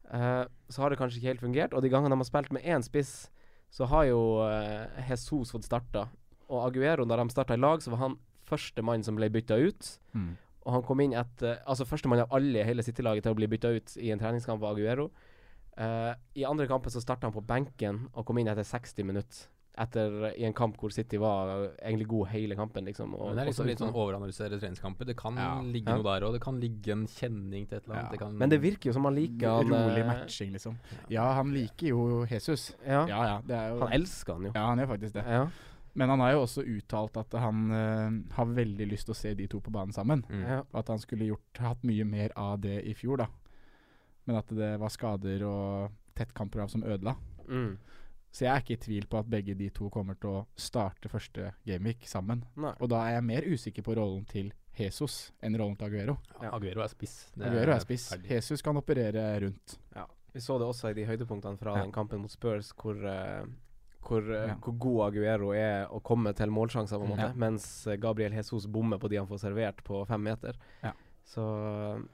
Speaker 3: Eh, så har det kanskje ikke helt fungert. Og de gangene de har spilt med én spiss, så har jo eh, Jesus fått starta. Og Aguero, da de starta i lag, så var han førstemann som ble bytta ut.
Speaker 4: Mm.
Speaker 3: Og han kom inn etter Altså førstemann av alle i hele City-laget til å bli bytta ut i en treningskamp var Aguero. Eh, I andre kampen så starta han på benken og kom inn etter 60 minutter. Etter, I en kamp hvor City var eh, egentlig god hele kampen, liksom. Og,
Speaker 5: Men det er liksom
Speaker 3: og så
Speaker 5: litt
Speaker 3: uten-
Speaker 5: sånn overanalysere treningskamper. Det kan
Speaker 4: Ja.
Speaker 5: ligge
Speaker 3: Ja.
Speaker 5: noe der òg. Det kan ligge en kjenning til et eller
Speaker 4: Ja.
Speaker 5: annet. Det kan,
Speaker 3: men det virker jo som han liker han,
Speaker 4: Rolig
Speaker 3: eh,
Speaker 4: matching, liksom. Ja, han liker jo Jesus.
Speaker 3: Ja.
Speaker 4: Ja ja, det er jo
Speaker 3: Han elsker han jo.
Speaker 4: Ja, han gjør faktisk det.
Speaker 3: Ja.
Speaker 4: Men han har jo også uttalt at han eh, har veldig lyst til å se de to på banen sammen.
Speaker 5: Mm.
Speaker 3: Ja.
Speaker 4: Og at han skulle gjort, hatt mye mer av det i fjor, da. Men at det var skader og tettkamper av som ødela.
Speaker 3: Mm.
Speaker 4: Så jeg er ikke i tvil på at begge de to kommer til å starte første gameweek sammen.
Speaker 3: Nei.
Speaker 4: Og da er jeg mer usikker på rollen til Jesus enn rollen til Aguero.
Speaker 5: Ja, Aguero er spiss. Det
Speaker 4: Aguero er spiss.
Speaker 5: ferdig.
Speaker 4: Jesus kan operere rundt.
Speaker 3: Vi så det også i de høydepunktene fra
Speaker 4: Ja.
Speaker 3: den kampen mot Spurs, hvor, eh, hvor, eh,
Speaker 4: Ja.
Speaker 3: hvor god Aguero er å komme til målsjanser, på en måte,
Speaker 4: Ja.
Speaker 3: mens eh, Gabriel Jesus bommer på de han får servert på fem meter.
Speaker 4: Ja.
Speaker 3: Så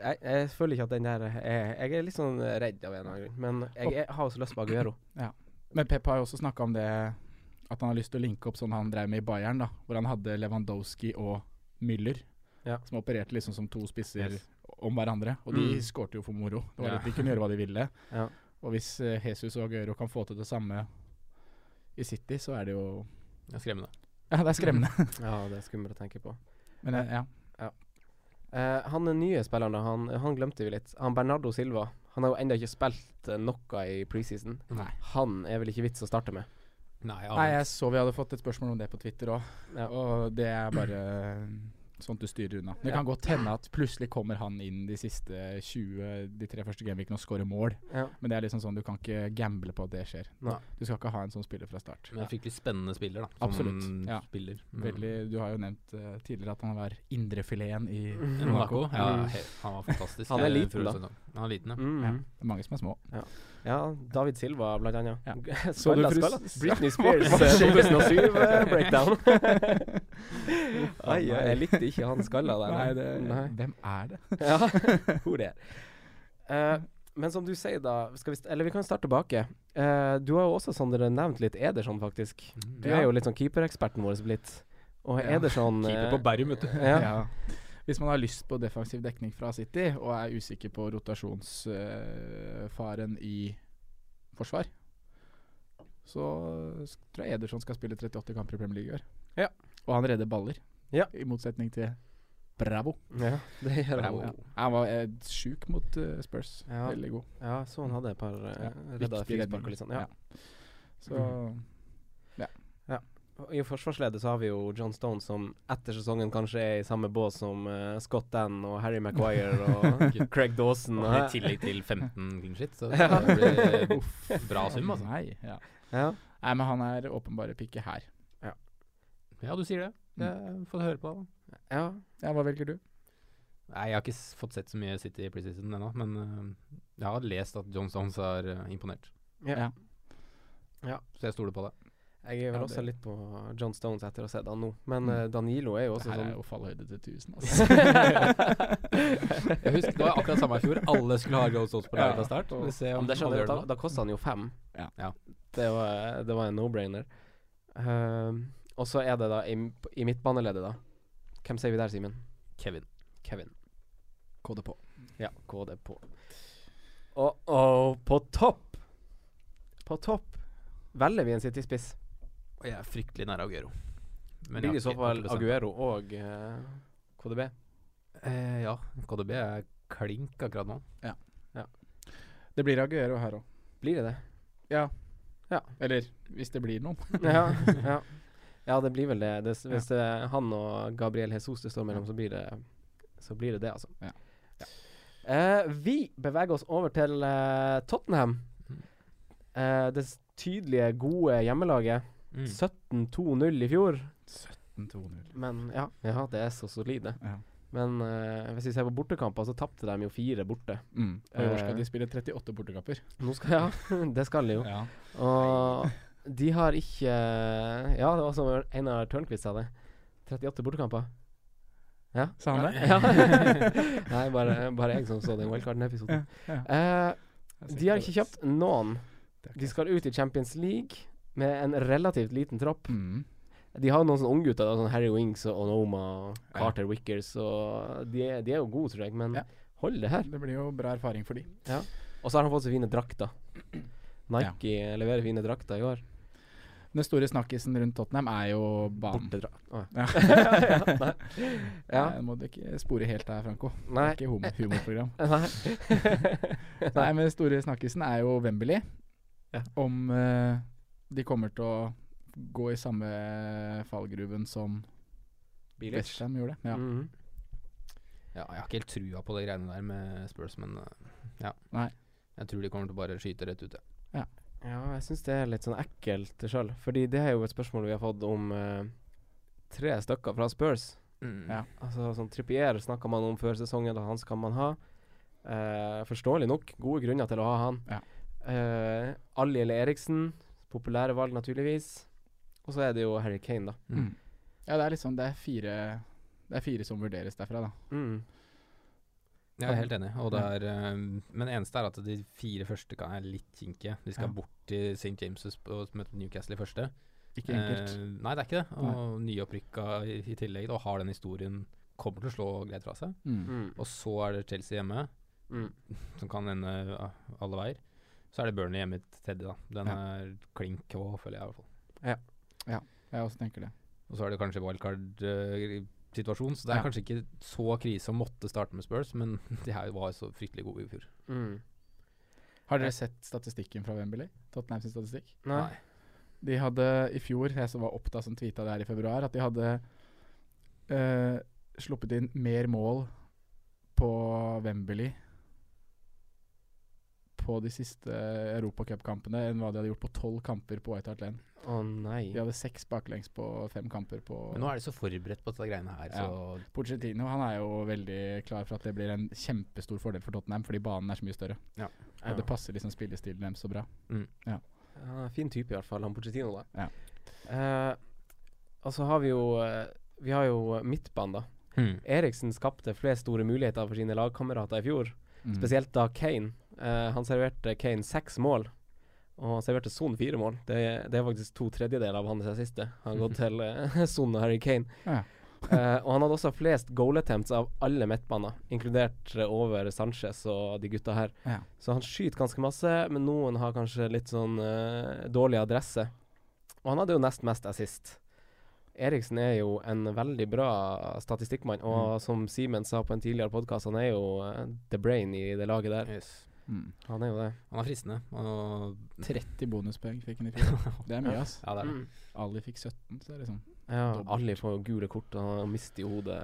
Speaker 3: eh, jeg, jeg føler ikke at den der er Jeg er litt sånn redd av en eller annen grunn, men jeg, er- har jo så lyst på Aguero.
Speaker 4: Men Pep har jo også snakka om det at han har lyst til å linke opp sånn han drev med i Bayern, da, hvor han hadde Lewandowski og Müller,
Speaker 3: Ja.
Speaker 4: som opererte liksom som to spisser
Speaker 5: Yes.
Speaker 4: om hverandre. Og de
Speaker 3: Mm.
Speaker 4: skårte jo for moro. Det var
Speaker 5: Ja.
Speaker 4: litt, de kunne gjøre hva de ville.
Speaker 3: [laughs] Ja.
Speaker 4: Og hvis eh, Jesus og Aguero kan få til det samme i City, så er det jo
Speaker 5: Ja, skremmende.
Speaker 4: Ja, det er
Speaker 3: [laughs]
Speaker 4: skremmende.
Speaker 3: Ja, det er skummelt å tenke på.
Speaker 4: Men eh, ja.
Speaker 3: Eh, han er nye spilleren, da, han, han glemte vi litt. Han Bernardo Silva. Han har jo ennå ikke spilt eh, noe i preseason.
Speaker 5: Nei.
Speaker 3: Han er vel ikke vits å starte med.
Speaker 5: Nei,
Speaker 4: Nei, jeg så vi hadde fått et spørsmål om det på Twitter òg,
Speaker 3: Ja.
Speaker 4: og det er bare sånt du styrer unna. Det
Speaker 3: Ja.
Speaker 4: kan godt hende at plutselig kommer han inn de siste 20, de tre første gameweekene og scorer mål,
Speaker 3: Ja.
Speaker 4: men det er liksom sånn du kan ikke gamble på at det skjer.
Speaker 3: Nei.
Speaker 4: Du skal ikke ha en sånn spiller fra start.
Speaker 5: Men en fryktelig spennende spiller, da. Som
Speaker 4: Absolutt, ja.
Speaker 5: spiller. Mm.
Speaker 4: Veldig, du har jo nevnt eh, tidligere at han var indrefileten i
Speaker 3: Mm.
Speaker 5: Ja,
Speaker 4: Monaco.
Speaker 5: Monaco. Ja, he, mm. han var fantastisk.
Speaker 3: Han er
Speaker 5: Eh,
Speaker 3: liten,
Speaker 5: før
Speaker 3: da.
Speaker 5: sesongen. Han er liten, ja.
Speaker 3: Mm.
Speaker 4: Ja. Det er mange som er små.
Speaker 3: Ja, David Silva blant annet.
Speaker 4: Ja.
Speaker 3: Skalla,
Speaker 4: du frus-
Speaker 3: [laughs] skalla. Britney
Speaker 4: Hva
Speaker 3: Spears
Speaker 4: skjer?
Speaker 3: 2007-breakdown. Ai, ai, jeg likte ikke han skalla der.
Speaker 4: Nei, det- hvem er det?
Speaker 3: [laughs] ja, hvor det er. Eh, men som du sier, da skal vi st Eller vi kan starte tilbake. Eh, du har jo også, Sander, nevnt litt Ederson, faktisk. Du
Speaker 4: Ja.
Speaker 3: er jo litt sånn keepereksperten vår blitt. Og
Speaker 4: Ja.
Speaker 3: Ederson eh,
Speaker 5: Keeper på Bærum, vet du.
Speaker 3: Ja.
Speaker 4: [laughs] Ja. Hvis man har lyst på defensiv dekning fra City, og er usikker på rotasjonsfaren eh, i forsvar, så s- tror jeg Ederson skal spille 38 kamper i Premier League i år.
Speaker 3: Ja.
Speaker 4: Og han redder baller,
Speaker 3: Ja.
Speaker 4: i motsetning til Bravo.
Speaker 3: ja, det gjør han.
Speaker 4: Bravo. Ja. Han var eh, sjuk mot eh, Spurs.
Speaker 3: Ja.
Speaker 4: Veldig god.
Speaker 3: Ja, så han hadde et par
Speaker 4: Ja.
Speaker 3: uh, redda
Speaker 4: Viktig
Speaker 3: frispark
Speaker 4: redning.
Speaker 3: og litt sånn. Ja. Mm.
Speaker 4: Så
Speaker 3: Og I forsvarsledet så har vi jo John Stone som etter sesongen kanskje er i samme bås som eh, Scott Dan og Harry
Speaker 4: [laughs]
Speaker 3: Maguire og Craig Dawson.
Speaker 5: Og I
Speaker 3: og-
Speaker 5: tillegg til 15 clean shit, [laughs] så
Speaker 3: Ja.
Speaker 5: det blir bra sum, altså.
Speaker 4: Nei, ja.
Speaker 3: ja.
Speaker 4: Nei, men han er åpenbare pikke her.
Speaker 5: Ja, du sier det. det Få høre på det. da.
Speaker 3: ja.
Speaker 4: Ja, hva velger du?
Speaker 5: Nei, jeg har ikke s- fått sett så mye City i preseason ennå, men øh, jeg har lest at John Stones er øh, imponert.
Speaker 3: Ja.
Speaker 4: Ja.
Speaker 3: Ja.
Speaker 5: Så jeg stoler på det.
Speaker 3: Jeg er vel
Speaker 4: Ja,
Speaker 3: også
Speaker 4: det-
Speaker 3: litt på John Stones etter å ha sett han nå, men
Speaker 4: Mm.
Speaker 3: eh, Danilo er jo også
Speaker 4: Det her
Speaker 3: sånn
Speaker 4: er jo fallhøyde til 1000, altså.
Speaker 5: jeg husker Det var akkurat samme i fjor. Alle skulle ha Joe Stones på laget fra start.
Speaker 4: og-
Speaker 5: Vi ser
Speaker 3: Ja,
Speaker 5: om
Speaker 3: men det skjønner
Speaker 5: alle
Speaker 3: jeg,
Speaker 5: gjør
Speaker 3: da,
Speaker 5: det nå.
Speaker 3: da kosta han jo fem.
Speaker 4: Ja.
Speaker 5: Ja.
Speaker 3: Det, var, det var en no-brainer. Ehm, og så er det da i, i midtbaneleddet, da. Hvem sier vi der, Simen?
Speaker 5: Kevin.
Speaker 3: Kevin.
Speaker 4: KD på.
Speaker 3: Ja, KD på. Og og på topp På topp velger vi en City-spiss.
Speaker 5: Og jeg er fryktelig nær Aguero. Men
Speaker 3: Blir
Speaker 5: jeg har
Speaker 3: i så
Speaker 5: ikke- har
Speaker 3: fall
Speaker 5: ikke bestemt.
Speaker 3: Aguero og eh, KDB.
Speaker 5: Eh, ja, KDB er klink akkurat nå.
Speaker 4: Det blir Aguero her òg.
Speaker 3: Blir det det?
Speaker 4: Eller hvis det blir noen.
Speaker 3: ja,
Speaker 4: [laughs]
Speaker 3: ja. ja, det blir vel det. det s- hvis det er han og Gabriel Jesus det står mellom, så blir det Så blir det det, altså.
Speaker 4: Ja.
Speaker 3: Eh, vi beveger oss over til eh, Tottenham. Eh, det s- tydelige, gode hjemmelaget.
Speaker 4: Mm.
Speaker 3: 17-2-0 i fjor.
Speaker 4: 2-0.
Speaker 3: Men ja, ja, det er så solide.
Speaker 4: Ja.
Speaker 3: Men eh, hvis vi ser på bortekamper, så tapte de jo fire borte.
Speaker 4: Mm. Og i år
Speaker 3: Eh.
Speaker 4: skal de spille 38 bortekamper.
Speaker 3: Nå skal, ja, [laughs] det skal de jo.
Speaker 4: Ja.
Speaker 3: Og de har ikke Ja, det var som Einar Tørnquist sa det. 38 bortekamper.
Speaker 4: Sa han det? [laughs]
Speaker 3: Ja. [laughs] Nei, bare, bare jeg som så den wildcarden-episoden. Eh, de har ikke kjøpt noen. De skal ut i Champions League med en relativt liten tropp.
Speaker 4: mm.
Speaker 3: De har jo noen sånne unggutter, da, sånn Harry Wings og Onoma og Carter Wickers, og de, er- de er jo gode, tror jeg, men
Speaker 4: Ja.
Speaker 3: hold det her.
Speaker 4: Det blir jo bra erfaring for de.
Speaker 3: Og så har han fått så fine drakter. Nike leverer fine drakter i år.
Speaker 4: Den store snakkisen rundt Tottenham er jo banen.
Speaker 3: Bortedrakt. Å,
Speaker 4: [laughs] Ja.
Speaker 3: ja. ja.
Speaker 4: Nei, Må du ikke spore helt der, Franco. Det
Speaker 3: Nei.
Speaker 4: er ikke hum humorprogram. [laughs]
Speaker 3: Nei.
Speaker 4: Nei, men den store snakkisen er jo Wembley.
Speaker 3: Ja.
Speaker 4: Om eh, de kommer til å gå i samme fallgruven som
Speaker 3: Bilic.
Speaker 4: Westham gjorde. Ja.
Speaker 3: Mhm.
Speaker 5: Ja, jeg har ikke helt trua på de greiene der med Spurs, men øh, ja.
Speaker 4: Nei.
Speaker 5: Jeg tror de kommer til å bare skyte rett ut, ja.
Speaker 3: Ja, jeg syns det er litt sånn ekkelt sjøl. Fordi det er jo et spørsmål vi har fått om eh, tre stykker fra Spurs.
Speaker 4: Ja.
Speaker 3: Altså sånn Trippier snakka man om før sesongen, at han skal man ha. Eh, forståelig nok, gode grunner til å ha han.
Speaker 4: Ja.
Speaker 3: Eh, Ali eller Eriksen, populære valg naturligvis. Og så er det jo Harry Kane, da.
Speaker 4: Mm. ja, det er liksom Det er fire Det er fire som vurderes derfra, da.
Speaker 3: Mm.
Speaker 5: Jeg er helt enig. Og det er, eh, men det eneste er at de fire første kan er litt kinkige. De skal
Speaker 4: Ja.
Speaker 5: bort til St. James' og møte Newcastle i første.
Speaker 4: Ikke enkelt.
Speaker 5: Eh, nei, det er ikke det. Og nyopprykka i, i tillegg, da har den historien Kommer til å slå greit fra seg.
Speaker 4: Mm.
Speaker 3: Mm.
Speaker 5: Og så er det Chelsea hjemme,
Speaker 3: Mm.
Speaker 5: [laughs] som kan ende ja, alle veier. Så er det Burnley hjemme til tredje, da. Den er klink på, føler jeg i hvert fall.
Speaker 4: Jeg også tenker det.
Speaker 5: Og så er det kanskje wildcard-situasjon, så det er
Speaker 4: Ja.
Speaker 5: kanskje ikke så krise å måtte starte med Spurs, men [laughs] de her var så fryktelig gode i fjor.
Speaker 3: Mm.
Speaker 4: Har dere sett statistikken fra Wembley? Tottenham sin statistikk?
Speaker 3: Nei.
Speaker 4: De hadde i fjor, jeg som var opptatt som tweeta det her i februar, at de hadde eh, sluppet inn mer mål på Wembley på de siste europacupkampene enn hva de hadde gjort på tolv kamper på White Hart Lane.
Speaker 3: Å nei.
Speaker 4: De hadde seks baklengs på fem kamper på
Speaker 5: Men nå er de så forberedt på disse greiene her,
Speaker 4: Ja.
Speaker 5: så
Speaker 4: Pochettino han er jo veldig klar for at det blir en kjempestor fordel for Tottenham, fordi banen er så mye større.
Speaker 3: Ja.
Speaker 4: Og det passer liksom spillestilen deres så bra.
Speaker 3: Han er en fin type i hvert fall, han Pochettino da.
Speaker 4: Ja.
Speaker 3: Eh, og så har vi jo eh, vi har jo midtbanen, da.
Speaker 5: Hmm.
Speaker 3: Eriksen skapte flest store muligheter for sine lagkamerater i fjor.
Speaker 4: Mm.
Speaker 3: Spesielt da Kane. Eh, han serverte Kane seks mål, og han serverte Son fire mål. Det, det er faktisk to tredjedeler av hans siste. Han har gått til eh, Son og Harry Kane.
Speaker 4: Ja.
Speaker 3: Eh, og han hadde også flest goal attempts av alle midtbaner, inkludert eh, over Sanchez og de gutta her.
Speaker 4: Ja.
Speaker 3: Så han skyter ganske masse, men noen har kanskje litt sånn eh, dårlig adresse. Og han hadde jo nest mest assist. Eriksen er jo en veldig bra statistikkmann, og som Simen sa på en tidligere podkast, han er jo eh, the brain i det laget der.
Speaker 5: Yes.
Speaker 4: Mm.
Speaker 3: Han er jo det.
Speaker 5: Han er fristende. Og
Speaker 4: 30 bonuspoeng fikk han i
Speaker 5: [laughs]
Speaker 4: fjor. Det er mye, ass.
Speaker 5: ja, det er det.
Speaker 3: Mm.
Speaker 4: Ali fikk 17, så det er liksom
Speaker 3: Ja,
Speaker 4: Dobbelt.
Speaker 3: Ali får gule kort, og han mister jo hodet.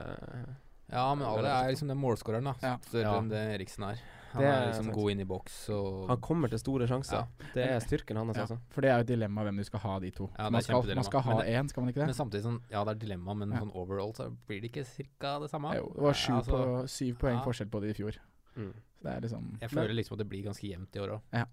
Speaker 5: Ja, men alle er liksom den målskåreren, da.
Speaker 4: Ja.
Speaker 5: Større
Speaker 3: Ja.
Speaker 5: enn det Eriksen er. Han
Speaker 3: Det
Speaker 5: er
Speaker 3: er
Speaker 5: liksom
Speaker 3: sant.
Speaker 5: god inn i boks og
Speaker 3: Han kommer til store sjanser. Det er styrken hans,
Speaker 4: Ja,
Speaker 3: altså.
Speaker 4: For det er jo et dilemma hvem du skal ha, de to.
Speaker 5: Ja, det er
Speaker 4: man, skal,
Speaker 5: kjempedilemma.
Speaker 4: man skal ha
Speaker 5: Men det-
Speaker 4: én, skal man ikke
Speaker 5: Men
Speaker 4: det?
Speaker 5: samtidig sånn Ja, det er dilemma, men
Speaker 4: Ja.
Speaker 5: sånn overall så blir det ikke cirka det samme.
Speaker 4: Jo, det var sju,
Speaker 5: Ja, altså,
Speaker 4: på, syv poeng
Speaker 5: ja.
Speaker 4: forskjell på det i fjor.
Speaker 3: Mm.
Speaker 4: Så Det er liksom
Speaker 5: Jeg føler liksom at det blir ganske jevnt i år òg.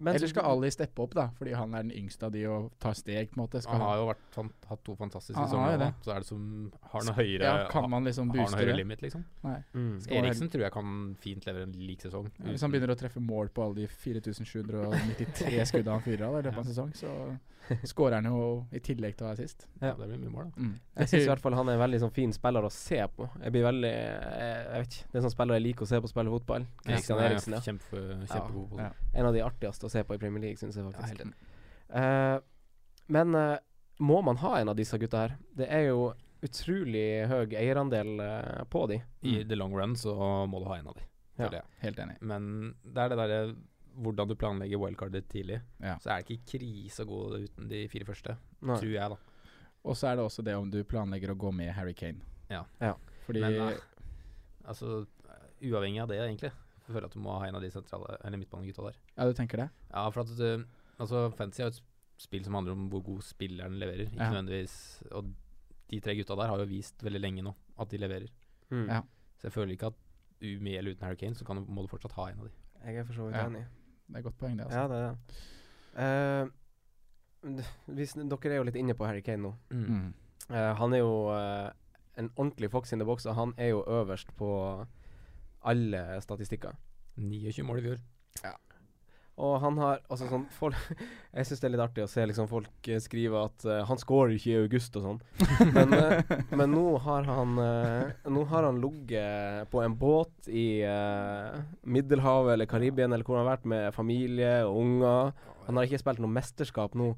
Speaker 3: Men
Speaker 4: Eller skal Ali steppe opp, da? Fordi han er den yngste av de og tar steg, på en måte. Skal
Speaker 5: Han
Speaker 4: han,
Speaker 5: har jo vært, fan, hatt to fantastiske
Speaker 4: Han har
Speaker 5: sesonger,
Speaker 4: jo
Speaker 5: nå,
Speaker 4: det.
Speaker 5: så er det som har noe høyere
Speaker 4: ja, kan man liksom
Speaker 5: har noe
Speaker 4: booste
Speaker 5: høyere
Speaker 4: det?
Speaker 5: limit, liksom.
Speaker 3: mm.
Speaker 4: Skal man
Speaker 5: Eriksen tror jeg kan fint levere en lik sesong.
Speaker 4: heller- Hvis han begynner å treffe mål på alle de
Speaker 5: [laughs]
Speaker 4: 4793 skuddene han fyrer av i løpet av en sesong, så scorer han jo i tillegg til å være sist.
Speaker 5: ja, Det blir mye mål, da.
Speaker 4: Mm.
Speaker 3: Jeg syns i hvert fall han er en veldig sånn fin spiller å se på. Jeg blir veldig Jeg, jeg vet ikke. Det er sånn spiller jeg liker å se på å spille fotball. Christian Eriksen, ja.
Speaker 5: Kjempe, kjempegod på
Speaker 4: Ja.
Speaker 5: det.
Speaker 3: En av de artigste å se på i Premier League, syns jeg
Speaker 5: Ja, helt
Speaker 3: faktisk.
Speaker 5: enig.
Speaker 3: Eh, men eh, må man ha en av disse gutta her? Det er jo utrolig høy eierandel eh, på de.
Speaker 5: I the long run så må du ha en av de,
Speaker 3: Ja.
Speaker 5: føler jeg.
Speaker 4: Helt enig.
Speaker 5: Men det er det derre hvordan du planlegger wildcardet ditt tidlig.
Speaker 4: Ja.
Speaker 5: Så er det ikke krise å gå uten de fire første,
Speaker 3: Nei.
Speaker 5: tror jeg, da.
Speaker 4: Og så er det også det om du planlegger å gå med Harry Kane.
Speaker 5: Ja.
Speaker 3: Ja.
Speaker 4: Fordi
Speaker 5: Men eh, altså, uavhengig av det, egentlig, så føler jeg at du må ha en av de sentrale eller midtbanegutta der.
Speaker 4: Ja, du tenker det?
Speaker 5: Ja, for at eh, altså, Fantasy er jo et spill som handler om hvor god spilleren leverer, ikke
Speaker 4: Ja.
Speaker 5: nødvendigvis Og de tre gutta der har jo vist veldig lenge nå at de leverer.
Speaker 3: Mm.
Speaker 4: Ja.
Speaker 5: Så jeg føler ikke at u- med eller uten Harry Kane, så kan du, må du fortsatt ha en av de.
Speaker 3: Jeg er for så vidt
Speaker 4: Ja.
Speaker 3: enig.
Speaker 4: Det er et godt poeng, det. Altså.
Speaker 3: Ja, det er det. Eh, d- hvis, dere er jo litt inne på Harry Kane nå.
Speaker 4: Mm.
Speaker 3: Eh, han er jo eh, en ordentlig fox in the box, og han er jo øverst på alle statistikker.
Speaker 5: 29 mål i fjor.
Speaker 3: Og han har altså sånn folk, [laughs] Jeg syns det er litt artig å se liksom folk eh, skrive at eh, han scorer ikke i august og sånn. Men, eh,
Speaker 4: [laughs]
Speaker 3: men nå har han eh, Nå har han ligget på en båt i eh, Middelhavet eller Karibien eller hvor han har vært med familie og unger. Han har ikke spilt noe mesterskap nå.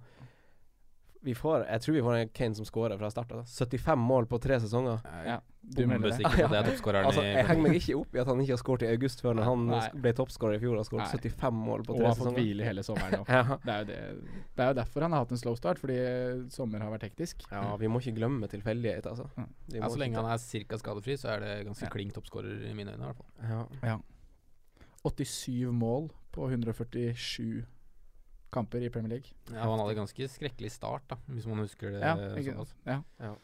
Speaker 3: Vi får, jeg tror vi får en Kane som scorer fra start. Altså. 75 mål på tre sesonger.
Speaker 4: Ja, du melder det.
Speaker 5: Bombesikker på at det er toppskåreren
Speaker 3: Altså, jeg
Speaker 5: i
Speaker 3: henger meg ikke opp i at han ikke har skåret i august, før når han
Speaker 4: Nei.
Speaker 3: ble toppskårer i fjor og skåret
Speaker 4: Nei.
Speaker 3: 75
Speaker 5: [laughs]
Speaker 3: mål på
Speaker 4: Og
Speaker 3: tre
Speaker 4: har fått
Speaker 3: sesonger.
Speaker 4: hvile hele sommeren nå.
Speaker 3: [laughs] Ja.
Speaker 4: Det er, jo det, det er jo derfor han har hatt en slow start, fordi eh, sommer har vært hektisk.
Speaker 3: Ja, vi må ikke glemme tilfeldighet, altså.
Speaker 4: Mm.
Speaker 3: Vi
Speaker 5: Ja,
Speaker 3: må
Speaker 5: så
Speaker 3: ikke
Speaker 5: lenge
Speaker 3: ta-
Speaker 5: han er cirka skadefri, så er det ganske
Speaker 4: Ja.
Speaker 5: klink toppskårer i mine øyne. i hvert fall
Speaker 3: ja.
Speaker 4: 87 mål på 147 kamper i Premier League.
Speaker 5: ja, og Han hadde ganske skrekkelig start, da hvis man husker det.
Speaker 4: Ja, ikke,
Speaker 5: såpass.
Speaker 4: ja.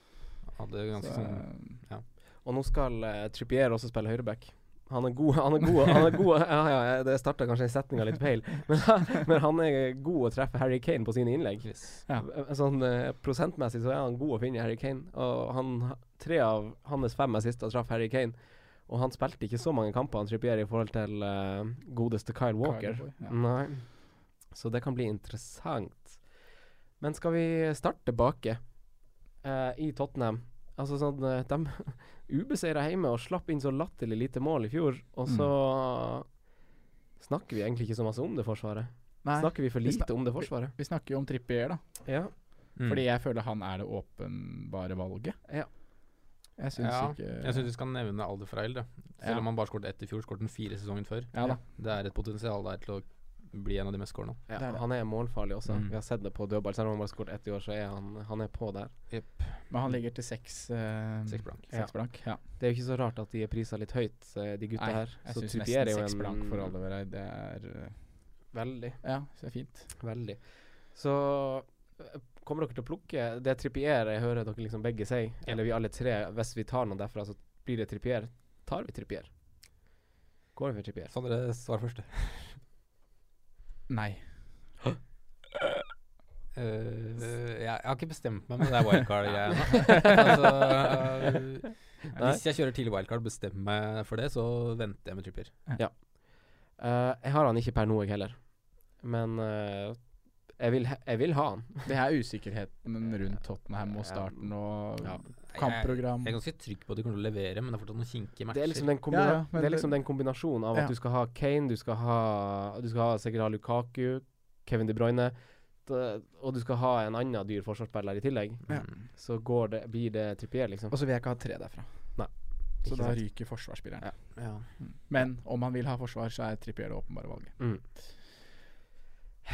Speaker 5: Hadde ganske
Speaker 4: Så, eh,
Speaker 5: sånn
Speaker 3: Og nå skal eh, Trippier også spille høyreback. Han er god, han er god, han er [laughs] god Ja, ja, ja, det starta kanskje en setning litt feil, [laughs] men, men han er god å treffe Harry Kane på sine innlegg.
Speaker 4: Ja.
Speaker 3: Sånn eh, prosentmessig så er han god å finne i Harry Kane, og han tre av hans fem assister traff Harry Kane. Og han spilte ikke så mange kamper han Trippier i forhold til eh, godeste Kyle Walker.
Speaker 4: Cowboy, ja.
Speaker 3: Nei. Så det kan bli interessant. Men skal vi starte bake eh, i Tottenham? Altså sånn eh, [laughs] De ubeseira hjemme og slapp inn så latterlig lite mål i fjor, og så snakker vi egentlig ikke så masse om det forsvaret.
Speaker 4: Nei,
Speaker 3: Snakker vi for
Speaker 4: vi snak-
Speaker 3: lite om det forsvaret?
Speaker 4: vi snakker jo om Trippier, da.
Speaker 3: Ja.
Speaker 5: Mm.
Speaker 4: Fordi jeg føler han er det åpenbare valget.
Speaker 3: Ja.
Speaker 4: Jeg syns
Speaker 5: Ja,
Speaker 4: ikke
Speaker 5: Jeg syns vi skal nevne Alderfrail. da. Selv
Speaker 4: Ja.
Speaker 5: om han bare skåret ett i fjor, skåret han fire sesongen før.
Speaker 4: Ja da.
Speaker 5: Det er et potensial der til å bli en av de mest skårende.
Speaker 3: Ja,
Speaker 4: Det er det.
Speaker 3: Han er målfarlig også.
Speaker 5: Mm.
Speaker 3: Vi har sett det på dødball. Selv om han bare skåret ett i år, så er han, han er på der.
Speaker 4: Men han ligger til seks eh,
Speaker 5: Seks blank.
Speaker 4: seks blank. Ja.
Speaker 3: Det er jo ikke så rart at de er prisa litt høyt, eh, de gutta
Speaker 4: Nei,
Speaker 3: her.
Speaker 4: jeg
Speaker 3: Så
Speaker 4: syns
Speaker 3: Trippier
Speaker 4: nesten
Speaker 3: er jo
Speaker 4: seks
Speaker 3: en-
Speaker 4: blank for Aldevereid. Det er eh,
Speaker 3: Veldig.
Speaker 4: Ja, så det er fint.
Speaker 3: Veldig. Så eh, kommer dere til å plukke Det Trippier jeg hører dere liksom begge si, eller vi alle tre, hvis vi tar noen derfra, så blir det Trippier. Tar vi Trippier? Går vi for Trippier?
Speaker 5: Sondre, svar først.
Speaker 4: Nei.
Speaker 5: Eh, jeg jeg har ikke bestemt meg med det
Speaker 4: [laughs]
Speaker 5: wildcard-greiene. altså, eh,
Speaker 3: Nei.
Speaker 5: hvis jeg kjører tidlig wildcard, bestemmer meg for det, så venter jeg med tripper.
Speaker 3: Ja. Eh, jeg har han ikke per nå, jeg heller. Men eh, jeg, vil, he- jeg vil ha han.
Speaker 4: [laughs] Det er usikkerheten rundt Tottenham og starten og
Speaker 5: Ja. Jeg,
Speaker 4: kampprogram.
Speaker 5: jeg er ganske trygg på at de kommer til å levere, men det er fortsatt noen kinkige matcher.
Speaker 3: Det er liksom den, kombina
Speaker 4: Ja, ja, men
Speaker 3: det er
Speaker 4: det-
Speaker 3: liksom den kombinasjonen av at
Speaker 4: Ja.
Speaker 3: du skal ha Kane, du skal ha, du skal ha sikkert ha Lukaku, Kevin De Bruyne, da- og du skal ha en annen dyr forsvarsspiller i tillegg.
Speaker 4: Ja.
Speaker 3: Så går det, blir det trippier, liksom.
Speaker 4: Og så vil jeg ikke ha tre derfra.
Speaker 3: Nei.
Speaker 4: Så
Speaker 3: Ikke
Speaker 4: da
Speaker 3: sant.
Speaker 4: ryker forsvarsspilleren. Mm.
Speaker 5: ja.
Speaker 4: Men om han vil ha forsvar, så er Trippier det åpenbare valget.
Speaker 3: Mm.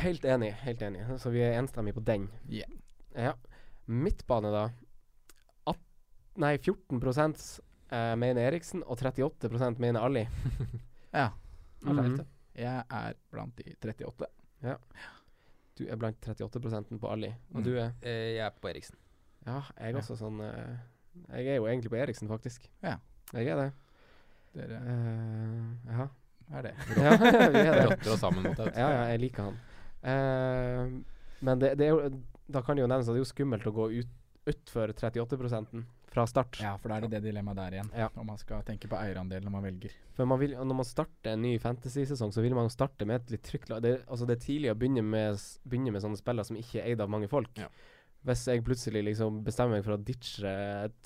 Speaker 3: Helt enig, helt enig. Så vi er enstemmige på den.
Speaker 4: Ja.
Speaker 3: Ja. Midtbane, da. At, nei, 14 eh, mener Eriksen, og 38 mener Ali. Mm.
Speaker 4: Ja.
Speaker 3: Har jeg
Speaker 5: Mhm.
Speaker 3: rett, da?
Speaker 4: Jeg er blant de 38.
Speaker 3: Du er blant 38 på Ali, og
Speaker 4: Mm.
Speaker 3: du er
Speaker 5: Eh, jeg er på Eriksen.
Speaker 3: Ja, jeg er også sånn eh, Jeg er jo egentlig på Eriksen, faktisk.
Speaker 4: Ja.
Speaker 3: Jeg er det.
Speaker 4: Dere
Speaker 3: Eh,
Speaker 4: [laughs]
Speaker 3: ja.
Speaker 4: er det.
Speaker 3: [laughs] ja, vi er det.
Speaker 4: altså.
Speaker 5: Rotter oss sammen
Speaker 4: [laughs]
Speaker 5: mot det.
Speaker 3: Ja, ja, jeg liker han. Eh, men det, det er jo Da kan det jo nevnes at det er jo skummelt å gå ut utfor 38 fra start.
Speaker 4: Ja, for da er det det dilemmaet der igjen.
Speaker 3: Ja.
Speaker 4: Om man skal tenke på eierandelen når man velger.
Speaker 3: For man vil, når man starter en ny fantasy-sesong, så vil man jo starte med et litt trykk lag. Det, altså det er tidlig å begynne med, s- begynne med sånne spillere som ikke er eid av mange folk.
Speaker 5: Ja.
Speaker 3: Hvis jeg plutselig liksom bestemmer meg for å ditche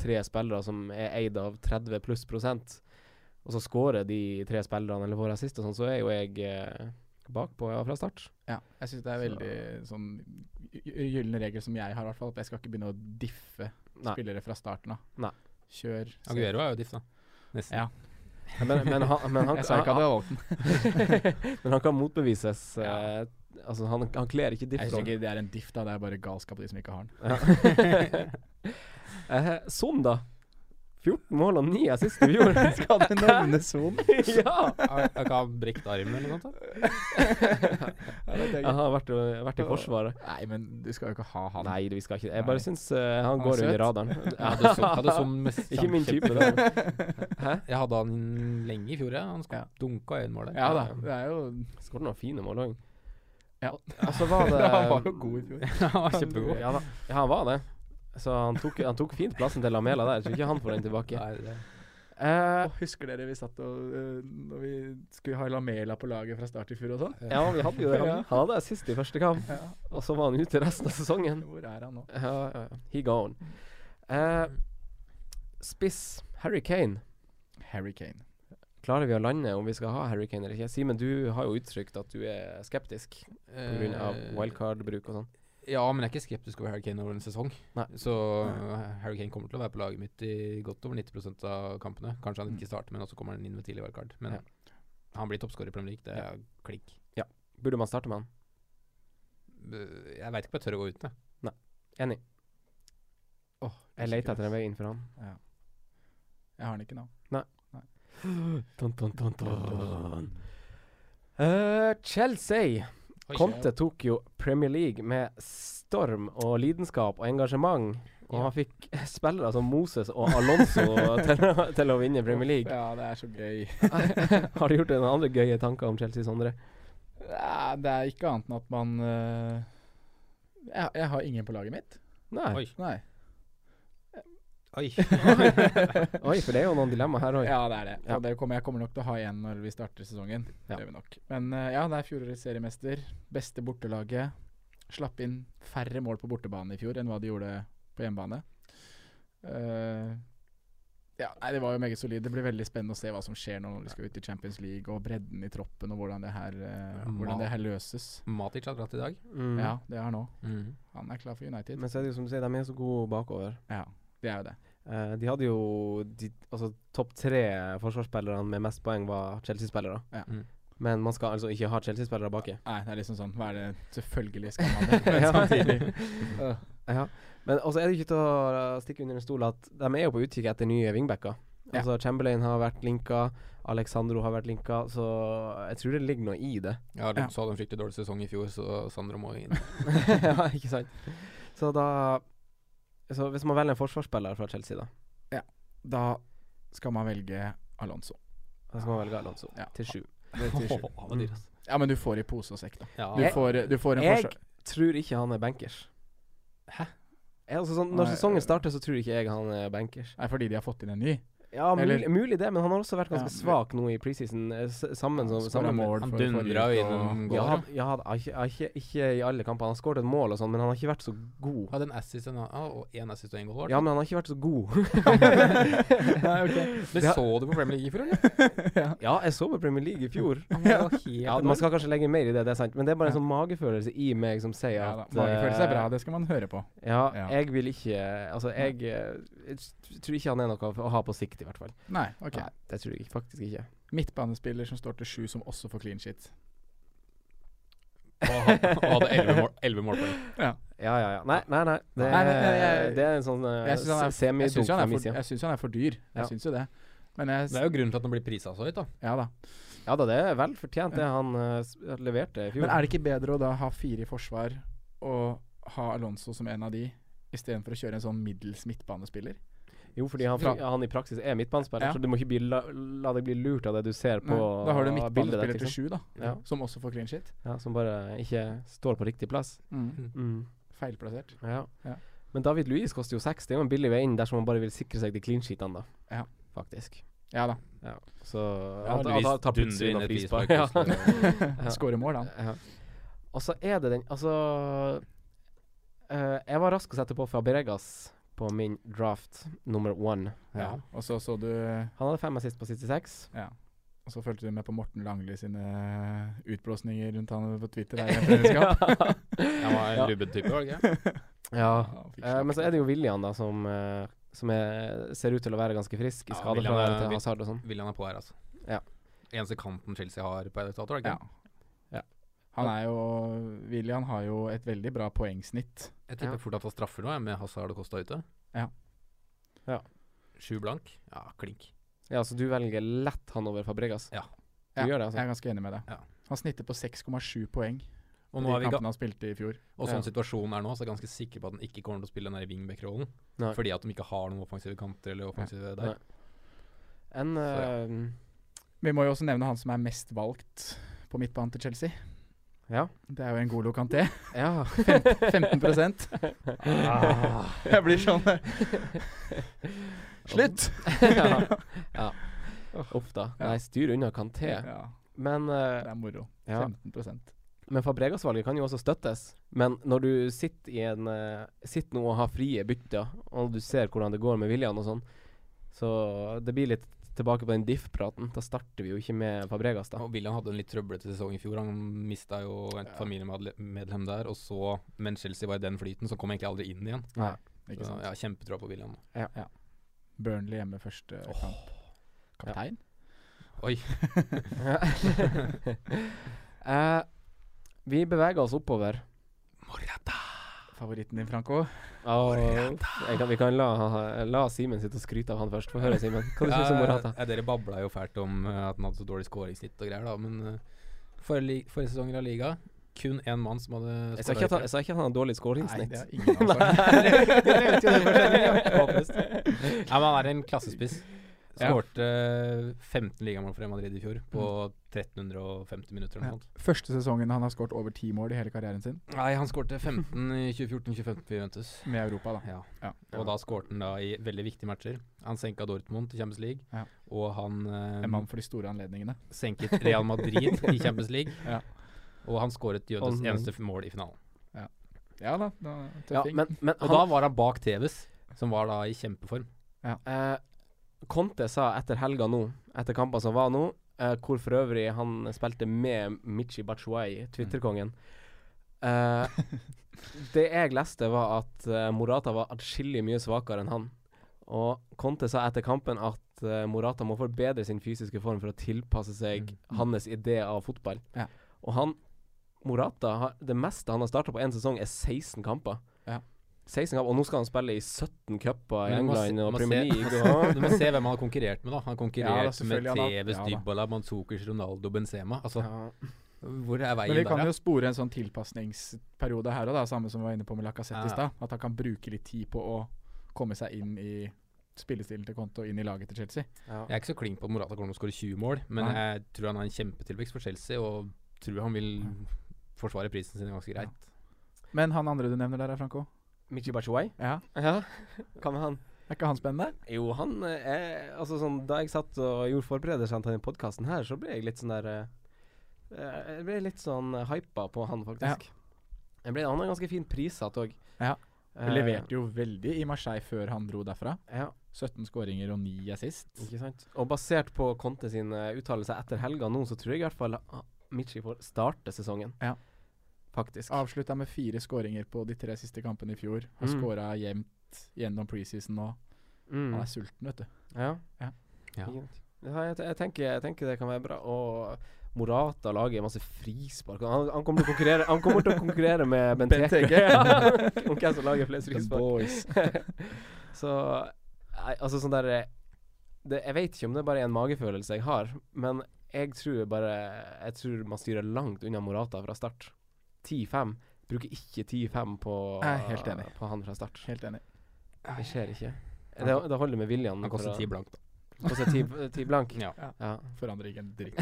Speaker 3: tre spillere som er eid av 30 pluss prosent, og så scorer de tre spillerne eller får assist og sånn, så er jo jeg eh, bakpå ja, fra start.
Speaker 4: Ja, jeg syns det er veldig sånn gy- gy- gyllen regel som jeg har, i hvert fall. At jeg skal ikke begynne å diffe
Speaker 3: Nei.
Speaker 4: spillere fra starten av.
Speaker 3: Nei.
Speaker 4: Kjør.
Speaker 5: Aguero er jo diff, da. Nesten.
Speaker 4: Ja.
Speaker 3: Men, men, han, men, han,
Speaker 4: [laughs] Jeg sa ikke at det var Walton.
Speaker 3: men han kan motbevises.
Speaker 4: Ja.
Speaker 3: eh, altså, han, han kler ikke
Speaker 4: Jeg syns
Speaker 3: diff-rollen.
Speaker 4: ikke det er en diff, da. Det er bare galskap av de som ikke har
Speaker 3: [laughs]
Speaker 4: den.
Speaker 3: Ja. [laughs] eh, sånn, da. 14 mål og 9 assist i fjor.
Speaker 4: Skal du nevne [laughs] Son?
Speaker 3: ja!
Speaker 5: [laughs] Jeg kan ha brekt armen eller noe sånt. da.
Speaker 3: Jeg har vært, vært i Forsvaret.
Speaker 4: Nei, men du skal jo ikke ha han.
Speaker 3: Nei, vi skal ikke det. Jeg
Speaker 4: Nei.
Speaker 3: bare syns eh, han
Speaker 4: er
Speaker 3: går
Speaker 4: søt.
Speaker 3: under radaren.
Speaker 5: Hadde som, hadde
Speaker 3: [laughs]
Speaker 5: som mest
Speaker 3: Ikke min type.
Speaker 5: kjempekjempe.
Speaker 3: Da.
Speaker 5: Jeg hadde han lenge i fjor, ja. Han
Speaker 4: Ja.
Speaker 5: ja. dunka én mål der.
Speaker 4: Ja da, det er jo
Speaker 3: Skåret noen fine mål òg.
Speaker 4: Ja. [laughs]
Speaker 3: Og så Altså, var [laughs] det
Speaker 4: Han var jo god i fjor.
Speaker 5: Han var kjempegod.
Speaker 3: Ja, da. ja, han var det. Så han tok, han tok fint plassen til Lamela der. Jeg tror ikke han får den tilbake.
Speaker 5: Nei, det-
Speaker 3: Eh,
Speaker 4: Husker dere vi satt og eh, Når vi skulle ha Lamela på laget fra start i fjor og sånn?
Speaker 3: ja, vi hadde jo det. Han han hadde assist i første kamp,
Speaker 4: Ja.
Speaker 3: og så var han ute resten av sesongen.
Speaker 4: Hvor er han nå?
Speaker 3: Ja, ja, ja. He gone. Eh, spiss Harry Kane.
Speaker 4: Harry Kane.
Speaker 3: Klarer vi å lande om vi skal ha Harry Kane eller ikke? Simen, du har jo uttrykt at du er skeptisk pga.
Speaker 5: Eh,
Speaker 3: wildcard-bruk og sånn.
Speaker 5: Ja, men jeg er ikke skeptisk over Harry Kane over en sesong.
Speaker 3: Nei.
Speaker 5: Så eh, Harry Kane kommer til å være på laget mitt i godt over 90 av kampene. Kanskje han ikke starter, men også kommer han inn med tidlig wildcard.
Speaker 3: Ja.
Speaker 5: Men han blir toppskårer i Premier League, det er klikk.
Speaker 3: Burde man starte med han?
Speaker 5: Eh, Jeg veit ikke om jeg tør å gå uten, jeg.
Speaker 3: Enig. Jeg leter etter en vei inn for han.
Speaker 4: Jeg har han ikke nå.
Speaker 3: Dun, dun, dun, dun. Eh, Chelsea.
Speaker 5: Oi,
Speaker 3: Conte tok jo Premier League med storm og lidenskap og engasjement. Og
Speaker 5: Ja.
Speaker 3: han fikk spillere som Moses og Alonso [laughs] til, å- til å vinne Premier League.
Speaker 4: Ja, det er så gøy.
Speaker 3: Har du gjort deg noen andre gøye tanker om Chelsea, Sondre?
Speaker 4: Ja, det er ikke annet enn at man eh, jeg, jeg har ingen på laget mitt.
Speaker 3: Nei. Oi.
Speaker 5: Oi.
Speaker 4: Nei.
Speaker 5: Oi.
Speaker 3: for det er jo noen dilemmaer her òg.
Speaker 4: Ja, det er det.
Speaker 3: Ja.
Speaker 4: Og det kommer, jeg kommer nok til å ha igjen når vi starter sesongen.
Speaker 3: Ja.
Speaker 4: Det gjør vi nok. Men eh, ja, det er fjorårets seriemester. Beste bortelaget. Slapp inn færre mål på bortebane i fjor enn hva de gjorde på hjemmebane. Eh, ja, nei, Det var jo meget solid. Det blir veldig spennende å se hva som skjer nå når de skal ut i Champions League, og bredden i troppen, og hvordan det her, eh, hvordan det her løses.
Speaker 5: [laughs] Matic har dratt i dag.
Speaker 3: Mm.
Speaker 4: Ja, det er nå. Han er klar for United.
Speaker 3: Men så er det jo som du sier, de er så gode bakover.
Speaker 4: Ja, det er jo det.
Speaker 3: Eh, de hadde jo de, Altså, topp tre forsvarsspillerne med mest poeng var Chelsea-spillere.
Speaker 4: Ja.
Speaker 5: Mm.
Speaker 3: Men man skal altså ikke ha Chelsea-spillere baki.
Speaker 4: Nei, det er liksom sånn Hva er det Selvfølgelig
Speaker 3: [laughs]
Speaker 4: skal man det, men
Speaker 3: Ja.
Speaker 4: samtidig
Speaker 3: [laughs] Ja. Men også er det ikke til å stikke under en stol at de er jo på utkikk etter nye wingbacker.
Speaker 4: Ja.
Speaker 3: Altså Chamberlain har vært linka, Alexandro har vært linka, så jeg tror det ligger noe i det. [laughs]
Speaker 5: Ja,
Speaker 4: Ja.
Speaker 5: Alonso hadde en fryktelig dårlig sesong i fjor, så Sandro må inn.
Speaker 3: ja, ikke sant? Så da Så hvis man velger en forsvarsspiller fra Chelsea, da,
Speaker 4: Da skal man velge Alonso.
Speaker 3: da skal man velge Alonso
Speaker 4: Ja.
Speaker 3: til sju.
Speaker 4: Det er altså. t-shirt.
Speaker 5: Åh, han var dyr, ass.
Speaker 4: [laughs] Ja, men du får i pose og sekk, da.
Speaker 5: Ja.
Speaker 4: Du får, du får en
Speaker 3: Jeg
Speaker 4: forsvar...
Speaker 3: tror ikke han er bankers. Ja, altså sånn, når
Speaker 4: Nei, eh,
Speaker 3: sesongen starter, så tror ikke jeg han er bankers.
Speaker 4: Nei, fordi de har fått inn en ny.
Speaker 3: Ja, mulig,
Speaker 4: Eller-
Speaker 3: mulig det, men han har også vært ganske
Speaker 4: Ja.
Speaker 3: svak nå i preseason. eh, s- Sammen som
Speaker 4: Skåret
Speaker 3: sammen med-
Speaker 4: mål
Speaker 5: Han
Speaker 4: for forrige
Speaker 5: dundra jo
Speaker 4: uke, og-
Speaker 5: innom
Speaker 3: Ja,
Speaker 5: gårda.
Speaker 3: han- ja, han har ikke, har ikke, ikke i alle kamper. Han har skåret et mål og sånn, men han har ikke vært så god.
Speaker 5: Hadde en assist en, ah, og én assist og én goal. var det?
Speaker 3: Ja, men han har ikke vært så god.
Speaker 4: [laughs]
Speaker 3: [laughs]
Speaker 4: Nei, ok.
Speaker 5: Men
Speaker 3: det har-
Speaker 5: så du på Premier League i fjor, eller?
Speaker 3: ja, jeg så på Premier League i
Speaker 4: [laughs]
Speaker 3: fjor.
Speaker 5: Han var jo helt
Speaker 3: Ja, Man skal kanskje legge mer i det, det er sant, men det er bare en sånn magefølelse i meg som sier
Speaker 4: Ja,
Speaker 3: at
Speaker 4: da. Magefølelse er bra,
Speaker 3: eh,
Speaker 4: det skal man høre på.
Speaker 3: Ja,
Speaker 4: Ja.
Speaker 3: jeg vil ikke Altså, jeg, eh, jeg t- tror ikke han er noe å ha på sikt, i hvert fall.
Speaker 4: Nei, ok.
Speaker 3: Nei, det tror jeg ikke- faktisk ikke.
Speaker 4: Midtbanespiller som står til sju, som også får clean shit.
Speaker 5: [laughs] Og ha- og hadde elleve mål, 11 målpoeng.
Speaker 3: Ja, ja, ja. Nei, nei, nei. Det,
Speaker 4: Nei, men, eh, jeg-
Speaker 3: det er en sånn uh,
Speaker 4: Jeg syns han, er- jeg
Speaker 3: semidunk
Speaker 4: synes han,
Speaker 3: fra
Speaker 4: er
Speaker 3: min
Speaker 4: for-
Speaker 3: side.
Speaker 4: jeg synes han er for dyr.
Speaker 3: Ja.
Speaker 4: Jeg syns jo det. Men jeg
Speaker 5: Det er jo grunnen til at han blir prisa så høyt, da.
Speaker 4: Ja da.
Speaker 3: Ja da, det er vel fortjent, det han eh, s- leverte i fjor.
Speaker 4: Men er det ikke bedre å da ha fire i forsvar og ha Alonso som en av de, istedenfor å kjøre en sånn middels midtbanespiller?
Speaker 3: jo, fordi han,
Speaker 4: Fra-
Speaker 3: han i praksis er midtbanespiller,
Speaker 4: Ja.
Speaker 3: så du må ikke bli, la, la deg bli lurt av det du ser på
Speaker 4: Nei, da har du
Speaker 3: bildet der,
Speaker 4: midtbanespiller til
Speaker 3: liksom.
Speaker 4: sju, da,
Speaker 3: Ja.
Speaker 4: som også får clean shit.
Speaker 3: Ja, som bare ikke står på riktig plass.
Speaker 4: Feilplassert.
Speaker 3: Ja.
Speaker 4: Mm. Ja.
Speaker 3: Men David Louis koster jo seks. Det er jo en billig vei inn dersom han bare vil sikre seg de clean sheetene, da.
Speaker 4: Ja.
Speaker 3: Faktisk.
Speaker 4: Ja da.
Speaker 3: Ja. Så
Speaker 5: Ja,
Speaker 3: han,
Speaker 5: Louis
Speaker 3: han, tar
Speaker 5: dundrer
Speaker 3: plutselig
Speaker 5: inn
Speaker 3: unna
Speaker 5: et
Speaker 3: frispark.
Speaker 5: frispark,
Speaker 3: Ja. [laughs]
Speaker 5: [laughs]
Speaker 3: Ja.
Speaker 4: [laughs] Skårer mål, han.
Speaker 3: Ja. Og så er det den Altså eh, Jeg var rask å sette på Fabregas på min draft nummer one.
Speaker 4: Ja. Og så så du
Speaker 3: Han hadde fem assist på 66.
Speaker 4: Ja. Og så fulgte du med på Morten Langli sine utblåsninger rundt han på Twitter. Der, i
Speaker 3: [laughs]
Speaker 4: en treningskamp.
Speaker 5: Han var en rubbet type, var det ikke?
Speaker 3: Ja.
Speaker 4: Han fikk
Speaker 3: Eh, men så
Speaker 4: slakt.
Speaker 3: er det jo William, da, som, eh, som er, ser ut til å være ganske frisk i
Speaker 5: Ja,
Speaker 3: skadefravær
Speaker 5: Willian er-
Speaker 3: til Hazard og sånn.
Speaker 5: William er på her, altså.
Speaker 3: Ja.
Speaker 5: Eneste kanten Chelsea har på Editator, er det ikke?
Speaker 4: Ja. Han er jo William har jo et veldig bra poengsnitt.
Speaker 5: Jeg tipper
Speaker 3: Ja.
Speaker 5: fort at han straffer nå, jeg, med Hazard og Costa ute.
Speaker 4: Ja.
Speaker 3: Ja.
Speaker 5: Sju blank. Ja, klink.
Speaker 3: Ja, så du velger lett han over Fabregas?
Speaker 5: Ja.
Speaker 3: Du gjør det, altså?
Speaker 4: Jeg er ganske enig med deg.
Speaker 5: Ja.
Speaker 4: Han snitter på 6,7 poeng
Speaker 5: Og,
Speaker 4: på
Speaker 5: nå
Speaker 4: de
Speaker 5: er vi ga
Speaker 4: kampene han spilte i fjor.
Speaker 5: og sånn
Speaker 3: Ja.
Speaker 5: situasjonen er nå, så er jeg ganske sikker på at han ikke kommer til å spille den der wingback-rollen.
Speaker 3: Nei.
Speaker 5: Fordi at de ikke har noen offensive kanter eller
Speaker 3: Nei.
Speaker 5: offensive der.
Speaker 3: En eh,
Speaker 4: Vi må jo også nevne han som er mest valgt på midtbanen til Chelsea.
Speaker 3: Ja.
Speaker 4: Det er jo en god lokanté.
Speaker 3: eh, Ja.
Speaker 4: 15
Speaker 3: [laughs]
Speaker 4: [laughs]
Speaker 5: Ah.
Speaker 4: Jeg blir sånn Slutt!
Speaker 3: [laughs] ja. ja. Uff da.
Speaker 4: Ja.
Speaker 3: Nei, styr unna Kanté.
Speaker 4: [laughs] Ja,
Speaker 3: Men
Speaker 4: det
Speaker 3: eh,
Speaker 4: er moro.
Speaker 3: ja.
Speaker 4: 15
Speaker 3: Men Fabregas-valget kan jo også støttes. Men når du sitter, i en, eh, sitter nå og har frie bytter, og du ser hvordan det går med William og sånn, så det blir litt tilbake på den diff-praten. Da starter vi jo ikke med Fabregas, da.
Speaker 5: Og William hadde en litt trøblete sesong i fjor. Han mista jo et familiemedlem der. Og så, mens Chelsea var i den flyten, så kom han egentlig aldri inn igjen.
Speaker 4: Ikke
Speaker 5: Så
Speaker 4: sant?
Speaker 5: jeg har kjempetroa på William.
Speaker 4: Burnley hjemme første kamp. Kaptein?
Speaker 3: [laughs] Eh, vi beveger oss oppover.
Speaker 4: Favoritten din, Franco?
Speaker 3: Og jeg kan, vi kan la, la Simen sitte og skryte av han først. Få høre, Simen. Hva du synes om Morata?
Speaker 5: Ja, Eh, dere babla jo fælt om eh, at han hadde så dårlig skåringssnitt og greier, da. Men eh, forrige, li- forrige sesong i La Liga, kun én mann som
Speaker 3: Jeg
Speaker 5: hadde
Speaker 3: sa
Speaker 5: scoret
Speaker 3: ikke at han,
Speaker 5: høyere.
Speaker 3: jeg sa ikke at han har dårlig
Speaker 4: Nei,
Speaker 3: skåringssnitt.
Speaker 4: det er ingen av oss.
Speaker 3: [laughs]
Speaker 5: Ja, men han er en klassespiss.
Speaker 4: Ja.
Speaker 5: Skårte 15 ligamål for Real Madrid i fjor, på
Speaker 3: Mm.
Speaker 5: 1350 minutter eller
Speaker 4: [laughs] Ja.
Speaker 5: noe sånt.
Speaker 4: Første sesongen han har skåret over ti mål i hele karrieren sin,
Speaker 5: Nei, han skårte 15 i 2014-2015 for Juventus.
Speaker 4: med Europa, da.
Speaker 5: Ja.
Speaker 4: Ja.
Speaker 5: Og da skårte han da i veldig viktige matcher. Han senka Dortmund til Champions League,
Speaker 4: Ja.
Speaker 5: og han eh,
Speaker 4: En mann for de store anledningene.
Speaker 5: senket Real Madrid i
Speaker 4: [laughs]
Speaker 5: Champions League.
Speaker 4: Ja.
Speaker 5: Og han skåret Juventus'
Speaker 3: Og-
Speaker 5: eneste f- mål i finalen.
Speaker 4: Ja da, da
Speaker 3: Ja,
Speaker 4: tøffing.
Speaker 3: men, men
Speaker 5: Og
Speaker 3: han,
Speaker 5: da var han bak Tevez, som var da i kjempeform.
Speaker 3: Eh, Conte sa etter helga nå, etter kampen som var nå, eh, hvor for øvrig han spilte med Michi Batshuayi, Twitter-kongen eh, Det jeg leste, var at eh, Morata var atskillig mye svakere enn han. Og Conte sa etter kampen at eh, Morata må forbedre sin fysiske form for å tilpasse
Speaker 5: Mm,
Speaker 3: seg hans idé av fotball.
Speaker 4: Ja.
Speaker 3: Og han Morata, har- det meste han har starta på én sesong, er 16 kamper.
Speaker 4: Ja.
Speaker 3: 16 kamper, og nå skal han spille i 17 cuper i
Speaker 5: Men du må se-
Speaker 3: England
Speaker 5: du
Speaker 3: og
Speaker 5: må
Speaker 3: Premier
Speaker 5: se-
Speaker 3: League.
Speaker 5: [laughs]
Speaker 3: Og
Speaker 5: Du må se hvem han har konkurrert med, da. Han har
Speaker 4: Ja, da,
Speaker 5: konkurrert med
Speaker 4: selvfølgelig, han har-
Speaker 5: Tevez,
Speaker 4: ja, da.
Speaker 5: Dybala, Manzukers, Ronaldo, Benzema. Altså, hvor er
Speaker 4: Men vi
Speaker 5: veien
Speaker 4: kan
Speaker 5: der,
Speaker 4: jo spore en sånn tilpasningsperiode her og da, samme som vi var inne på med Lacassette
Speaker 5: Ja.
Speaker 4: i stad. At han kan bruke litt tid på å komme seg inn i spillestilen til Konto og inn i laget til Chelsea.
Speaker 5: da? Jeg er ikke så klink på at Morata kommer til å skåre 20 mål, men
Speaker 4: Nei.
Speaker 5: jeg tror han har en kjempetilvekst for Chelsea, og tror han vil forsvare prisen sin ganske greit.
Speaker 4: Men han andre du nevner der, er Franco?
Speaker 3: Michi Bachuay?
Speaker 4: Ja.
Speaker 3: Hva med han?
Speaker 4: Er ikke han spennende?
Speaker 3: Jo, han eh, er Altså, sånn Da jeg satt og gjorde forberedelser til denne podkasten her, så ble jeg litt sånn der eh, eh, Jeg ble litt sånn eh, hypa på han, faktisk. Jeg ble, han har ganske fin prissatt òg.
Speaker 4: Ja.
Speaker 3: Eh,
Speaker 4: Leverte jo veldig i Marseille før han dro derfra.
Speaker 3: Ja,
Speaker 4: 17 skåringer og 9 assist.
Speaker 3: ikke sant. Og basert på Conte sin eh, uttalelse etter helga nå, så tror jeg i hvert fall ah, Michi får starte sesongen.
Speaker 4: Ja.
Speaker 3: Faktisk.
Speaker 4: Avslutta med fire skåringer på de tre siste kampene i fjor. Har
Speaker 3: Mm.
Speaker 4: skåret skåra jevnt gjennom preseason nå.
Speaker 3: Mm.
Speaker 4: Han er sulten, vet du.
Speaker 3: Ja.
Speaker 4: Ja.
Speaker 5: Ja.
Speaker 3: Ikke sant. Ja, jeg, te- jeg, tenker, jeg tenker det kan være bra. Og Morata lager masse frispark. Han, han, kommer til å konkurrere, han kommer til å konkurrere med Benteke ja, [laughs] om hvem som lager flest frispark. [laughs] Så nei, Altså, sånn der det, Jeg vet ikke om det bare er en magefølelse jeg har, men jeg tror bare Jeg tror man styrer langt unna Morata fra start. 10-5. Bruker ikke 10-5 på,
Speaker 4: Jeg er helt enig.
Speaker 3: på han fra start.
Speaker 4: Helt enig.
Speaker 3: Det skjer ikke. Det, det holder med William.
Speaker 5: Han koster
Speaker 3: for å-
Speaker 5: ti blankt, da.
Speaker 3: Koster Altså, ti, ti blank?
Speaker 5: Ja.
Speaker 3: Ja.
Speaker 4: Forandrer ikke en dritt.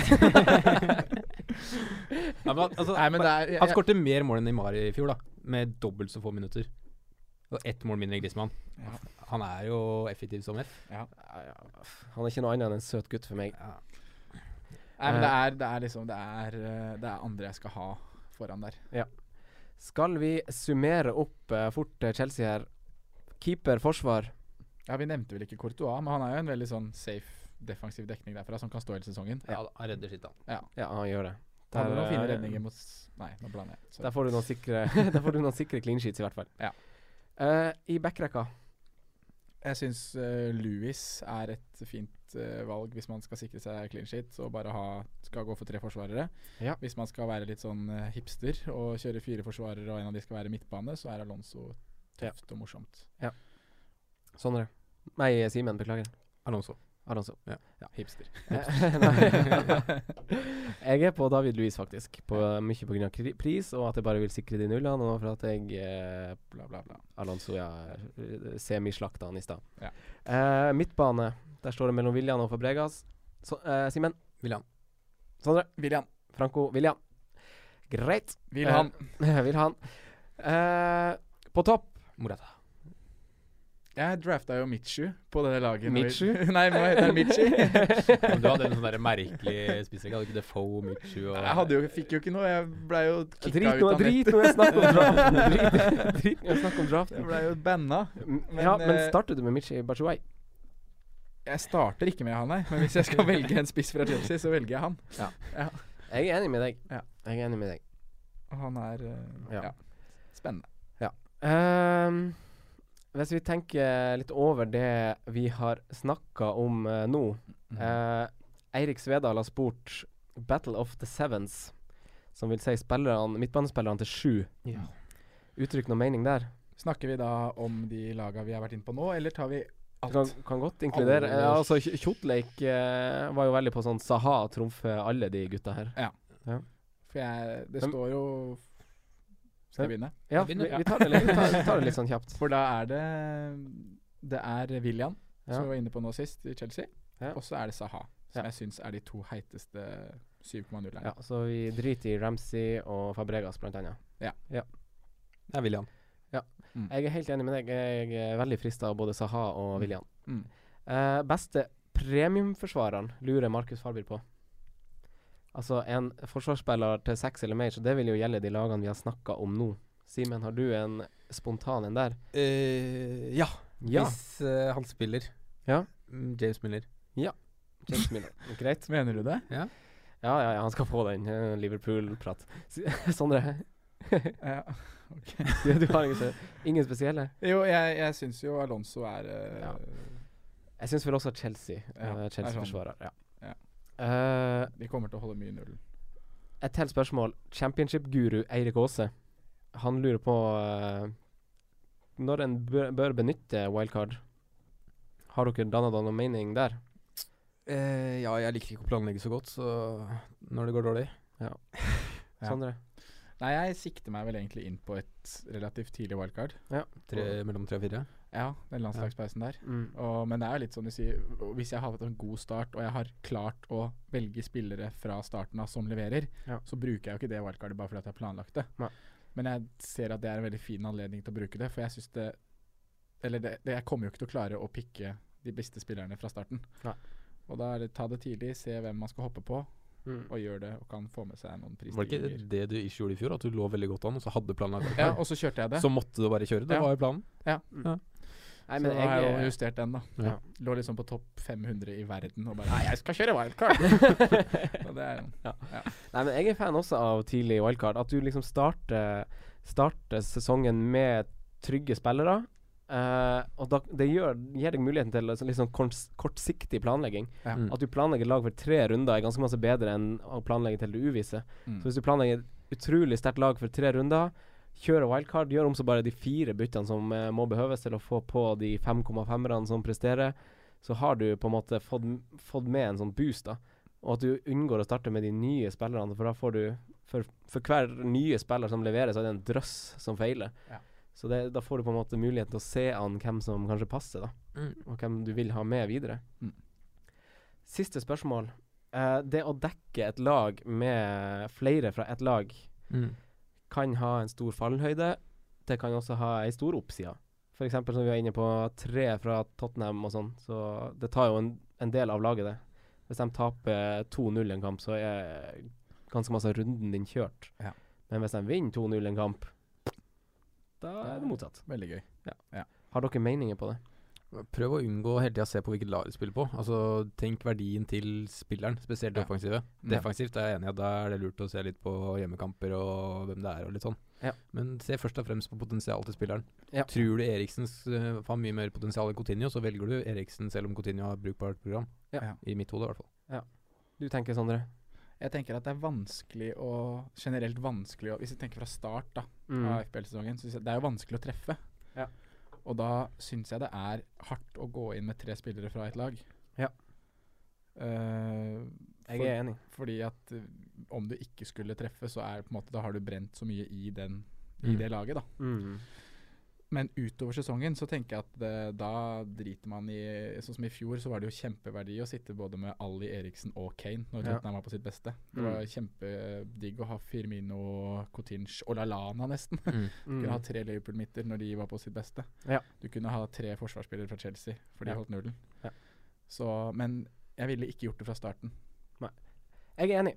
Speaker 5: Ja, men, altså,
Speaker 4: Nei, men det er jeg,
Speaker 5: han skårte mer mål enn Neymar i fjor, da. Med dobbelt så få minutter. Og ett mål mindre enn Griezmann.
Speaker 4: Ja.
Speaker 5: Han er jo effektiv som F.
Speaker 3: Han er ikke noe annet enn en søt gutt for meg.
Speaker 4: Nei, men det
Speaker 3: Eh.
Speaker 4: er, det er liksom det er, eh, det er andre jeg skal ha foran der.
Speaker 3: Skal vi summere opp eh, fort eh, Chelsea her? Keeper, forsvar.
Speaker 4: Ja, Vi nevnte vel ikke Courtois, men han er jo en veldig sånn safe defensiv dekning derfra som kan stå hele sesongen.
Speaker 5: Ja, han redder sitt, da.
Speaker 3: Ja, han gjør det.
Speaker 4: Han hadde noen fine
Speaker 3: eh,
Speaker 4: redninger mot s- Nei, nå blander jeg. Sorry.
Speaker 3: der får du noen sikre [laughs] Der får du noen sikre clean sheets, i hvert fall.
Speaker 4: Ja.
Speaker 3: Eh, I backrekka.
Speaker 4: Jeg syns Louis er et fint eh, valg hvis man skal sikre seg clean sheet og bare ha, skal gå for tre forsvarere.
Speaker 3: Ja.
Speaker 4: Hvis man skal være litt sånn eh, hipster og kjøre fire forsvarere og en av de skal være midtbane, så er Alonso tøft og morsomt.
Speaker 3: Sondre. Nei, Simen. Beklager.
Speaker 5: Alonso.
Speaker 3: Alonso.
Speaker 4: Hipster.
Speaker 3: Eh, [laughs]
Speaker 4: [laughs]
Speaker 3: nei. jeg er på David Louis, faktisk. På, eh, mye pga. pris, og at jeg bare vil sikre de nullene, og for at jeg eh,
Speaker 4: Bla, bla, bla.
Speaker 3: Alonso, ja. eh, Semislakta han i stad.
Speaker 4: Ja.
Speaker 3: Eh, midtbane. Der står det mellom William og Fabregas. Så, eh, Simen.
Speaker 5: William.
Speaker 3: Sondre.
Speaker 4: Vil han?
Speaker 3: Franco. William. Greit. [laughs]
Speaker 4: Vil han?
Speaker 3: Eh, vil han. Eh, på topp
Speaker 5: Morata.
Speaker 4: Jeg drafta jo Mitchu på det laget. når vi-
Speaker 3: Mitchu?
Speaker 4: [laughs] Nei, nå heter
Speaker 3: [laughs]
Speaker 4: han Mitchu.
Speaker 5: Ja, men Du hadde en sånn der merkelig spissrekke. Hadde ikke Defoe, Mitchu og
Speaker 4: Jeg hadde jo, fikk jo ikke noe. Jeg blei jo kicka
Speaker 3: Drit
Speaker 4: ut
Speaker 3: nå
Speaker 4: av
Speaker 3: drit
Speaker 4: nettet.
Speaker 3: nå i snakk om draften.
Speaker 4: [laughs]
Speaker 3: Drit- Drit nå i snakk om
Speaker 4: Jeg
Speaker 3: draften.
Speaker 4: blei jo banna.
Speaker 3: Men, ja,
Speaker 4: men,
Speaker 3: men
Speaker 4: eh,
Speaker 3: starter du med Michi Bachuay?
Speaker 4: Jeg starter ikke med han, nei. Men hvis jeg
Speaker 3: [laughs]
Speaker 4: skal velge en spiss fra Chelsea, så velger jeg han.
Speaker 3: Jeg er enig med deg.
Speaker 4: Ja.
Speaker 3: Jeg er enig med deg.
Speaker 4: Og han er eh,
Speaker 3: Ja.
Speaker 4: ja. spennende.
Speaker 3: Ehm, hvis vi tenker litt over det vi har snakka om eh, nå eh, Eirik Svedal har spurt 'Battle of the Sevens', som vil si spillerne, midtbanespillerne til sju.
Speaker 4: Ja.
Speaker 3: Uttrykk noe mening der?
Speaker 4: Snakker vi da om de laga vi har vært inne på nå, eller tar vi
Speaker 3: Du kan, kan godt inkludere eh,
Speaker 4: Alle-
Speaker 3: Altså, Kj- Kjotleik eh, var jo veldig på sånn Saha trumfer alle de gutta her.
Speaker 4: For jeg, det
Speaker 3: Men-
Speaker 4: står jo Skal jeg begynne?
Speaker 3: Ja,
Speaker 5: Jeg
Speaker 3: vi,
Speaker 5: begynner, ja.
Speaker 3: vi tar det litt, vi tar, vi tar
Speaker 4: [laughs]
Speaker 3: det litt sånn kjapt.
Speaker 4: For da er det Det er William,
Speaker 3: Ja.
Speaker 4: som vi var inne på nå sist, i Chelsea.
Speaker 3: Ja.
Speaker 4: Og så er det Saha, som
Speaker 3: Ja.
Speaker 4: jeg syns er de to heiteste 7,0-erne.
Speaker 3: Ja, så vi driter i Ramsey og Fabregas, blant annet.
Speaker 5: Det er William.
Speaker 3: Jeg er helt enig med deg. Jeg er veldig frista av både Saha og
Speaker 4: Mm.
Speaker 3: William.
Speaker 4: Mm.
Speaker 3: Eh, beste premiumforsvareren lurer Markus Farber på. Altså en forsvarsspiller til seks eller mer, så det vil jo gjelde de lagene vi har snakka om nå. Simen, har du en spontan en der?
Speaker 5: Eh, ja.
Speaker 3: Ja.
Speaker 5: Hvis eh, han spiller.
Speaker 3: Ja.
Speaker 5: Mm, James Miller.
Speaker 3: James Miller. [laughs] Greit.
Speaker 4: Mener du det?
Speaker 3: Ja, ja, ja, han skal få den eh, Liverpool-prat. [laughs] Si- Sondre,
Speaker 4: [laughs] Ja.
Speaker 3: du, du har ingen, ingen spesielle?
Speaker 4: Jo, jeg, jeg syns jo Alonso er eh,
Speaker 3: Ja. Jeg syns vel også Chelsea.
Speaker 4: Ja,
Speaker 3: eh,
Speaker 4: det er sånn.
Speaker 3: Chelsea-forsvarer. Ja.
Speaker 4: Ja.
Speaker 3: Eh,
Speaker 4: De kommer til å holde mye null.
Speaker 3: Et til spørsmål. Championship-guru Eirik Aase, han lurer på eh, når en bør, bør benytte wildcard. Har dere danna dere noen mening der?
Speaker 5: Eh, ja, jeg liker ikke å planlegge så godt, så når det går dårlig
Speaker 4: Ja.
Speaker 3: Sondre?
Speaker 4: Nei, jeg sikter meg vel egentlig inn på et relativt tidlig wildcard.
Speaker 5: tre, Mellom tre og fire.
Speaker 4: Ja, den landslagspausen der.
Speaker 3: Mm.
Speaker 4: Og, men det er jo litt sånn du sier, hvis jeg har hatt en god start, og jeg har klart å velge spillere fra starten av som leverer,
Speaker 3: Ja.
Speaker 4: så bruker jeg jo ikke det wildcardet bare fordi at jeg har planlagt det.
Speaker 3: Nei.
Speaker 4: Men jeg ser at det er en veldig fin anledning til å bruke det, for jeg syns det Eller det, det, jeg kommer jo ikke til å klare å pikke de beste spillerne fra starten.
Speaker 3: Nei.
Speaker 4: Og da er det ta det tidlig, se hvem man skal hoppe på,
Speaker 3: Mm.
Speaker 4: og gjør det, og kan få med seg noen
Speaker 5: Var det
Speaker 4: prisstigninger.
Speaker 5: ikke det du ikke gjorde i fjor? At du lå veldig godt an, og så hadde du planlagt
Speaker 4: Ja, og så kjørte jeg det.
Speaker 5: Så måtte du bare kjøre. Det
Speaker 4: Ja.
Speaker 5: var jo planen.
Speaker 4: Ja.
Speaker 3: Nei,
Speaker 4: så
Speaker 3: men
Speaker 4: da har jeg jo
Speaker 3: jeg,
Speaker 4: justert den, da.
Speaker 5: Ja.
Speaker 4: Lå liksom på topp 500 i verden og bare Nei, jeg skal kjøre [laughs] wildcard! og det er mm.
Speaker 3: eh, nei, men jeg er fan også av tidlig wildcard. At du liksom starter, starter sesongen med trygge spillere. eh, og da, det gjør, gir deg muligheten til liksom, litt sånn kors, kortsiktig planlegging.
Speaker 4: Ja.
Speaker 5: Mm.
Speaker 3: At du planlegger lag for tre runder er ganske masse bedre enn å planlegge til det uvisse.
Speaker 4: Mm.
Speaker 3: Så hvis du planlegger et utrolig sterkt lag for tre runder, kjører wildcard, gjør om så bare de fire byttene som eh, må behøves til å få på de 5,5-erne som presterer, så har du på en måte fått, fått med en sånn boost, da. Og at du unngår å starte med de nye spillerne, for da får du For, for hver nye spiller som leverer, så er det en drøss som feiler.
Speaker 4: Ja.
Speaker 3: Så det, da får du på en måte muligheten til å se an hvem som kanskje passer, da.
Speaker 5: Mm.
Speaker 3: Og hvem du vil ha med videre.
Speaker 4: Mm.
Speaker 3: Siste spørsmål. Eh, det å dekke et lag med flere fra et lag mm. kan ha en stor fallhøyde. Det kan også ha ei stor oppside. For eksempel som vi var inne på, tre fra Tottenham og sånn. Så det tar jo en, en del av laget, det. Hvis de taper 2-0 en kamp, så er ganske masse av runden din kjørt.
Speaker 4: Ja.
Speaker 3: Men hvis de vinner 2-0 en kamp, da er det motsatt.
Speaker 4: veldig gøy.
Speaker 3: Har dere meninger på det?
Speaker 5: Prøv å unngå å hele tida se på hvilket lag du spiller på. Altså, Tenk verdien til spilleren, spesielt det
Speaker 4: Ja.
Speaker 5: offensive.
Speaker 4: Mm.
Speaker 5: Defensivt er jeg enig i at da er det lurt å se litt på hjemmekamper og hvem det er og litt sånn.
Speaker 3: Ja.
Speaker 5: Men se først og fremst på potensialet til spilleren.
Speaker 3: Ja.
Speaker 5: Tror du Eriksen s- eh, har mye mer potensial enn Coutinho, så velger du Eriksen selv om Coutinho har brukbart program.
Speaker 3: Ja.
Speaker 5: I mitt hode, i hvert fall.
Speaker 3: Du tenker, Sondre?
Speaker 4: Jeg tenker at det er vanskelig å Generelt vanskelig å Hvis jeg tenker fra start da
Speaker 3: Mm.
Speaker 4: av FPL-sesongen, så synes jeg det er jo vanskelig å treffe.
Speaker 3: Ja.
Speaker 4: Og da syns jeg det er hardt å gå inn med tre spillere fra et lag.
Speaker 3: Ja.
Speaker 4: Eh,
Speaker 3: Jeg er enig.
Speaker 4: fordi at eh, om du ikke skulle treffe, så er det på en måte Da har du brent så mye i, den, i
Speaker 5: Mm.
Speaker 4: det laget, da.
Speaker 3: Mm.
Speaker 4: Men utover sesongen så tenker jeg at eh, da driter man i Sånn som i fjor, så var det jo kjempeverdi å sitte både med Ali Eriksen og Kane
Speaker 3: Ja.
Speaker 4: når
Speaker 3: Mm.
Speaker 4: Tottenham var på sitt beste. Det var kjempedigg å ha Firmino, Coutinche og Lallana nesten. [laughs]
Speaker 3: Mm.
Speaker 4: Kunne ha tre Liverpool-midter når de var på sitt beste.
Speaker 3: Ja.
Speaker 4: Du kunne ha tre forsvarsspillere fra Chelsea, for de
Speaker 3: Ja.
Speaker 4: holdt nullen.
Speaker 3: Ja.
Speaker 4: Så, men jeg ville ikke gjort det fra starten.
Speaker 3: Jeg er enig.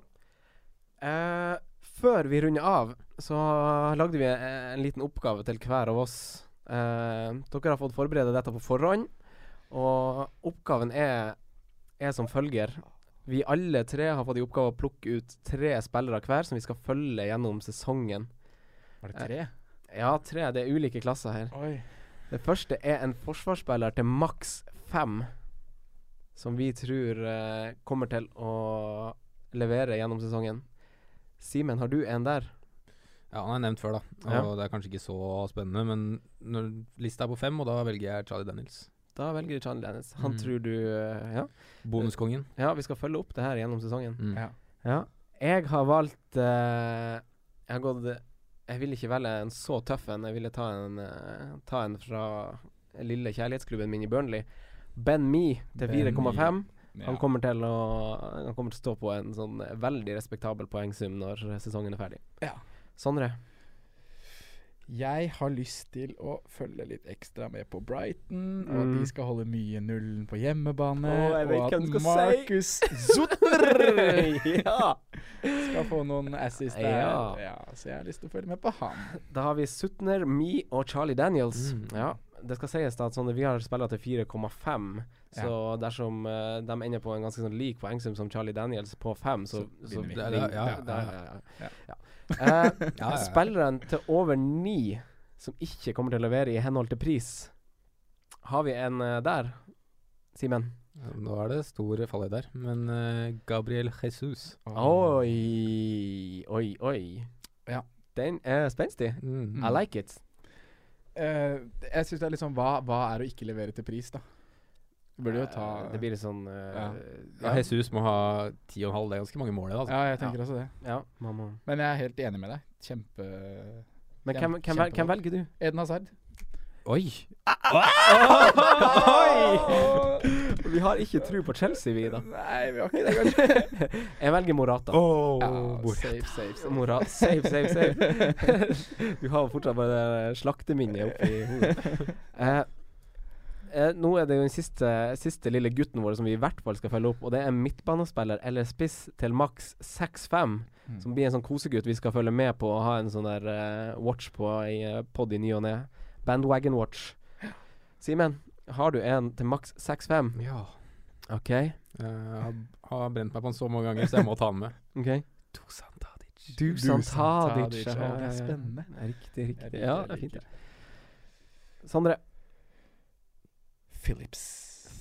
Speaker 3: Eh, før vi runder av, så lagde vi en, en liten oppgave til hver av oss. Eh, dere har fått forberede dette på forhånd, og oppgaven er, er som følger. Vi alle tre har fått i oppgave å plukke ut tre spillere hver som vi skal følge gjennom sesongen. Eh,
Speaker 4: Var det tre?
Speaker 3: Ja, tre. Det er ulike klasser her.
Speaker 4: Oi.
Speaker 3: Det første er en forsvarsspiller til maks fem, som vi tror eh, kommer til å levere gjennom sesongen. Simen, har du en der?
Speaker 5: Ja, han er nevnt før, da. Og
Speaker 3: Ja.
Speaker 5: det er kanskje ikke så spennende, men når lista er på fem, og da velger jeg Charlie Daniels.
Speaker 3: Da velger du Chan Lennis. Han
Speaker 5: Mm.
Speaker 3: tror du eh, ja.
Speaker 5: Bonuskongen.
Speaker 3: ja, vi skal følge opp det her gjennom sesongen.
Speaker 5: Mm.
Speaker 4: Ja.
Speaker 3: Ja. Jeg har valgt eh, Jeg har gått Jeg ville ikke velge en så tøff en. Jeg ville ta en, eh, ta en fra lille kjærlighetsklubben min i Burnley. Ben Me til
Speaker 4: Ben Mee.
Speaker 3: 4,5.
Speaker 4: Ja.
Speaker 3: Han kommer til å Han kommer til å stå på en sånn veldig respektabel poengsum når sesongen er ferdig.
Speaker 4: Ja.
Speaker 3: Sondre,
Speaker 4: Jeg har lyst til å følge litt ekstra med på Brighton, og at
Speaker 3: Mm.
Speaker 4: de skal holde mye nullen på hjemmebane.
Speaker 3: Å, jeg vet
Speaker 4: og
Speaker 3: hva du skal
Speaker 4: at
Speaker 3: si.
Speaker 4: Markus
Speaker 3: [laughs] Ja.
Speaker 4: skal få noen assist der.
Speaker 3: Ja.
Speaker 4: Ja, så jeg har lyst til å følge med på han.
Speaker 3: da har vi Sutner, Me og Charlie Daniels.
Speaker 5: Mm.
Speaker 3: Ja, det skal sies da at sånn, vi har spillere til 4,5, så dersom eh, de ender på en ganske sånn lik poengsum som Charlie Daniels på 5, så,
Speaker 4: Så
Speaker 3: så,
Speaker 4: vinner vi.
Speaker 5: Ja, ja, ja,
Speaker 3: Da-
Speaker 5: ja,
Speaker 3: ja,
Speaker 4: ja.
Speaker 3: ja. Eh,
Speaker 5: [laughs] Ja, ja, ja.
Speaker 3: Spilleren til over 9 som ikke kommer til å levere i henhold til pris, har vi en eh, der, Simen?
Speaker 5: Ja, Nå er det stor fallhøyde der, men eh, Gabriel Jesus
Speaker 3: Oi, oi, oi.
Speaker 4: Ja.
Speaker 3: Den er spenstig.
Speaker 5: mm.
Speaker 3: I like it.
Speaker 4: Eh, jeg syns det er litt sånn hva, hva er å ikke levere til pris, da? Du burde jo ta
Speaker 3: Eh, Det blir litt sånn eh,
Speaker 5: ja, Jesus må ha ti og en halv, det er ganske mange mål i det. Altså.
Speaker 4: Ja, jeg tenker også det.
Speaker 3: ja, mamma.
Speaker 4: Men jeg er helt enig med deg. Kjempe
Speaker 3: Men hvem,
Speaker 4: Kjem-
Speaker 3: hvem, vel- hvem
Speaker 4: kjempevalg.
Speaker 3: velger du?
Speaker 4: Eden Hazard.
Speaker 6: Oi.
Speaker 3: Oi! [laughs] Vi har ikke tro på Chelsea, vi, da.
Speaker 7: Nei, vi har ikke det,
Speaker 3: [laughs]
Speaker 7: kanskje.
Speaker 3: Jeg velger Morata.
Speaker 7: Ja, safe, safe, safe.
Speaker 3: Mora, save, save,
Speaker 7: [laughs]
Speaker 3: save. Du har jo fortsatt bare det der slakteminnet oppi hodet. Eh, eh, nå er det jo den siste, siste lille gutten vår som vi i hvert fall skal følge opp, og det er midtbanespiller eller spiss til maks 6-5, som blir en sånn kosegutt vi skal følge med på og ha en sånn der eh, watch på i uh, pod i ny og ne. Bandwagon watch. Simen, har du en til maks 6-5?
Speaker 6: Ja.
Speaker 3: OK.
Speaker 5: Eh,
Speaker 6: Jeg har, har brent meg på den så mange ganger, så jeg må ta den med.
Speaker 3: ok
Speaker 6: Dusan Tadic.
Speaker 3: Dusan Tadic.
Speaker 7: Tadic,
Speaker 3: ja,
Speaker 7: å, det
Speaker 3: ja,
Speaker 7: er
Speaker 3: ja.
Speaker 7: spennende. Jeg
Speaker 3: Riktig, riktig.
Speaker 7: liker, jeg
Speaker 3: Ja, det er fint.
Speaker 7: liker.
Speaker 3: det. Sondre
Speaker 7: Phillips.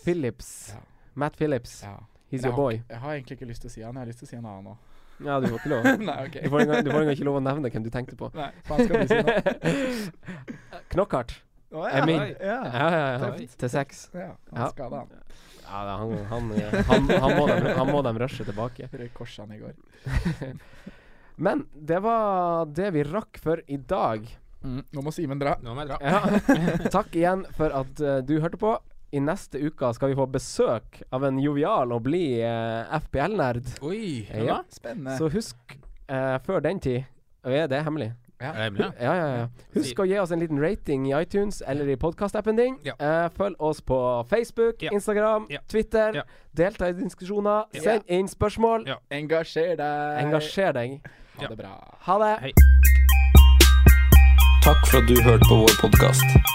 Speaker 3: Phillips.
Speaker 7: Ja.
Speaker 3: Matt Phillips.
Speaker 7: Ja.
Speaker 3: He's
Speaker 7: Jeg
Speaker 3: your
Speaker 7: har,
Speaker 3: boy.
Speaker 7: jeg har egentlig ikke lyst til å si han, jeg har lyst til å si en annen òg.
Speaker 3: Ja, du får ikke lov.
Speaker 7: [laughs]
Speaker 3: [laughs]
Speaker 7: Nei, ok.
Speaker 3: Du får engang du får engang ikke lov å nevne hvem du tenkte på.
Speaker 7: [laughs] Nei, faen skal du si nå?
Speaker 3: Knockhart.
Speaker 7: Oh,
Speaker 3: [laughs] Jeg min.
Speaker 7: Ja.
Speaker 3: Ja, ja, ja.
Speaker 7: Tøft.
Speaker 3: Til seks.
Speaker 7: Ja, han
Speaker 3: Ja.
Speaker 7: skada han.
Speaker 3: Ja, da, han, han, eh, han, han, må dem, han må dem rushe tilbake.
Speaker 7: Røyk korset han i går.
Speaker 3: Men det var det vi rakk for i dag.
Speaker 7: Nå må Simen dra.
Speaker 6: Nå må jeg dra.
Speaker 3: Ja. [laughs] Takk igjen for at eh, du hørte på. I neste uke skal vi få besøk av en jovial og blid eh, FBL-nerd.
Speaker 6: Oi.
Speaker 3: Ja.
Speaker 6: Ja.
Speaker 7: Spennende.
Speaker 3: Så husk, eh, før den tid og ja, Det er hemmelig.
Speaker 6: Er det hemmelig?
Speaker 3: Ja, ja, ja. Husk å gi oss en liten rating i iTunes eller i podkastappen din.
Speaker 6: Ja.
Speaker 3: Eh, følg oss på Facebook,
Speaker 6: Ja.
Speaker 3: Instagram,
Speaker 6: Ja.
Speaker 3: Twitter.
Speaker 6: Ja.
Speaker 3: Delta i diskusjoner.
Speaker 6: Ja.
Speaker 3: Send inn spørsmål.
Speaker 6: Ja.
Speaker 7: Engasjer deg.
Speaker 3: Engasjer deg.
Speaker 7: Ha det bra.
Speaker 3: Ha det.
Speaker 6: Hei.
Speaker 5: Takk for at du hørte på vår podkast.